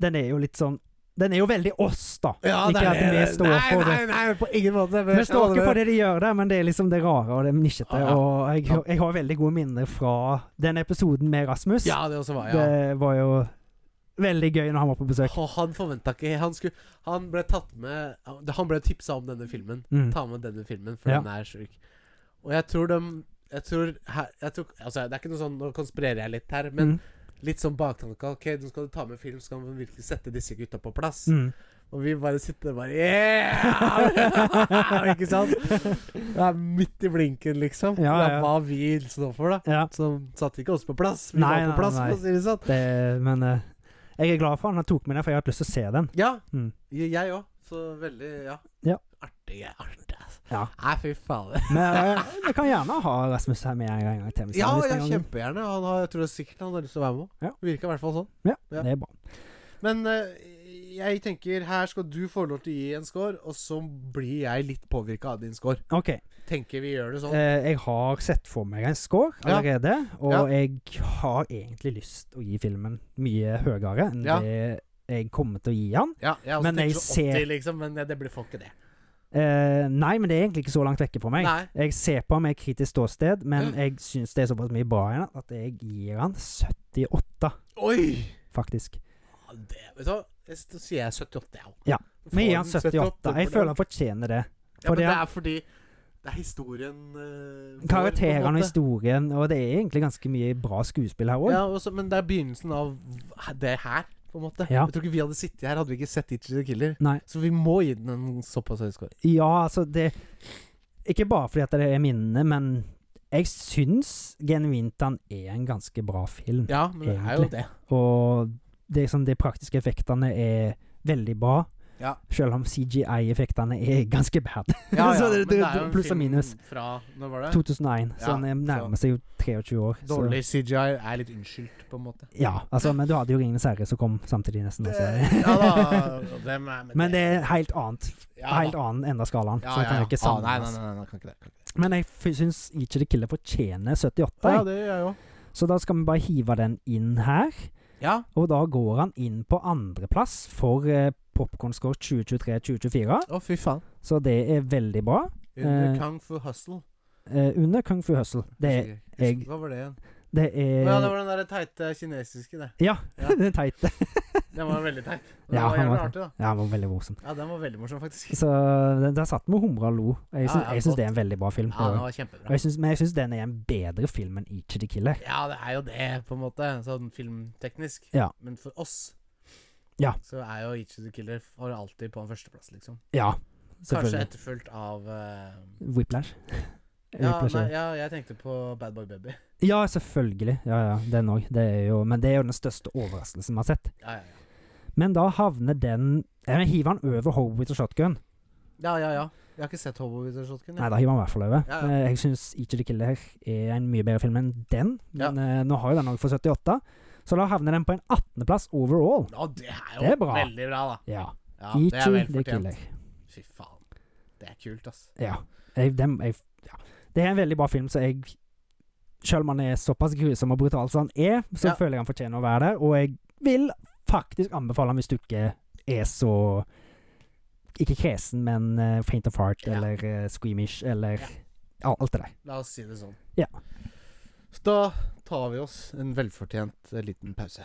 Den er jo litt sånn Den er jo veldig oss, da. ikke at vi står nei, for det. Nei, nei, på ingen måte. Vi står ikke for det de gjør der, men det er liksom det rare og det nisjete. Ah, ja. Og jeg, jeg har veldig gode minner fra den episoden med Rasmus. Ja, det også var ja. Det var jo veldig gøy når han var på besøk. Og han forventa ikke Han, skulle, han ble tatt med Han ble tipsa om denne filmen. Mm. Ta med denne filmen, for Ja. den er sjuk. Og jeg tror de jeg tror, her, jeg tror, altså Det er ikke noe sånn Nå konspirerer jeg litt her, men Mm. litt sånn baktanke. Ok, nå skal du ta med film, så kan vi virkelig sette disse gutta på plass. Mm. Og vi bare sitter bare Yeah! ikke sant? Det er midt i blinken, liksom. Ja, Det ja. er hva vi står for, da. Ja, Så satte ikke oss på plass. Vi Nei, var nei, på plass, nei. for å si det sånn. det, men eh, jeg er glad for han. Han tok med den, for jeg har hatt lyst til å se den. Ja. Mm. Jeg òg. Så veldig Ja. Ja. Artig. Artig, altså. Ja. Nei, fy fader. Men eh, vi kan gjerne ha Rasmus her med en gang- en gang til. hvis Ja, han har lyst ja, en gang. kjempegjerne. Han har, jeg tror sikkert han har lyst til å være med. Ja. Virker i hvert fall sånn. ja. Det er bra. Men eh, jeg tenker her skal du få lov til å gi en score, og så blir jeg litt påvirka av din score. OK. Tenker vi gjør det sånn. Eh, jeg har sett for meg en score Ja. allerede, og Ja. jeg har egentlig lyst å gi filmen mye høyere enn Ja. det jeg kommer til å gi han. Ja, jeg også men jeg tenker sånn 80, ser- liksom, men det blir får ikke det. Eh, nei, men det er egentlig ikke så langt vekke for meg. Nei. Mm. Jeg ser på ham med et kritisk ståsted, men Ja. jeg syns det er såpass mye bra i den at jeg gir han 78, Oi! faktisk. Ja, Det, vet du hva, Jeg- da sier jeg 78, jeg òg. Ja, Vi gir han 78. Jeg føler han fortjener det. ja, men fordi det han- er fordi det er historien eh, vår, på en Karakterene og måte. historien, og det er egentlig ganske mye bra skuespill her òg. Ja, også, men det er begynnelsen av det her, på en måte. Ja. Jeg tror ikke vi hadde sittet her, hadde vi ikke sett Itchy the Killer. Nei. Så vi må gi den en såpass høy score. Ja, altså det Ikke bare fordi at det er minnene, men jeg syns genuint han er en ganske bra film. Ja, men det er jo Egentlig. det. Og det, er sånn, de praktiske effektene er veldig bra. Ja. Selv om CGI-effektene er ganske bad. Ja, ja, Så det- men det- er jo en pluss og film minus. Fra Når var det? 2001, så Ja, han er- nærmer så- seg jo 23 år. så- Dårlig CGI er litt unnskyldt, på en måte. Ja, altså, men du hadde jo 'Ringenes herre' som kom samtidig, nesten. Altså. ja da, og dem er, Men det er helt annet. ja, Helt annen enda skalaen. Ja, så det ja, kan ja. jo ikke Ah, nei, nei, sammenlignes. nei, nei, nei, kan ikke det. Kan ikke det. Men jeg f- syns ikke The Killer fortjener 78, Ja, jeg. det gjør jeg òg. så da skal vi bare hive den inn her. Ja. Og da går han inn på andreplass for eh, Popcornscore 2023-2024, Å, fy faen. så det er veldig bra. Under Ah. Eh, Kung Fu Hustle. Eh, under Kung Fu Hustle. Det, er- Husker ikke. jeg- Eh, Hva var det igjen? det Å, er Ja, det var den der teite kinesiske, det. Ja, Ja. den teite. Den var veldig teit. Den Ja, var han jævlig var- artig, da. Ja, den var veldig morsom. Ja, den var veldig morsom, faktisk. Så den- der satt vi og humra og lo. Jeg syns, Ja, ja, jeg syns godt. det er en veldig bra film. Ja, den og var og kjempebra. jeg syns, men jeg syns den er en bedre film enn Each of the Killer. Ja, det er jo det, på en måte, sånn filmteknisk. Ja. Men for oss Ja. så er jo Itchy the Killer for alltid på en førsteplass, liksom. Ja, Kanskje selvfølgelig. etterfulgt av eh, Whiplash. ja, Whiplash, nei, ja. ja, jeg tenkte på Bad Boy Baby. ja, selvfølgelig. Ja, ja, den òg. Det er jo- Men det er jo den største overraskelsen vi har sett. Ja, ja, ja. Men da havner den Jeg hiver han over Hobbit og Shotgun. ja, ja, ja. Jeg har ikke sett Hobo Wizard Shotgun. Nei, jeg. da hiver han i hvert fall over. Ja, ja. Eh, Jeg syns Each of the Killer er en mye bedre film enn den. Ja. Men eh, nå har jo den òg for 78, så da havner den på en 18.-plass overall. Ja, det er jo Det er bra. veldig bra, da. Ja. Ja, Each det er of vel the fortjent. Killer. Fy faen. Det er kult, ass. Ja. Jeg, dem, jeg, ja. Det er en veldig bra film, så jeg Selv om han er såpass grusom og brutal som han er, så Ja. føler jeg han fortjener å være der, og jeg vil faktisk anbefale ham hvis du ikke er så Ikke kresen, men eh, faint of heart Ja. eller eh, squeamish eller Ja. ja, alt det der. La oss si det sånn. Ja. Så da tar vi oss en velfortjent eh, liten pause.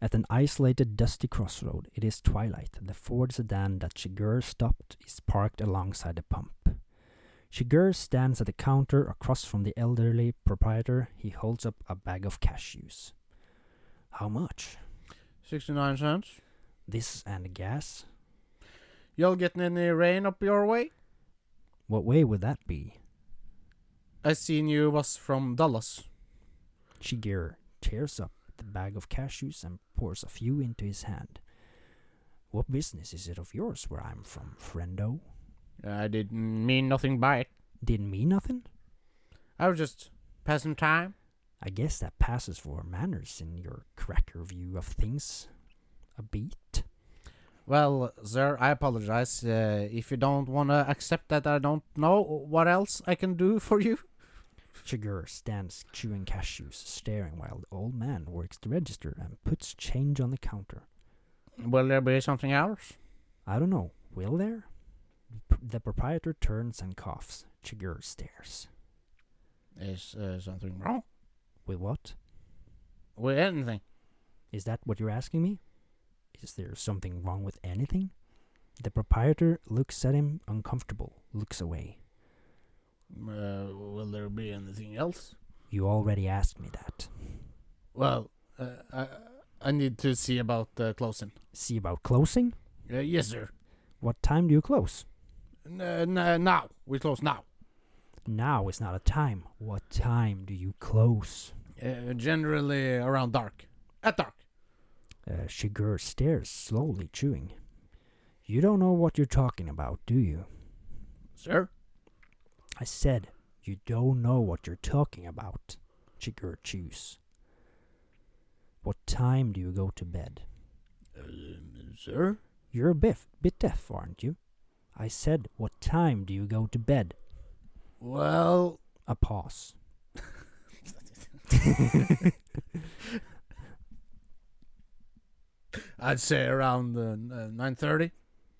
At an isolated, dusty crossroad, it is twilight, and the Ford sedan that Shiger stopped is parked alongside the pump. Shiger stands at the counter across from the elderly proprietor. He holds up a bag of cashews. How much? 69 cents. This and gas? Y'all getting any rain up your way? What way would that be? I seen you was from Dallas. Shiger tears up the bag of cashews and pours a few into his hand. What business is it of yours where I'm from, friendo? I didn't mean nothing by it. Didn't mean nothing? I was just passing time. I guess that passes for manners in your cracker view of things. A beat? Well, sir, I apologize. Uh, if you don't want to accept that, I don't know what else I can do for you. Sugar stands chewing cashews, staring while the old man works the register and puts change on the counter. Will there be something else? I don't know. Will there? P- The proprietor turns and coughs. Chigurh stares. Is uh, something wrong? With what? With anything? Is that what you're asking me? Is there something wrong with anything? The proprietor looks at him, uncomfortable, looks away. Uh, will there be anything else? You already asked me that. Well, uh, I, I need to see about uh, closing. See about closing? Uh, yes, sir. What time do you close? N- n- now. We close now. Now is not a time. What time do you close? Uh, generally around dark. At dark. Uh, Shigur stares, slowly chewing. You don't know what you're talking about, do you? Sir? I said, you don't know what you're talking about. Chigurh chews. What time do you go to bed? sir? You're a bit, bit deaf, aren't you? I said, what time do you go to bed? Well, A pause. I'd say around uh, n- uh, 9.30.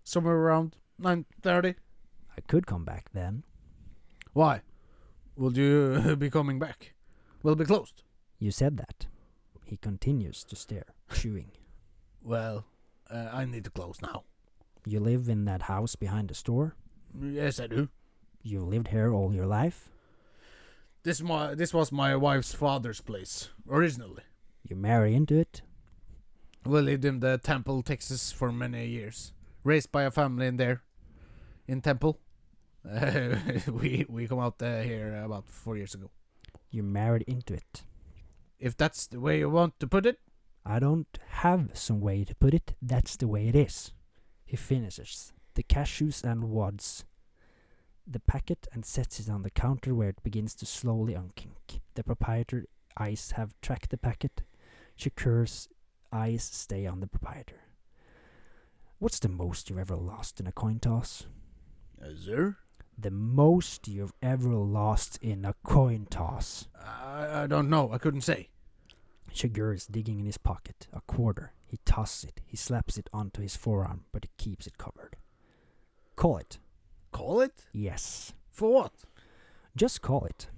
Somewhere around 9.30. I could come back then. Why? Will you be coming back? We'll be closed. You said that. He continues to stare, chewing. Well, uh, I need to close now. You live in that house behind the store? Yes, I do. You've lived here all your life? This my this was my wife's father's place originally. You marry into it? We lived in the Temple, Texas, for many years. Raised by a family in there, in Temple. Uh, we we come out uh, here about four years ago. You married into it. If that's the way you want to put it, I don't have some way to put it. That's the way it is. He finishes the cashews and wads, the packet, and sets it on the counter where it begins to slowly unkink. The proprietor eyes have tracked the packet. Shakur's eyes stay on the proprietor. What's the most you've ever lost in a coin toss? uh, sir, The most you've ever lost in a coin toss. I, I don't know. I couldn't say. Shigur is digging in his pocket, a quarter. He tosses it, he slaps it onto his forearm, but he keeps it covered. Call it. Call it Yes. for what? Just call it.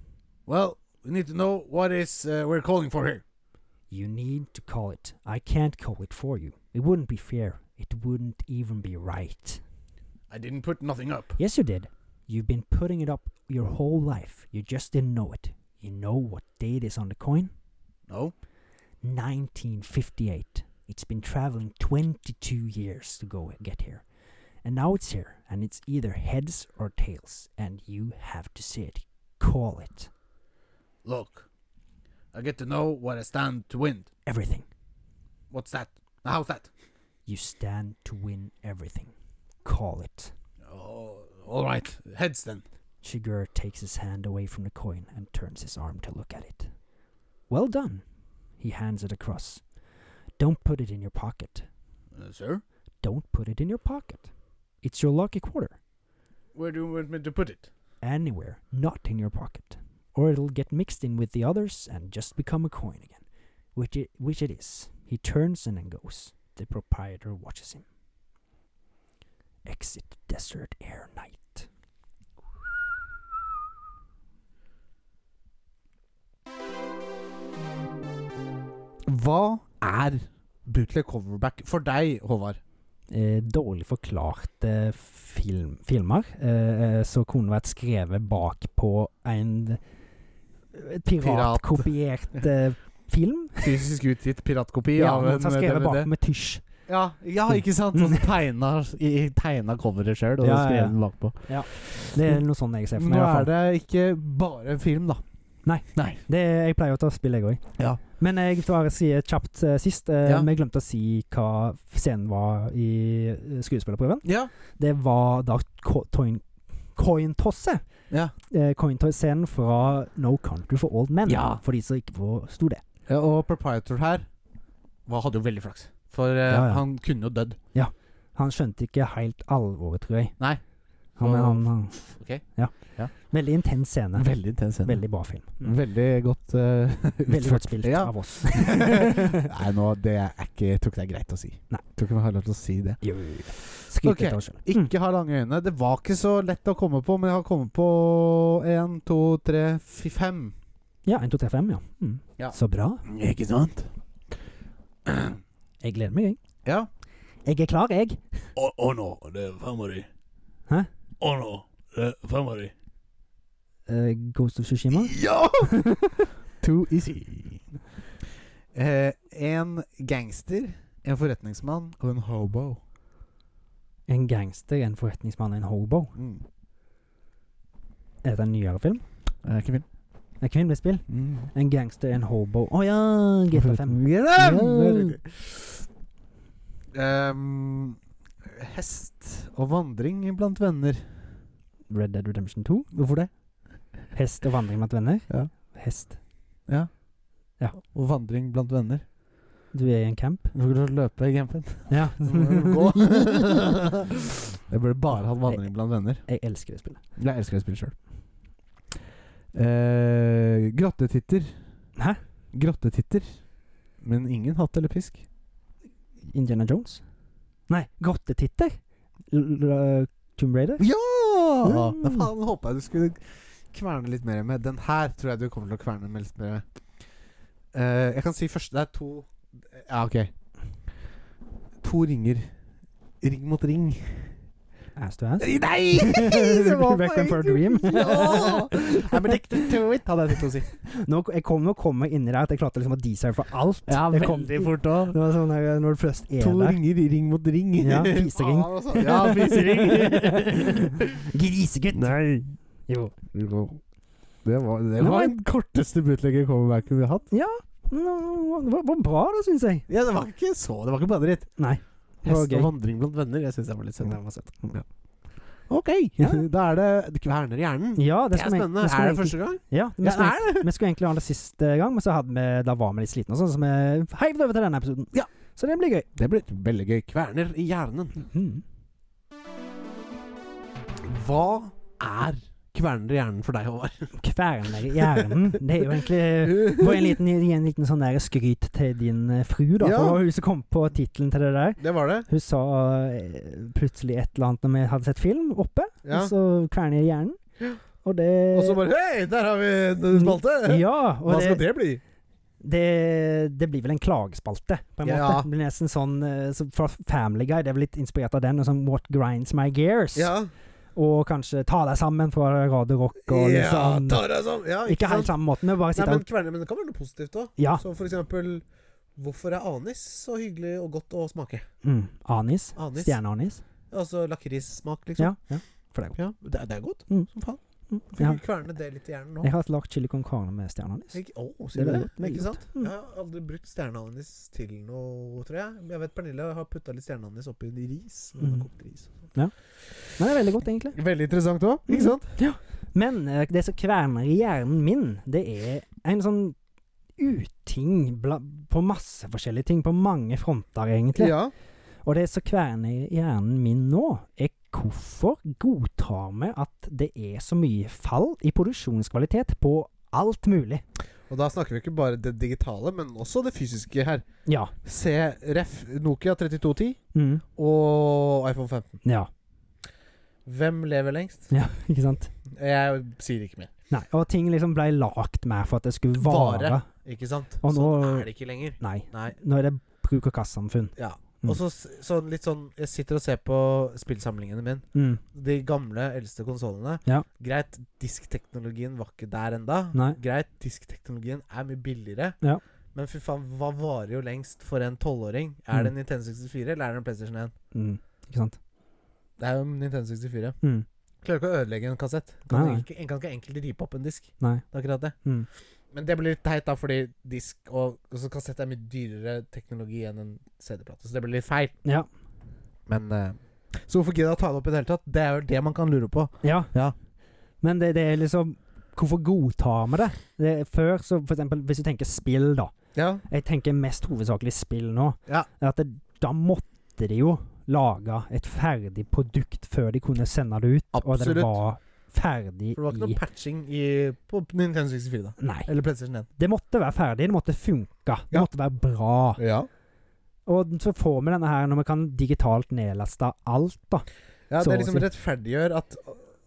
Well, we need to know what is uh, we're calling for here. You need to call it. I can't call it for you. It wouldn't be fair. It wouldn't even be right. I didn't put nothing up. Yes, you did. You've been putting it up your whole life. You just didn't know it. You know what day it is on the coin? No. 1958. It's been traveling 22 years to go get here. And now it's here, and it's either heads or tails, and you have to say it. Call it. Look, I get to know what I stand to win. Everything. What's that? Now, How's that? You stand to win everything. Call it. Oh, all right. Heads then. Shigur takes his hand away from the coin and turns his arm to look at it. Well done. He hands it across. Don't put it in your pocket. Uh, sir, Don't put it in your pocket. It's your lucky quarter. where do you want me to put it? anywhere, not in your pocket, or it'll get mixed in with the others and just become a coin again, which it, which it is. He turns and then goes. The proprietor watches him. Exit desert air night. Hva er bootleg coverback for deg, Håvard? Eh, dårlig forklarte film, filmer eh, eh, som kunne vært skrevet bak på en eh, Pirat. piratkopiert eh, film. Fysisk utgitt piratkopi Ja, av men en eh, som er skrevet bak DVD. med tysj. Ja, ja, ikke sant? Sånn tegna, i- i tegna coveret sjøl, og så Ja, ja, ja. skrev den bakpå. Det er noe sånt jeg ser for meg. Nå i hvert fall. er det ikke bare en film, da. Nei. Nei. Det, jeg pleier å ta spill, jeg òg. Ja. Men jeg bare sier kjapt eh, sist. eh, Ja. Vi glemte å si hva scenen var i eh, skuespillerprøven. Ja. Det var da ko- toin- cointosset. Ja. Eh, Cointoss-scenen fra No Country for Old Men, Ja. for de som ikke forsto det. Ja, og proprietor her var, hadde jo veldig flaks. For eh, Ja, ja. han kunne jo dødd. Han skjønte ikke helt alvoret, tror jeg. Nei. Han, er- han, han. Ok. Ja. Ja. Veldig intens scene. Veldig intens scene. Veldig bra film. Mm. Veldig godt eh, Veldig godt spilt Ja. av oss. Nei, nå, det er ikke, jeg tror ikke det er greit å si. Nei. Jeg tror ikke vi har lov til å si det. Jo, jo, jo. Skryt Ok. litt av oss selv. Mm. Ikke ha lange øyne. Det var ikke så lett å komme på, men jeg har kommet på én, to, tre, fi- fem. Ja, 1, 2, 3, 5, ja. Mm. Ja. Så bra. Ikke sant? Jeg gleder meg, jeg. Ja. Jeg er klar, jeg. Å nå, det er fem av de. Hæ? Å nå, det er fem av de. Eh, Ghost of Tsushima Ja! Too easy. Eh, en gangster, en forretningsmann og en hobo. En gangster, en forretningsmann, en hobo. Mm. Er det en nyere film? Er ikke film. En kvinnespill? Mm. En gangster, en hobo. Å ja! GTA 5. GTA Ja. Ehm, hest og vandring blant venner. Red Dead Redemption 2. Hvorfor det? Hest og vandring blant venner. Ja. Hest. Ja. Ja. Og vandring blant venner. Du er i en camp. Hvorfor skal du løpe i campen? Ja. Så må du gå. Jeg burde bare hatt vandring blant venner. jeg elsker det spillet. Jeg elsker det spillet sjøl. Eh, grottetitter. Hæ? Grottetitter. Men ingen hatt eller pisk. Indiana Jones? Nei, grottetitter! L- L- uh, Tomb Raider? Ja! Mm. Da faen håpa jeg du skulle kverne litt mer med. Den her tror jeg du kommer til å kverne med litt mer med. Eh, jeg kan si første Det er to Ja, ok. To ringer. Ring mot ring. Ass to ass? Nei! Requiem for a Dream. ja! Nei, men det, det, det hadde jeg tenkt å si. Nå, jeg kom, nå kom jeg inni der at jeg klarte liksom å decipher alt. jeg kom, det fort òg. var sånn der, når du først er To der. ringer, ring mot ring. Ja, fisering. Faen, altså. Ja, fisering. Grisegutt! Nei. Jo. Det var, det var var den korteste bootlegger-coverbacken vi har hatt. Nå, det var, var bra, da, syns jeg. Ja, det var ikke så Det var ikke bare dritt. Nei. Det var Hest gøy. og vandring blant venner. Jeg syns jeg var litt søt. Det var søtt. Ok, Ja. da er det du Kverner hjernen. Ja, Det det, er skulle vi- spennende. Er vi skulle det egentlig- første gang? Ja, vi Ja, skulle, er det? vi skulle egentlig ha det siste gang, men så hadde vi, da var vi litt slitne, og sånn, så vi heiv det over til denne episoden. Ja. Så det blir gøy. Det blir veldig gøy. Kverner i hjernen. Mhm. Hva er kverner i hjernen for deg, Håvard? Kverner i hjernen. Det er jo egentlig var en liten, en liten sånn der skryt til din eh, fru, da. Ja. For det var hun som kom på tittelen til det der. Det var det. Hun sa eh, plutselig et eller annet når vi hadde sett film oppe, Ja. og så kverner i hjernen. Og det Og så bare Hei, der har vi en spalte! Ja, og Hva skal det, det bli? det, det blir vel en klagespalte, på en Ja. måte. Det blir nesten sånn eh, så Fra Family Guy, det er vel litt inspirert av den. Og sånn What grinds my gears? Ja. Og kanskje Ta deg sammen fra Radio Rock og ja, liksom ta deg sammen. Ja, Ikke helt sant? samme måten, men bare Nei, sitte men og kverner, men det kan være noe positivt òg. Ja. Som for eksempel Hvorfor er anis så hyggelig og godt å smake? Mm, anis. Anis. Stjerneanis. Altså lakrissmak, liksom. Ja. ja. For det er godt. Ja, det, er- det er godt. Mm. Som faen. Mm, Fikk ja. kverne det litt i hjernen nå. Jeg har lagd chili con carne med stjerneanis. Ikke- Å, Det sier du det? er veldig godt, veldig Ikke sant? Mm. Jeg har aldri brukt stjerneanis til noe, tror jeg. Men Jeg vet Pernille har putta litt stjerneanis oppi i ris. Når hun har Mhm. kokt ris og sånt. Men det er veldig godt, egentlig. Veldig interessant òg, ikke ikke sant? Men eh, det som kverner i hjernen min, det er en sånn uting bla, på masse forskjellige ting, på mange fronter, egentlig. Ja. Og det som kverner i hjernen min nå, er hvorfor godtar vi at det er så mye fall i produksjonskvalitet på alt mulig? Og da snakker vi ikke bare det digitale, men også det fysiske her. Ja. Se ref. Nokia 3210 Mm. og iPhone 15. Ja. Hvem lever lengst? ja. Ikke sant? Jeg sier ikke mer. Nei. Og ting liksom ble lagt mer for at det skulle vare. Vare. Ikke sant? Og nå- Sånn er det ikke lenger. Nei. Nei. Nå er det bruk- og kastsamfunn. Ja. Mm. Og så s- sånn, litt sånn Jeg sitter og ser på spillsamlingene mine. Mm. de gamle, eldste konsollene. Ja. Greit, diskteknologien var ikke der enda. Nei. Greit, diskteknologien er mye billigere. Ja. Men fy faen, hva varer jo lengst for en tolvåring? Er det en Nintendo 64 eller er det en PlayStation 1? Mm. Ikke sant? Det er jo en Nintendo 64. Mm. Klarer ikke å ødelegge en kassett. Kan Nei, nei. ikke, kan ikke enkelt ripe opp en disk. Nei. Det er akkurat det. Mm. Men det blir litt teit, da, fordi disk og altså, kassett er mye dyrere teknologi enn en CD-plate. Så det blir litt feil. Ja. Men eh, Så hvorfor gidde jeg å ta det opp i det hele tatt? Det er jo det man kan lure på. Ja. Ja. Men det, det er liksom Hvorfor godtar vi det? det er før, så for eksempel, hvis du tenker spill, da. Ja. Jeg tenker mest hovedsakelig spill nå. Ja. At det, da måtte de jo laga et ferdig produkt før de kunne sende det ut. Og Absolutt. det var ferdig For det var ikke i noe patching i, på Nintendo 64 da. Nei. Eller PlayStation 1. Det måtte være ferdig, det måtte funke. Det Ja. måtte være bra. Ja. Og så får vi denne her når vi kan digitalt nedlaste alt, da. ja Så å det liksom si. rettferdiggjør at,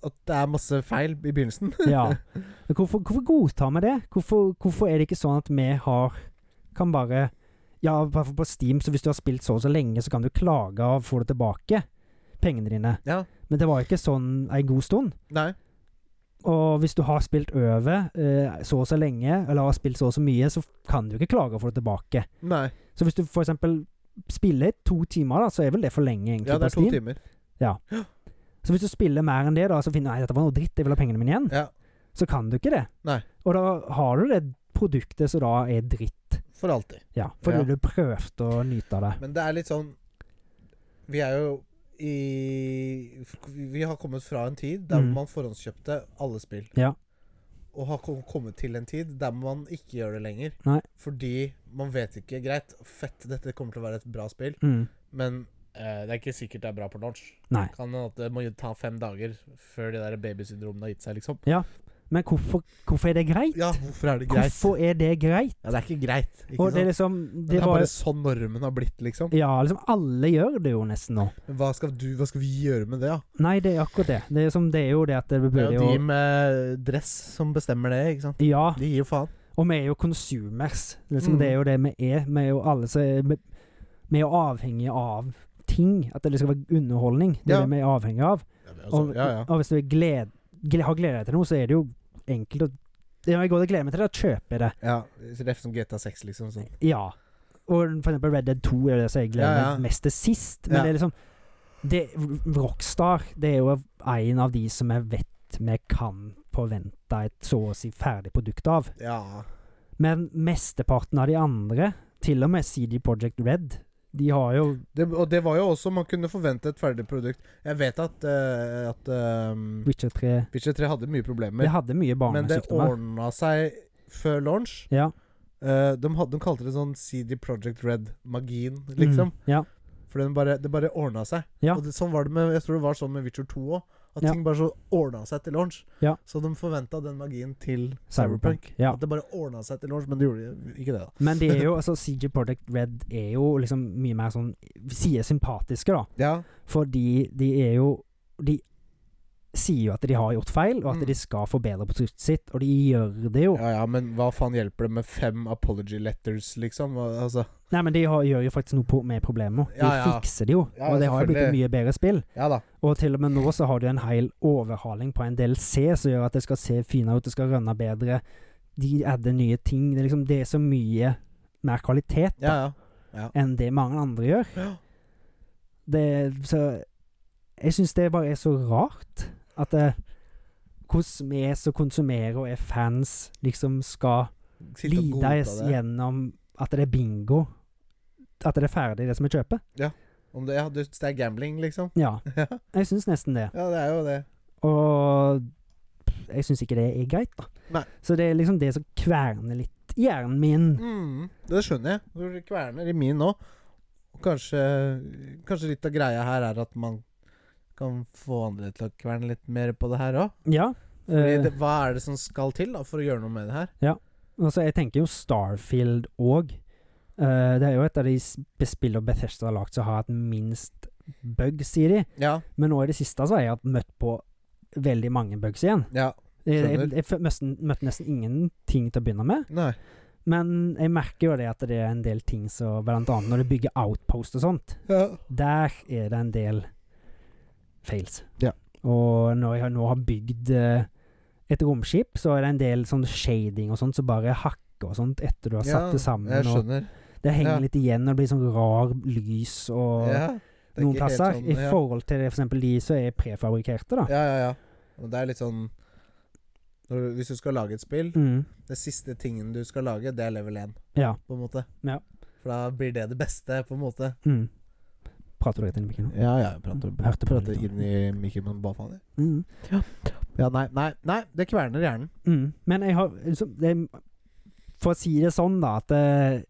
at det er masse feil i begynnelsen. Ja. Men hvorfor, hvorfor godtar vi det? Hvorfor, hvorfor er det ikke sånn at vi har Kan bare Ja, i hvert fall på Steam, så hvis du har spilt så og så lenge, så kan du klage og få det tilbake. Pengene dine. Ja. Men det var jo ikke sånn ei god stund. Nei. Og hvis du har spilt over eh, så og så lenge, eller har spilt så og så mye, så kan du ikke klage og få det tilbake. Nei. Så hvis du for eksempel spiller to timer, da, så er vel det for lenge, egentlig, Ja, det på er to Steam. timer. Så hvis du spiller mer enn det, da, så finner du «Nei, dette var noe dritt, jeg vil ha pengene mine igjen, Ja. så kan du ikke det. Nei. Og da har du det produktet som da er dritt. For alltid. Ja, fordi Ja. du prøvde å nyte av det. Men det er litt sånn Vi er jo i Vi har kommet fra en tid der Mm. man forhåndskjøpte alle spill. Ja. Og har kom- kommet til en tid der man ikke gjør det lenger. Nei. Fordi man vet ikke Greit, fett, dette kommer til å være et bra spill, Mm. men eh, det er ikke sikkert det er bra på launch. Nei. Kan hende at det må jo ta fem dager før de der babysyndromene har gitt seg, liksom. Men hvorfor, hvorfor er det greit? Ja, hvorfor er det greit? Hvorfor er det greit? Ja, det er ikke greit. Ikke Og det sant? er liksom Men Det det er var bare sånn normen har blitt, liksom. Ja, liksom alle gjør det jo nesten nå. Men hva skal, du, hva skal vi gjøre med det, da? Nei, det er akkurat det. Det er, som, det er jo det at det Det er burde jo de jo med dress som bestemmer det, ikke sant? Ja, De gir jo faen. og vi er jo consumers. Liksom, Mm. Det er jo det vi er. Vi er jo alle som er- vi, vi er jo avhengige av ting. At det skal være underholdning. Det er Ja. det vi er avhengige av. Og, Altså, ja, ja. og hvis du er gled, gled, har gleda deg til noe, så er det jo enkelt å ja, Jeg går og gleder meg til det, da kjøper jeg det. ja. Så det er som GTA 6, liksom. Sånn. Ja. Og for eksempel Red Dead 2 er det som jeg Ja, gleder ja. meg mest til sist. Men Ja. det er liksom det, Rockstar det er jo en av de som jeg vet vi kan forvente et så å si ferdig produkt av. Ja. Men mesteparten av de andre, til og med CD Projekt Red, de har jo Det, og det var jo også Man kunne forvente et ferdig produkt. Jeg vet at, eh, at eh, Witcher 3 Witcher 3 hadde mye De problemer, hadde mye men det barnesykdommer. ordna seg før launch. Ja. Eh, de, hadde, de kalte det sånn CD Project Red-magien, liksom. Mm, ja. For den bare, det bare ordna seg. Ja. Og det, sånn var det med Jeg tror det var sånn med Witcher 2 òg. At Ja. ting bare så ordna seg til launch. Ja. Så de forventa den magien til Cyberpunk. Cyberpunk. Ja. At det bare ordna seg til launch, men det gjorde ikke det. da Men det er jo altså CG Project Red er jo liksom mye mer sånn Sier sympatiske, da. Ja, Fordi de er jo De sier jo at de har gjort feil, og at Mm. de skal forbedre produktet sitt, og de gjør det jo. ja, ja men hva faen hjelper det med fem apology letters, liksom? Hva- Altså, Nei, men de har, gjør jo faktisk noe på, med problemet. De Ja, ja. fikser det jo, Ja, ja, og det har jo blitt et selvfølgelig. mye bedre spill. ja da. Og til og med nå så har du en hel overhaling på en del C som gjør at det skal se finere ut, det skal rønne bedre. De adder nye ting. Det er, liksom, det er så mye mer kvalitet Ja, da, ja. enn det mange andre gjør. Ja. Det, så jeg syns det bare er så rart at det, hvordan vi som konsumerer og er fans, liksom skal Sitte og lides godta det. gjennom at det er bingo. At det er ferdig, det som vi kjøper. Om det, ja, du- det er gambling, liksom. Ja, ja, jeg syns nesten det. det er jo det. Og jeg syns ikke det er greit, da. Nei. Så det er liksom det som kverner litt hjernen min. Mm, det skjønner jeg. Du kverner i min nå. Og Kanskje, kanskje litt av greia her er at man kan få andre til å kverne litt mer på det her òg. Ja. eh, Hva er det som skal til da for å gjøre noe med det her? altså, jeg tenker jo Starfield òg. det er jo et av de s- spillene Bethesda har lagd som har hatt minst bugs, sier de. Ja, Men nå i det siste så har jeg hatt møtt på veldig mange bugs igjen. ja. Jeg, jeg, Skjønner. jeg fø- nesten, møtte nesten ingenting til å begynne med. Nei. Men jeg merker jo det at det er en del ting som Blant annet når du bygger outpost og sånt. Ja. Der er det en del fails. Ja. Og når jeg har- nå har bygd eh, et romskip, så er det en del sånn shading og sånt som bare hakker og sånt etter du har satt det sammen. Jeg og skjønner. det henger Ja. litt igjen, og det blir sånn rar lys og Ja, det er noen ikke helt plasser. sånn, I ja. forhold til det, for eksempel de som er prefabrikkerte, da. Ja, ja, ja. Og det er litt sånn når, du- Hvis du skal lage et spill, Mm, det siste tingen du skal lage, det er level 1, ja. på en måte. Ja. For da blir det det beste, på en måte. Mm. Prater du rett inn i mikken nå? Ja, ja. Jeg prater- Hørte på prater litt. inn i mikken, men hva faen? Mm. Ja, nei, nei, nei, det kverner hjernen. Mm. Men jeg har liksom, det, For å si det sånn, da, at eh,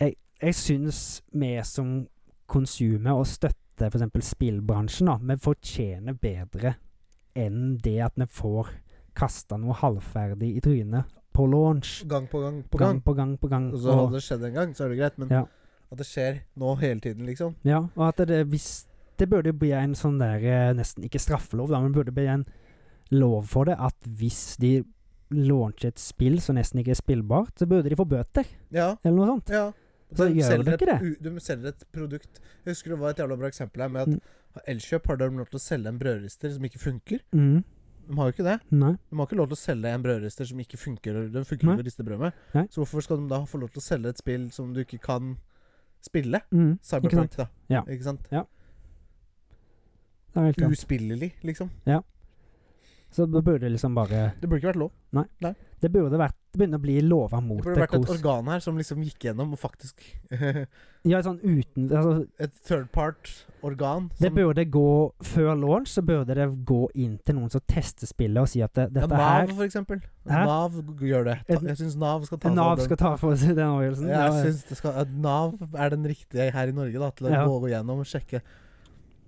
jeg, jeg syns vi som konsumet og støtter f.eks. spillbransjen, da. Vi fortjener bedre enn det at vi får kasta noe halvferdig i trynet på launch. Gang på gang på Gang gang. på gang på gang. Og så hadde det skjedd en gang, så er det greit. Men Ja. at det skjer nå hele tiden, liksom. Ja, og at det, hvis, det burde bli en sånn der eh, Nesten ikke straffelov, da, men burde bli en lov for det at hvis de launcher et spill som nesten ikke er spillbart, så burde de få bøter, Ja. eller noe sånt. Ja. Så De gjør selger det ikke et, u- De selger et produkt Jeg husker det var et jævla bra eksempel her med Mm. at Elkjøp har de lov til å selge en brødrister som ikke funker. Mm, De har jo ikke det. nei. De har ikke lov til å selge en brødrister som ikke funker. eller Den funker Nei. ikke å riste brød med. Nei. Så hvorfor skal de da få lov til å selge et spill som du ikke kan spille? Mm, ikke sant? Cyberpunk, da. Ja. Ikke sant? Det er helt klart. Uspillelig, liksom. Så da burde det liksom bare Det burde ikke vært lov. Det burde vært Det begynner å bli lova mot Det det. burde vært et kos. organ her som liksom gikk gjennom og faktisk Et Ja, sånn uten Altså, third part-organ. det burde gå Før launch så burde det gå inn til noen som tester spillet, og si at det, ja, dette Nav, her for eksempel. Hæ? Nav g- gjør det. Ta, Et- jeg syns Nav skal ta seg av Nav den. skal ta for seg den avgjørelsen. Ja, Ja, jeg synes det skal, at Nav er den riktige her i Norge da, til å Ja. gå gjennom og sjekke.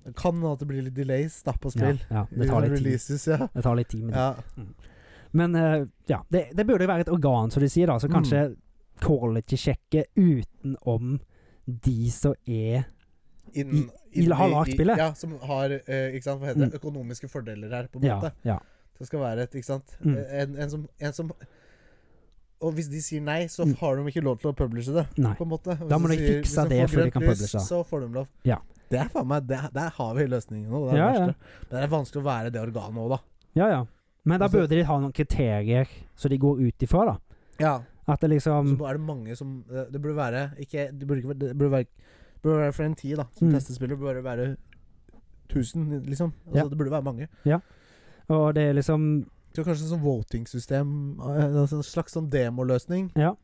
Det Kan hende at det blir litt delays da, på spill. Ja, ja, det tar litt tid. Mm. releases, ja. Det tar litt tid med det. ja. Men eh, ja, det, det burde jo være et organ, som de sier, da, som Mm. kanskje quality-sjekker utenom de som er Innen, I- i- har lagt i- spillet. Mm. Ja, som har eh, ikke sant, hva heter det, økonomiske fordeler her, på en Ja. måte. ja. Det skal være et, ikke sant Mm. en, en, som, en som Og hvis de sier nei, så Mm. har de ikke lov til å publishe det. Nei. På en måte. Hvis Da må de sier- fikse hvis får det før de grønt kan lys, publishe. Så får de lov. Ja. Det er faen meg, det, Der har vi løsningen nå. Det er, Ja, det ja. verste. Men det er vanskelig å være det organet òg, da. ja, ja. Men da Altså- burde de ha noen kriterier som de går ut ifra, da. Ja. At det liksom Så er det mange som eh, Det burde være ikke, Det burde, ikke, være- det burde være det burde være flere enn ti, da. Som Mm. testespiller burde det være 1000, liksom. Altså, Ja. Det burde være mange. Og det er liksom Så kanskje sånn voting-system eh, altså En slags sånn demoløsning. Ja.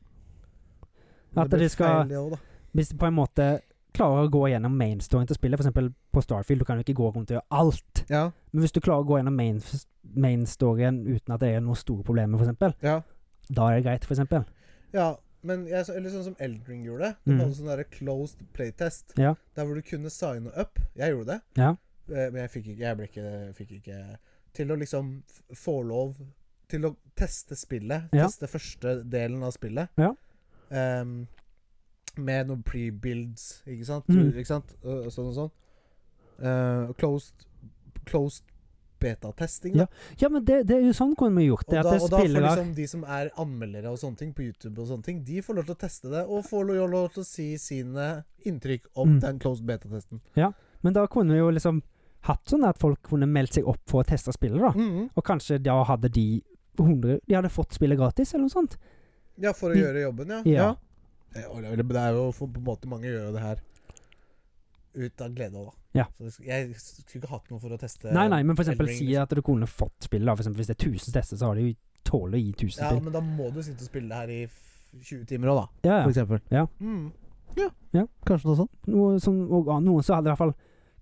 Men At det blir de skal- feil, det også, da. Hvis de på en måte klarer å gå gjennom mainstoryen til spillet, f.eks. på Starfield, du kan jo ikke gå rundt og gjøre alt. Ja, Men hvis du klarer å gå gjennom main- mainstoryen uten at det er noen store problemer, f.eks., ja. da er det greit, f.eks. ja. Men jeg, så- eller sånn som Eldring gjorde. det. Mm. De hadde sånn derre closed playtest. Ja. Der hvor du kunne signe up. Jeg gjorde det. Ja. Eh, Men jeg fikk ikke Jeg ble ikke, fikk ikke Til å liksom f- få lov til å teste spillet. Ja. Teste første delen av spillet. Ja. Ehm, med noen pre-builds, ikke sant? Mm. Ikke sant? Og- og Sånn og sånn. Eh, closed Closed beta-testing. da. Ja, men det, det er jo sånn kunne vi gjort Og det. da, At det og da får spillere liksom de som er anmeldere og sånne ting på YouTube, og sånne ting De får lov til å teste det, og får lov, lov til å si sine inntrykk om Mm. den closed beta-testen. Men da kunne vi jo liksom hatt sånn at folk kunne meldt seg opp for å teste spillet, da. Mhm. Og kanskje da hadde de 100 De hadde fått spillet gratis, eller noe sånt. Ja, for å Vi- gjøre jobben, ja. Ja. Eh, og Det det er jo for- på en måte mange gjør jo det her ut av glede òg, da. Ja. Så det sk- jeg skulle ikke hatt noe for å teste Nei, nei, men for Elden eksempel Ring, liksom. si at du kunne fått spillet, da. For eksempel hvis det er 1000 tester, så har de jo tåler å gi 1000 Ja, spill. men da må du sitte og spille det her i f- 20 timer òg, da. Ja, For ja. eksempel. Ja. Mm. Ja. Ja. Kanskje noe sånt. Noe som, og, ja, noen som hadde i hvert fall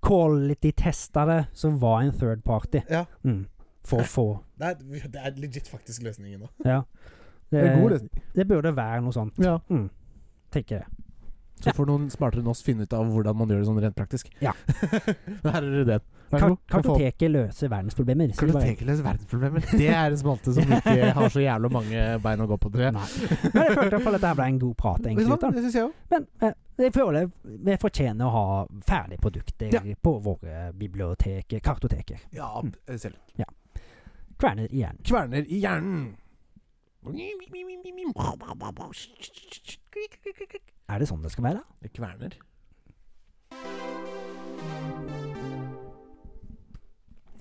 quality-testa det, som var en third party. Ja. Mm. For få. Det er, det er legit faktisk løsningen nå. Ja. Det, Det er god løsning. Eh, det burde være noe sånt, Ja. mm. tenker jeg. Så får noen smartere enn oss finne ut av hvordan man gjør det sånn rent praktisk. Ja. Men her er det. Vær så Kar god. kartoteket løser verdensproblemer. sier de bare. Kartotekeløse verdensproblemer. Det er en spalte som ikke har så jævla mange bein å gå på, tror jeg. Nei. Men jeg følte i hvert fall at dette her ble en god prat. egentlig, gutter. syns jeg òg. Men eh, jeg føler vi fortjener å ha ferdige produkter Ja. på våre biblioteker, kartoteker. Ja, selv. Kverner igjen. Kverner i hjernen. Mm. Er det sånn det skal være? Det kverner.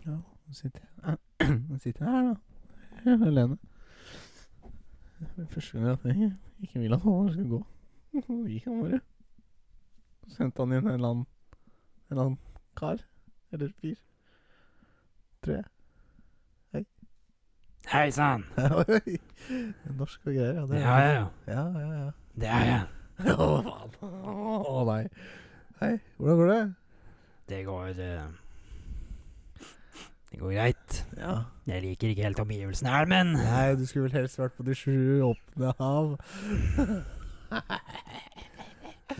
Ja, nå sitter jeg Nå sitter jeg her, da. Jeg er Alene. Det er Første gang at jeg ikke vil at han skal gå. Så gikk han bare. Så sendte han inn en eller annen En eller annen kar. Eller fyr. Tror jeg. Hei sann! Oi. Norsk og greier. Ja, det er- ja. ja, ja. ja. Det er jeg. Å, faen. Å, nei. Hei, hvordan går det? Det går eh, Det går greit. Ja. Jeg liker ikke helt omgivelsene her, men Nei, du skulle vel helst vært på de sju åpne hav.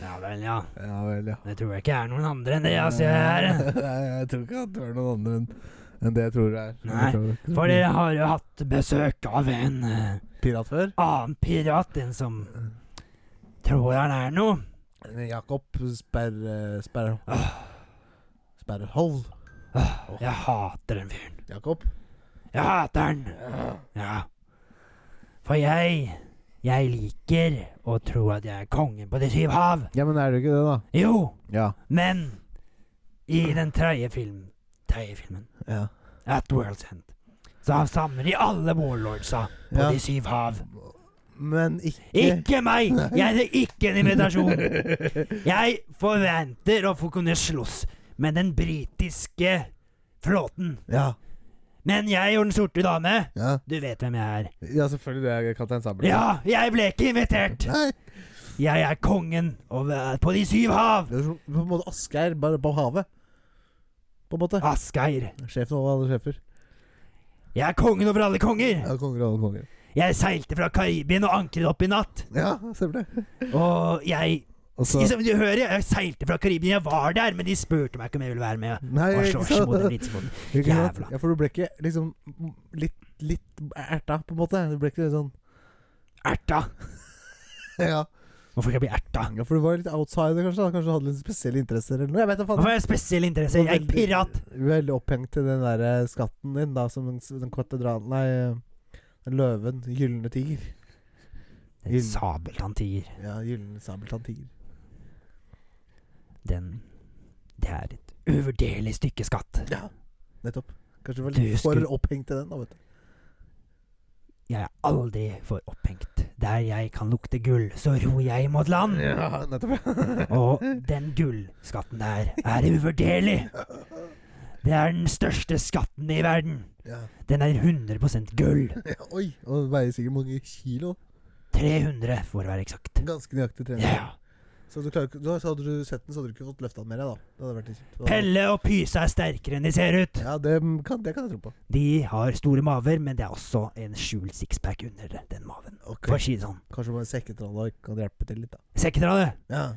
Ja, det vel, ja. Ja vel, ja. Det tror jeg ikke er noen andre enn det jeg ser her. Nei, jeg tror ikke at det er noen andre enn enn det jeg tror det er. Nei, For dere har jo hatt besøk av en eh, Pirat før? annen pirat enn som tror han er noe. Jakob Sperr... eh, Sperr... Åh, Sperrhov. åh, jeg hater den fyren. Jakob? Jeg hater den! Ja. For jeg Jeg liker å tro at jeg er kongen på de syv hav. Ja, men er du ikke det, da? Jo, Ja. men i den tredje film Tredje filmen, Ja. At World's End, så samler de alle warlordsa på Ja. de syv hav. Men ikke Ikke meg! Jeg er ikke en invitasjon. Jeg forventer å få kunne slåss med den britiske flåten. Ja. Men jeg og den sorte dame, Ja, du vet hvem jeg er. ja selvfølgelig. Det er Kaptein Sabeltann. Ja, jeg ble ikke invitert! Nei. Jeg er kongen over på de syv hav! Det er som på en måte Asgeir, bare på havet. På en måte. Asgeir. Sjefen over alle sjefer. Jeg er kongen over alle konger! Ja, konger og alle konger. Jeg seilte fra Karibien og ankret opp i natt. Ja, stemmer det. Og jeg Og så Som du hører, jeg seilte fra Karibien. Jeg var der, men de spurte meg ikke om jeg ville være med. Nei, Jeg var så ikke slåss mot den sant? britiske flåten. Ikke sant? Jævla. Ja, for du ble ikke liksom litt, litt erta, på en måte. Du ble ikke sånn Erta. Ja, Hvorfor skal jeg bli erta? ja for du var litt outsider, kanskje? da Kanskje du hadde litt spesielle interesser eller noe? Jeg vet da Hvorfor faen. har jeg spesielle interesser? Jeg er Veldig- pirat. Veldig opphengt i den der eh, skatten din, da, som den, den katedralen Nei, eh, den løven. den Gylne tiger. Den sabeltanntiger. Ja, gylne sabeltann-tiger. Den Det er et uvurderlig stykke skatt. Ja, nettopp. Kanskje du var Du litt for skulle- opphengt i den, da, vet du. Jeg er aldri for opphengt. Der jeg kan lukte gull, så ror jeg mot land. Ja, nettopp. Og den gullskatten der er uvurderlig. Det er den største skatten i verden. Ja. Den er 100 gull. ja. Oi, og det veier sikkert mange kilo. 300, for å være eksakt. Ganske nøyaktig Ja. trening. Så, du klarer, ikke- da, så hadde du sett den, så hadde du ikke fått løfta den mer, da. Det hadde vært litt kjipt. Da- Pelle og Pyse er sterkere enn de ser ut. Ja, det kan, det kan jeg tro på. De har store maver, men det er også en skjult sixpack under den maven. For å si det sånn. Kanskje bare sekketralla kan hjelpe til litt, da. Sekketrade. Ja.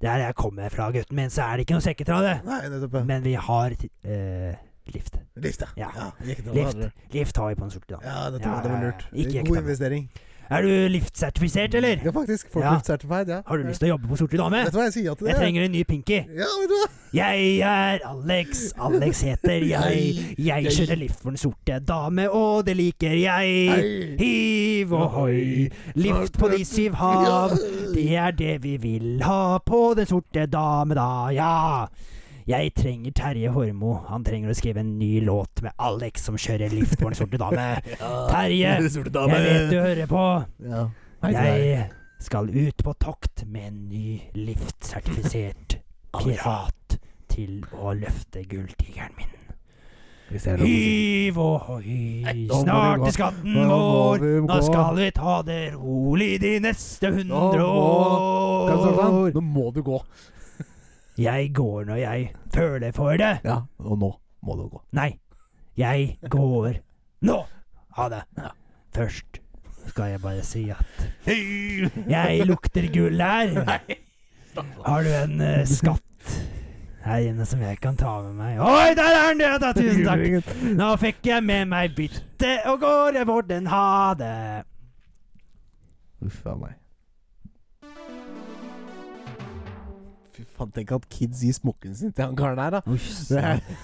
Der jeg kommer fra, gutten min, så er det ikke noe sekketrade. Nei, nettopp. ja. Men vi har eh, lift. Lift, da. Ja. Sekketralla hadde Lift. du. Lift har vi på den sorte damen. Ja, det, Ja, tror jeg det var ja, ja. lurt. Ikke Det er ekte, God da. investering. Er du liftsertifisert, eller? Ja, faktisk. Folk Ja. er certified, ja. Har du lyst til å jobbe på Sorte det? dame? Vet du hva, jeg sier ja til det. Jeg trenger en ny Pinky. Ja, vet du hva. Jeg er Alex. Alex heter jeg. Jeg kjører lift for Den sorte dame, og det liker jeg. Hei. Hiv og hoi, lift på de syv hav. Det er det vi vil ha på Den sorte dame, da, ja. Jeg trenger Terje Hormo. Han trenger å skrive en ny låt med Alex som kjører lift for Den sorte dame. Terje, jeg vet du hører på. Ja. Hei til deg. Jeg skal ut på tokt med en ny liftsertifisert pirat til å løfte gulltigeren min. Hvis jeg er lov å si. Hyv og høy, Nå må snart vi gå. er skatten Nå må vår. vi Nå gå. skal vi ta det rolig de neste hundre Kan du starte den? år. Nå må du gå. Jeg går når jeg føler for det. Ja, og nå må du gå. Nei, jeg går nå. Ha det. Først skal jeg bare si at jeg lukter gull her. Har du en eh, skatt her inne som jeg kan ta med meg? Oi, der er den! Ja, da, tusen takk. Nå fikk jeg med meg byttet og går jeg bort den. Ha det. Uff a meg. Fy faen, tenk at kids gir smokken sin til han karen her, da. Det er,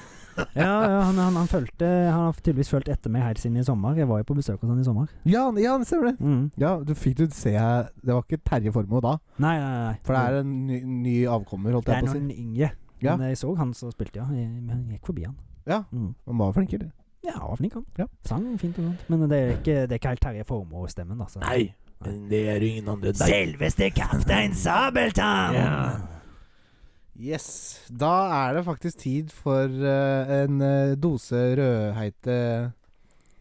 Ja, ja han, han, han, fulgte, han har tydeligvis fulgt etter meg helt siden i sommer. Jeg var jo på besøk hos han i sommer. ja, han- ja, han stemmer det. Mm. Ja, du fikk du se Det var ikke Terje Formoe da, Nei, nei, nei. for det er en ny, ny avkommer, holdt det jeg er på å si. noen yngre. Ja. Men jeg så han som spilte, ja. Jeg, men jeg gikk forbi han. Ja. Mm. Han var flink, eller? Ja, han var flink, han. Ja. Sang fint og sånt. Men det er ikke, det er ikke helt Terje Formoe-stemmen, altså. men det er ingen andre Selveste kaptein Sabeltann! Ja. Yes. Da er det faktisk tid for eh, en eh, dose rødheite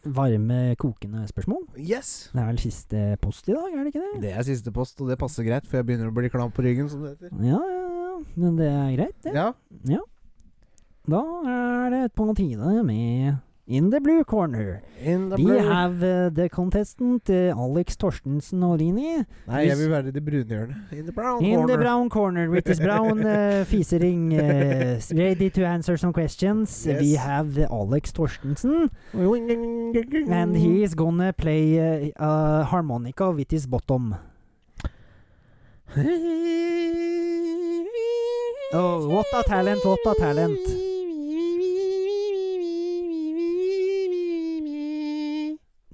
Varme, kokende spørsmål. Yes! Det er vel siste post i dag, er det ikke det? Det er siste post, og det passer greit, for jeg begynner å bli klam på ryggen, som det heter. Ja, ja, ja. Men det er greit, det. Ja. Da er det på tide med In the blue corner. In the We blue. have uh, the contestant uh, Alex Torstensen Olini. Nei, jeg vil være i det brune hjørnet. In the brown In the corner. brown corner with his brown uh, fisering uh, s- ready to answer some questions. We Yes. have uh, Alex Torstensen, and he is gonna play uh, uh, harmonica with his bottom. Oh, what a talent, what a talent.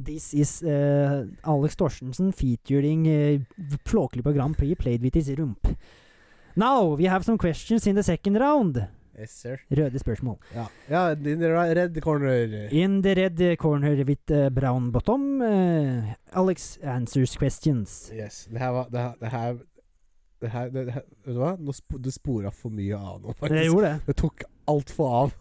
This is uh, Alex Torstensen featuring uh, Flåklypa Grand Prix played with his rump. Now we have some questions in the second round. Yes, sir. Røde spørsmål. Ja, ja in the ra- red corner. In the red corner with uh, brown bottom, uh, Alex answers questions. Yes. Det her var Det her, det her, det her, det her Vet du hva? Nå sp du spora for mye av nå, Jeg faktisk. gjorde det. Det tok altfor av.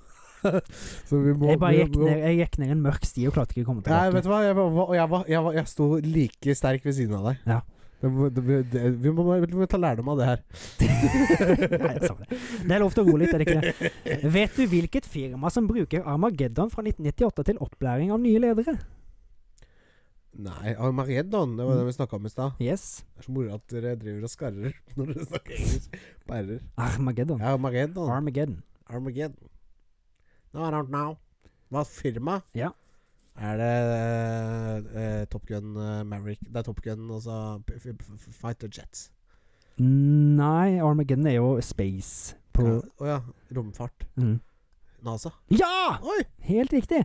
Så vi må Jeg bare vi gikk må- ned, jeg gikk ned en mørk sti og klarte ikke å komme Nei, vet tilbake. du hva? Jeg, var- var- jeg, var- jeg, var- jeg sto like sterk ved siden av deg. Ja. Det, må- det, det, vi, må, bare- vi må ta lærdom av det her. Nei, jeg sa det. det er lov til å gå litt, er det ikke det? Vet du hvilket firma som bruker Armageddon fra 1998 til opplæring av nye ledere? Nei, Armageddon, det var det vi snakka om i stad. Yes, Det er så moro at dere driver og skarrer når dere snakker engelsk. Barrer. Armageddon. Ja, Armageddon. Armageddon. Armageddon. No, I don't know. Hva firma? Ja. Er det eh, Top Gun eh, Maverick Det er Top Gun, altså p- f- f- Fighter Jets. Nei, Armageddon er jo space Å på ja. å ja. Romfart. mm. NASA. Ja! Oi! Helt riktig.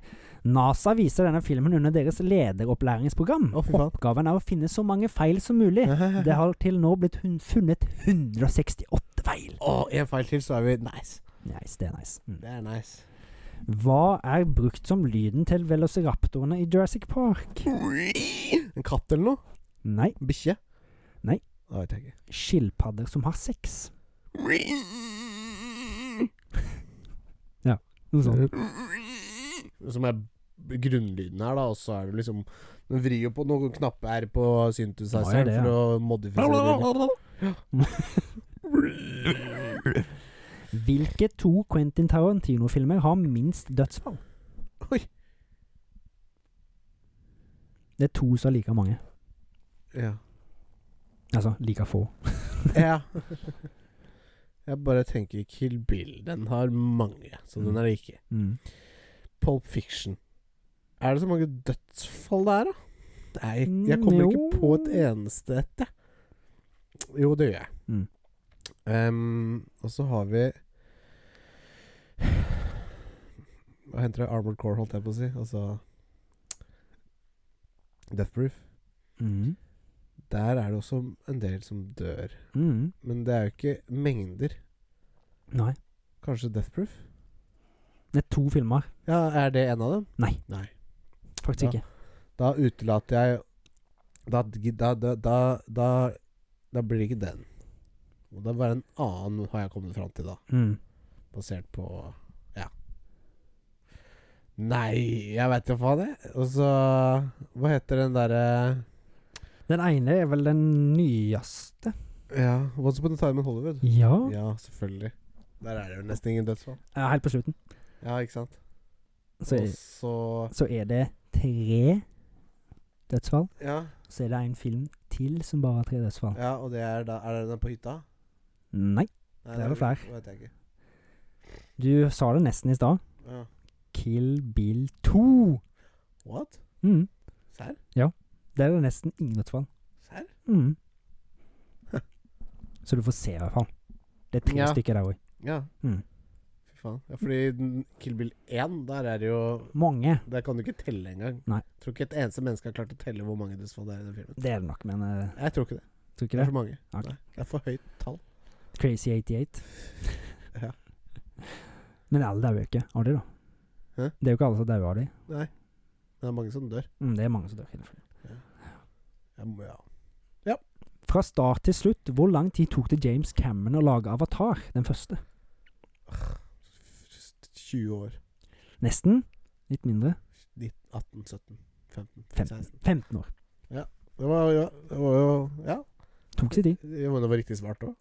NASA viser denne filmen under deres lederopplæringsprogram. Å, fy faen. Oppgaven er å finne så mange feil som mulig. Det har til nå blitt hun funnet 168 feil. Å, en feil til, så er vi nice. Nice, det er nice. Mm. Det er nice. Hva er brukt som lyden til velociraptorene i Jurassic Park? En katt eller noe? Nei, En bikkje? Nei. Det vet jeg ikke. skilpadder som har sex. Noe sånt. Som er b- grunnlyden her, da, og så er det liksom Den vrir jo på noen knapper på Nå er synthesizeren det, ja. for å modifisere lyden. Hvilke to Quentin Tarantino-filmer har minst dødsfall? Oi. Det er to som har like mange. Ja. Altså like få. ja. Jeg bare tenker Kill Bill. Den har mange, så den er det ikke. Mm. Pulp Fiction. Er det så mange dødsfall der, da? Nei, jeg kommer Mm, ikke på et jo. eneste et, jeg. Jo, det gjør jeg. Mm. Ehm, og så har vi Hva henter jeg? Armored Core, holdt jeg på å si. Altså Death Proof. Mm. Der er det også en del som dør. Mm. Men det er jo ikke mengder. Nei. Kanskje Death Proof? Det er to filmer, Ja, er det en av dem? faktisk Ja. ikke. Da utelater jeg Da, da, da, da, da, da blir det ikke den. Og da var det en annen har jeg kommet fram til, da. Mm. Basert på Ja. Nei, jeg veit da faen, jeg. Og så Hva heter den derre Den ene er vel den nyeste. Ja, Once upon a time in Hollywood. Ja. Ja, selvfølgelig. Der er det jo nesten ingen dødsfall. ja. Helt på slutten. Ja, ikke sant? Så, Og så så er det tre dødsfall. ja, Så er det en film til som bare har tre dødsfall. ja, og det er da Er det den på hytta? Nei, Nei, Det er vel flere. Det vet jeg ikke. du sa det nesten i stad. Ja. Kill Bill 2. What? Mm. Serr? Der er det nesten ingen dødsfall. Serr? Mm. Så du får se, i hvert fall. Det er tre Ja. stykker der òg. Ja. Mm. Fy faen. Ja, fordi den- Kill Bill 1, der er det jo Mange. Der kan du ikke telle engang. Nei. Tror ikke et eneste menneske har klart å telle hvor mange dødsfall det er i den filmen. Det er det nok, men eh, Jeg tror ikke det. tror ikke Det er det. for mange. Ok. Nei, det er for høyt tall. Crazy 88. Ja. Men alle dauer jo ikke av de, da. Hæ? Det er jo ikke alle som dauer av de. Nei. Det er mange som dør. Mm, det er mange som dør. innenfor det. Jeg må, ja. Fra start til slutt, hvor lang tid tok det James Cameron å lage Avatar, den første? 20 år. Nesten. Litt mindre. 19, 18, 17, 15, 15, 16. 15 år. Det var jo ja, det var jo Ja, Tok sin tid. det var det var riktig svart òg.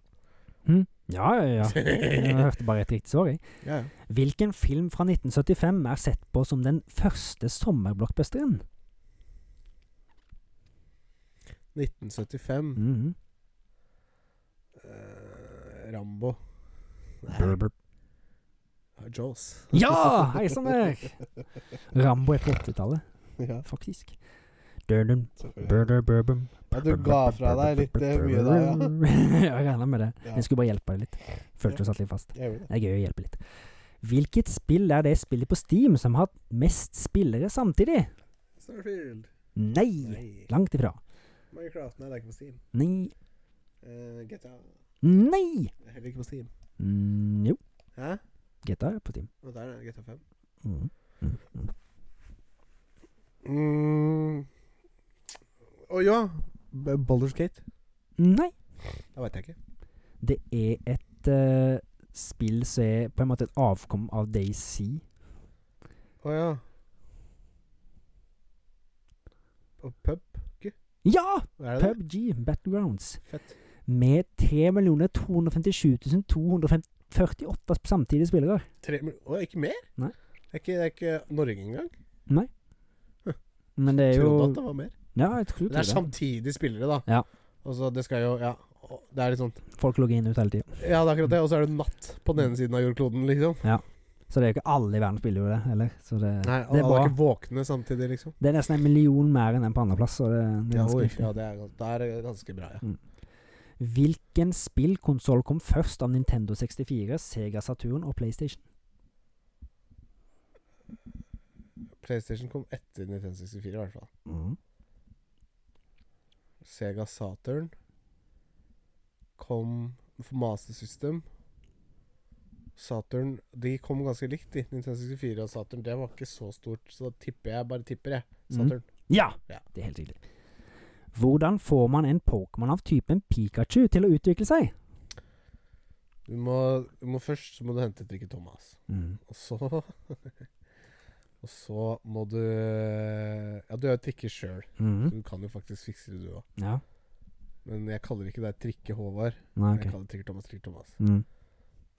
Mm. Ja, ja, ja. Jeg hørte bare et riktig svar, jeg. Ja, ja. Hvilken film fra 1975 er sett på som den første sommerblockbusteren? 1975. Mhm. eh, Rambo. Brr, brr. Jaws. Ja! Hei sann, Erik. Rambo er på 80-tallet, ja, faktisk. Dun-dun, selvfølgelig. brr-brr-brr-brr. ja, du ga fra deg litt eh, mye der, ja. Jeg regna med det. Ja. Jeg skulle bare hjelpe deg litt. Følte du satt litt fast. Jeg gjorde det. Det er gøy å hjelpe litt. Hvilket spill er det spillet på Steam som har hatt mest spillere samtidig? Starfield. Nei! Nei. Langt ifra. Minecraft. Nei, det er ikke på Steam. Nei. Eh, GTA. det Nei! er Heller ikke på Steam. Mm, jo, Hæ? GTA er på Steam. Og der er det GTA 5. Mm. Mm. mm. Mm. Å ja. Boulders Gate. Nei, Det veit jeg ikke. det er et eh, spill som er på en måte et avkom av Daisy. Å ja. Og pub? Ja! Hva er det? PubG Battlegrounds. Fett. Med 3 257 248 samtidige spillere. Tre mil- Å, ikke mer? Nei. Det er ikke, det er ikke Norge engang. Men det er jo Trodde at det var mer. Ja, jeg tror Men det er det. samtidig spillere, da. Ja. Og så det skal jo Ja. å, Det er litt sånn Folk logger inn ut hele tida. Ja, det er akkurat det. Og så er det natt på den ene siden av jordkloden, liksom. Så det er jo ikke alle i verden spiller jo det, eller? Så det, Nei, det, alle er er, bra. ikke våkne samtidig, liksom. det er nesten en million mer enn den på andreplass. så Det, det er Ja, ganske oi, heftig. ja det, er, gans- det er ganske bra, ja. Hvilken spillkonsoll kom først av Nintendo 64, Sega Saturn og PlayStation? PlayStation kom etter 1964, i hvert fall. Sega Saturn kom for Master System. Saturn De kom ganske likt, de. 1964 og Saturn. Det var ikke så stort, så da tipper jeg. Bare tipper, jeg. Saturn. Ja! Ja. Det er helt riktig. Hvordan får man en Pokémon av typen Pikachu til å utvikle seg? Du, må, du må først så må du hente Trikke Thomas. Og så Og så må du Ja, du er jo trikker sjøl, så Mhm. du kan jo faktisk fikse det, du òg. Ja. Men jeg kaller ikke deg Trikke Håvard. Nei, Jeg ok. kaller Trikker Thomas Trikker Thomas. Mm.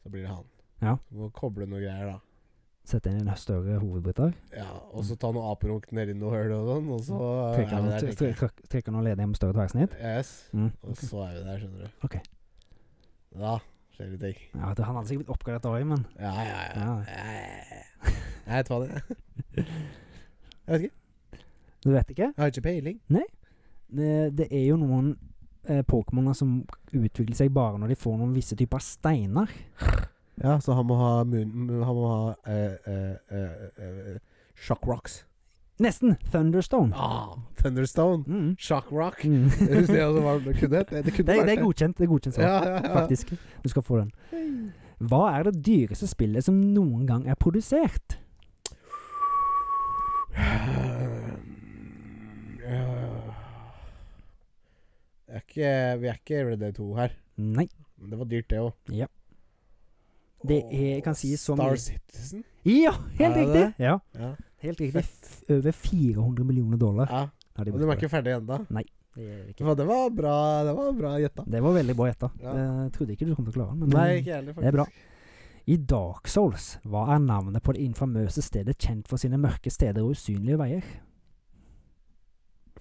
Så blir det han. Ja. Du må koble noe greier, da. Sett inn en større hovedbryter. Ja, Mm. og så ta noe aperunk nedi noe høl og sånn, og så er Trekker vi noen- der. tre- tenker jeg. tre- trekker noen ledige med større tverrsnitt. Yes, Mm. og så er vi der, skjønner du. Ok. Da skjer det ting. Ja, det, han hadde sikkert blitt oppgradert året, men Ja, ja, ja. Ja. ja, ja, ja. Jeg vet hva det er. Jeg vet ikke. du vet ikke? Jeg har ikke peiling. det, det er jo noen eh, Pokémoner som utvikler seg bare når de får noen visse typer steiner. Ja, så han må ha mun... mu- Han må ha eh, eh, eh, eh, Shock Rocks. Nesten! Thunderstone. Ah, Thunderstone. Mm. Shock Rock. Mm. Jeg synes det altså var det kunne hett. Det det, kunne det vært er godkjent. Det er godkjent svar, Ja, ja, ja. faktisk. Du skal få den. Hva er det dyreste spillet som noen gang er produsert? Eh, Jeg er ikke, vi er ikke Red Dead 2 her. Nei. Men det var dyrt, det òg. Ja. Det er- jeg kan si så Star mye. Citizen? Ja, Er helt det riktig! det? Ja, Ja. helt riktig. F over 400 millioner dollar. ja. har de Og de er brukt på ikke ferdige ennå. det. Det er det ikke. Det var bra Det var bra gjetta. Det var veldig bra gjetta. Ja. Jeg trodde ikke du kom til å klare den. men- Nei, ikke jeg heller, Mm. det er bra. faktisk. I Dark Souls, hva er navnet på det infamøse stedet kjent for sine mørke steder og usynlige veier?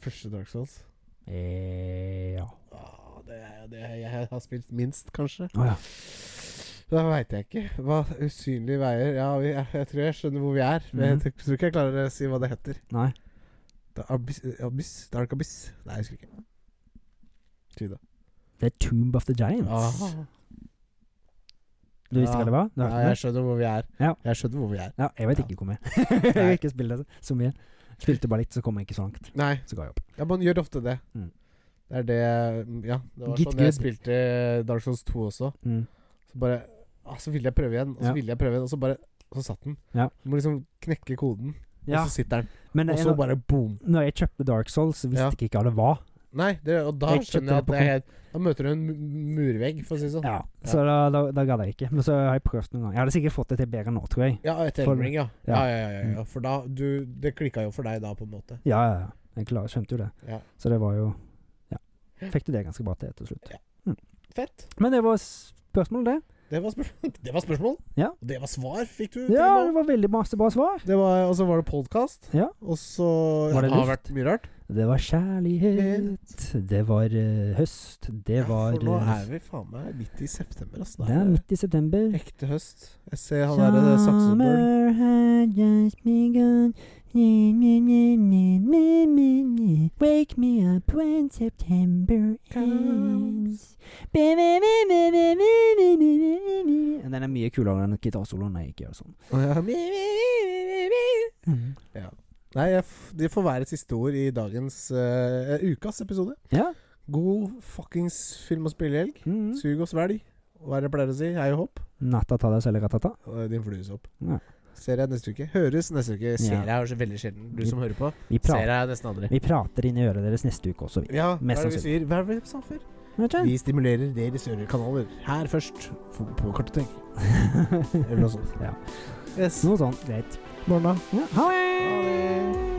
Første Dark Souls. Eh, ja. Ah, det er jo det jeg har spilt minst, kanskje. Å ja. Da veit jeg ikke. Hva, usynlige veier Ja, vi, jeg, jeg tror jeg skjønner hvor vi er. Men Mhm. jeg tror ikke jeg klarer å si hva det heter. Nei. Da, abyss, abyss? Dark Abyss? Nei, jeg husker ikke. Tid, da. Det er Tomb of the Giants. Ah, Du visste Ja. hva det var? Du Ja, hørte jeg det? skjønner hvor vi er. Ja. Jeg skjønner hvor vi er. ja, jeg vet Ja. ikke hvor jeg er. jeg har ikke spilt det så mye. Spilte bare litt, så kom jeg ikke så langt. Nei, Så ga jeg opp. ja, man gjør ofte det. Mm. Det er det Ja, det var Git sånn jeg good. spilte Dark Souls 2 også. Mm. Så bare ah, Så ville jeg prøve igjen, og så Ja. ville jeg prøve igjen, og så bare og Så satt den. Ja. Du må liksom knekke koden, Ja, og så sitter den. men Og jeg, så bare boom. når jeg kjøpte Dark Souls, så visste Ja. jeg ikke hva det var. Nei, det, og da Jeg kjøpte skjønner jeg det at på det er helt Da møter du en mu- murvegg, for å si det sånn. Ja, Så da, da, da gadd jeg ikke. Men så har jeg prøvd noen ganger. Jeg hadde sikkert fått det til bedre nå, tror jeg. Ja, et For- Elmring, ja. Ja, ja. ja, ja, ja. For da du, Det klikka jo for deg da, på en måte. Ja, ja, ja. Jeg klar, skjønte jo det. Ja. Så det var jo Ja. Fikk du det ganske bra til til slutt. Fett. Men det var s- spørsmål, det. Det var, spørsmål. det var spørsmål. Ja. Og det var svar, fikk du. til Ja, nå. det var veldig masse bra svar. Det var, og så var det podkast. Ja. Og så Var det har luft? vært mye rart. Det var kjærlighet, det var eh, høst, det var For nå eh, er vi faen meg midt i september, ass. Det er midt i september. ekte høst. Jeg ser han eh, derre saksebøl. had just begun. Ne, ne, ne, ne, ne, ne, ne. Wake me up when September Comes. Be, be, be, be, be, be, be, be, be, be. Den er mye kulere enn gitarsoloen jeg ikke gjør sånn. Mm. Nei, jeg f det får være siste ord i dagens eh, ukas episode. Ja. God fuckings film- og spillehelg. Mm. Sug og svelg. Hva er det jeg pleier å si? Hei og hopp. Natta ta deg selv i ratata. Og Din fluesopp. Ja. Ser jeg neste uke. Høres neste uke. Ser Ja. jeg er så veldig sjelden. Du som hører på, Vi, ser prater- jeg nesten aldri. vi prater inn i øret deres neste uke også, vi. Ja, hva Mest er det vi sier? Hva er det vi sa før? Vet du? Vi stimulerer deres ørekanaler. Her først. På, på kartotek. Eller noe sånt. Ja. Yes. Noe sånt. Greit. Morna. Ja. Ha det! Ha det.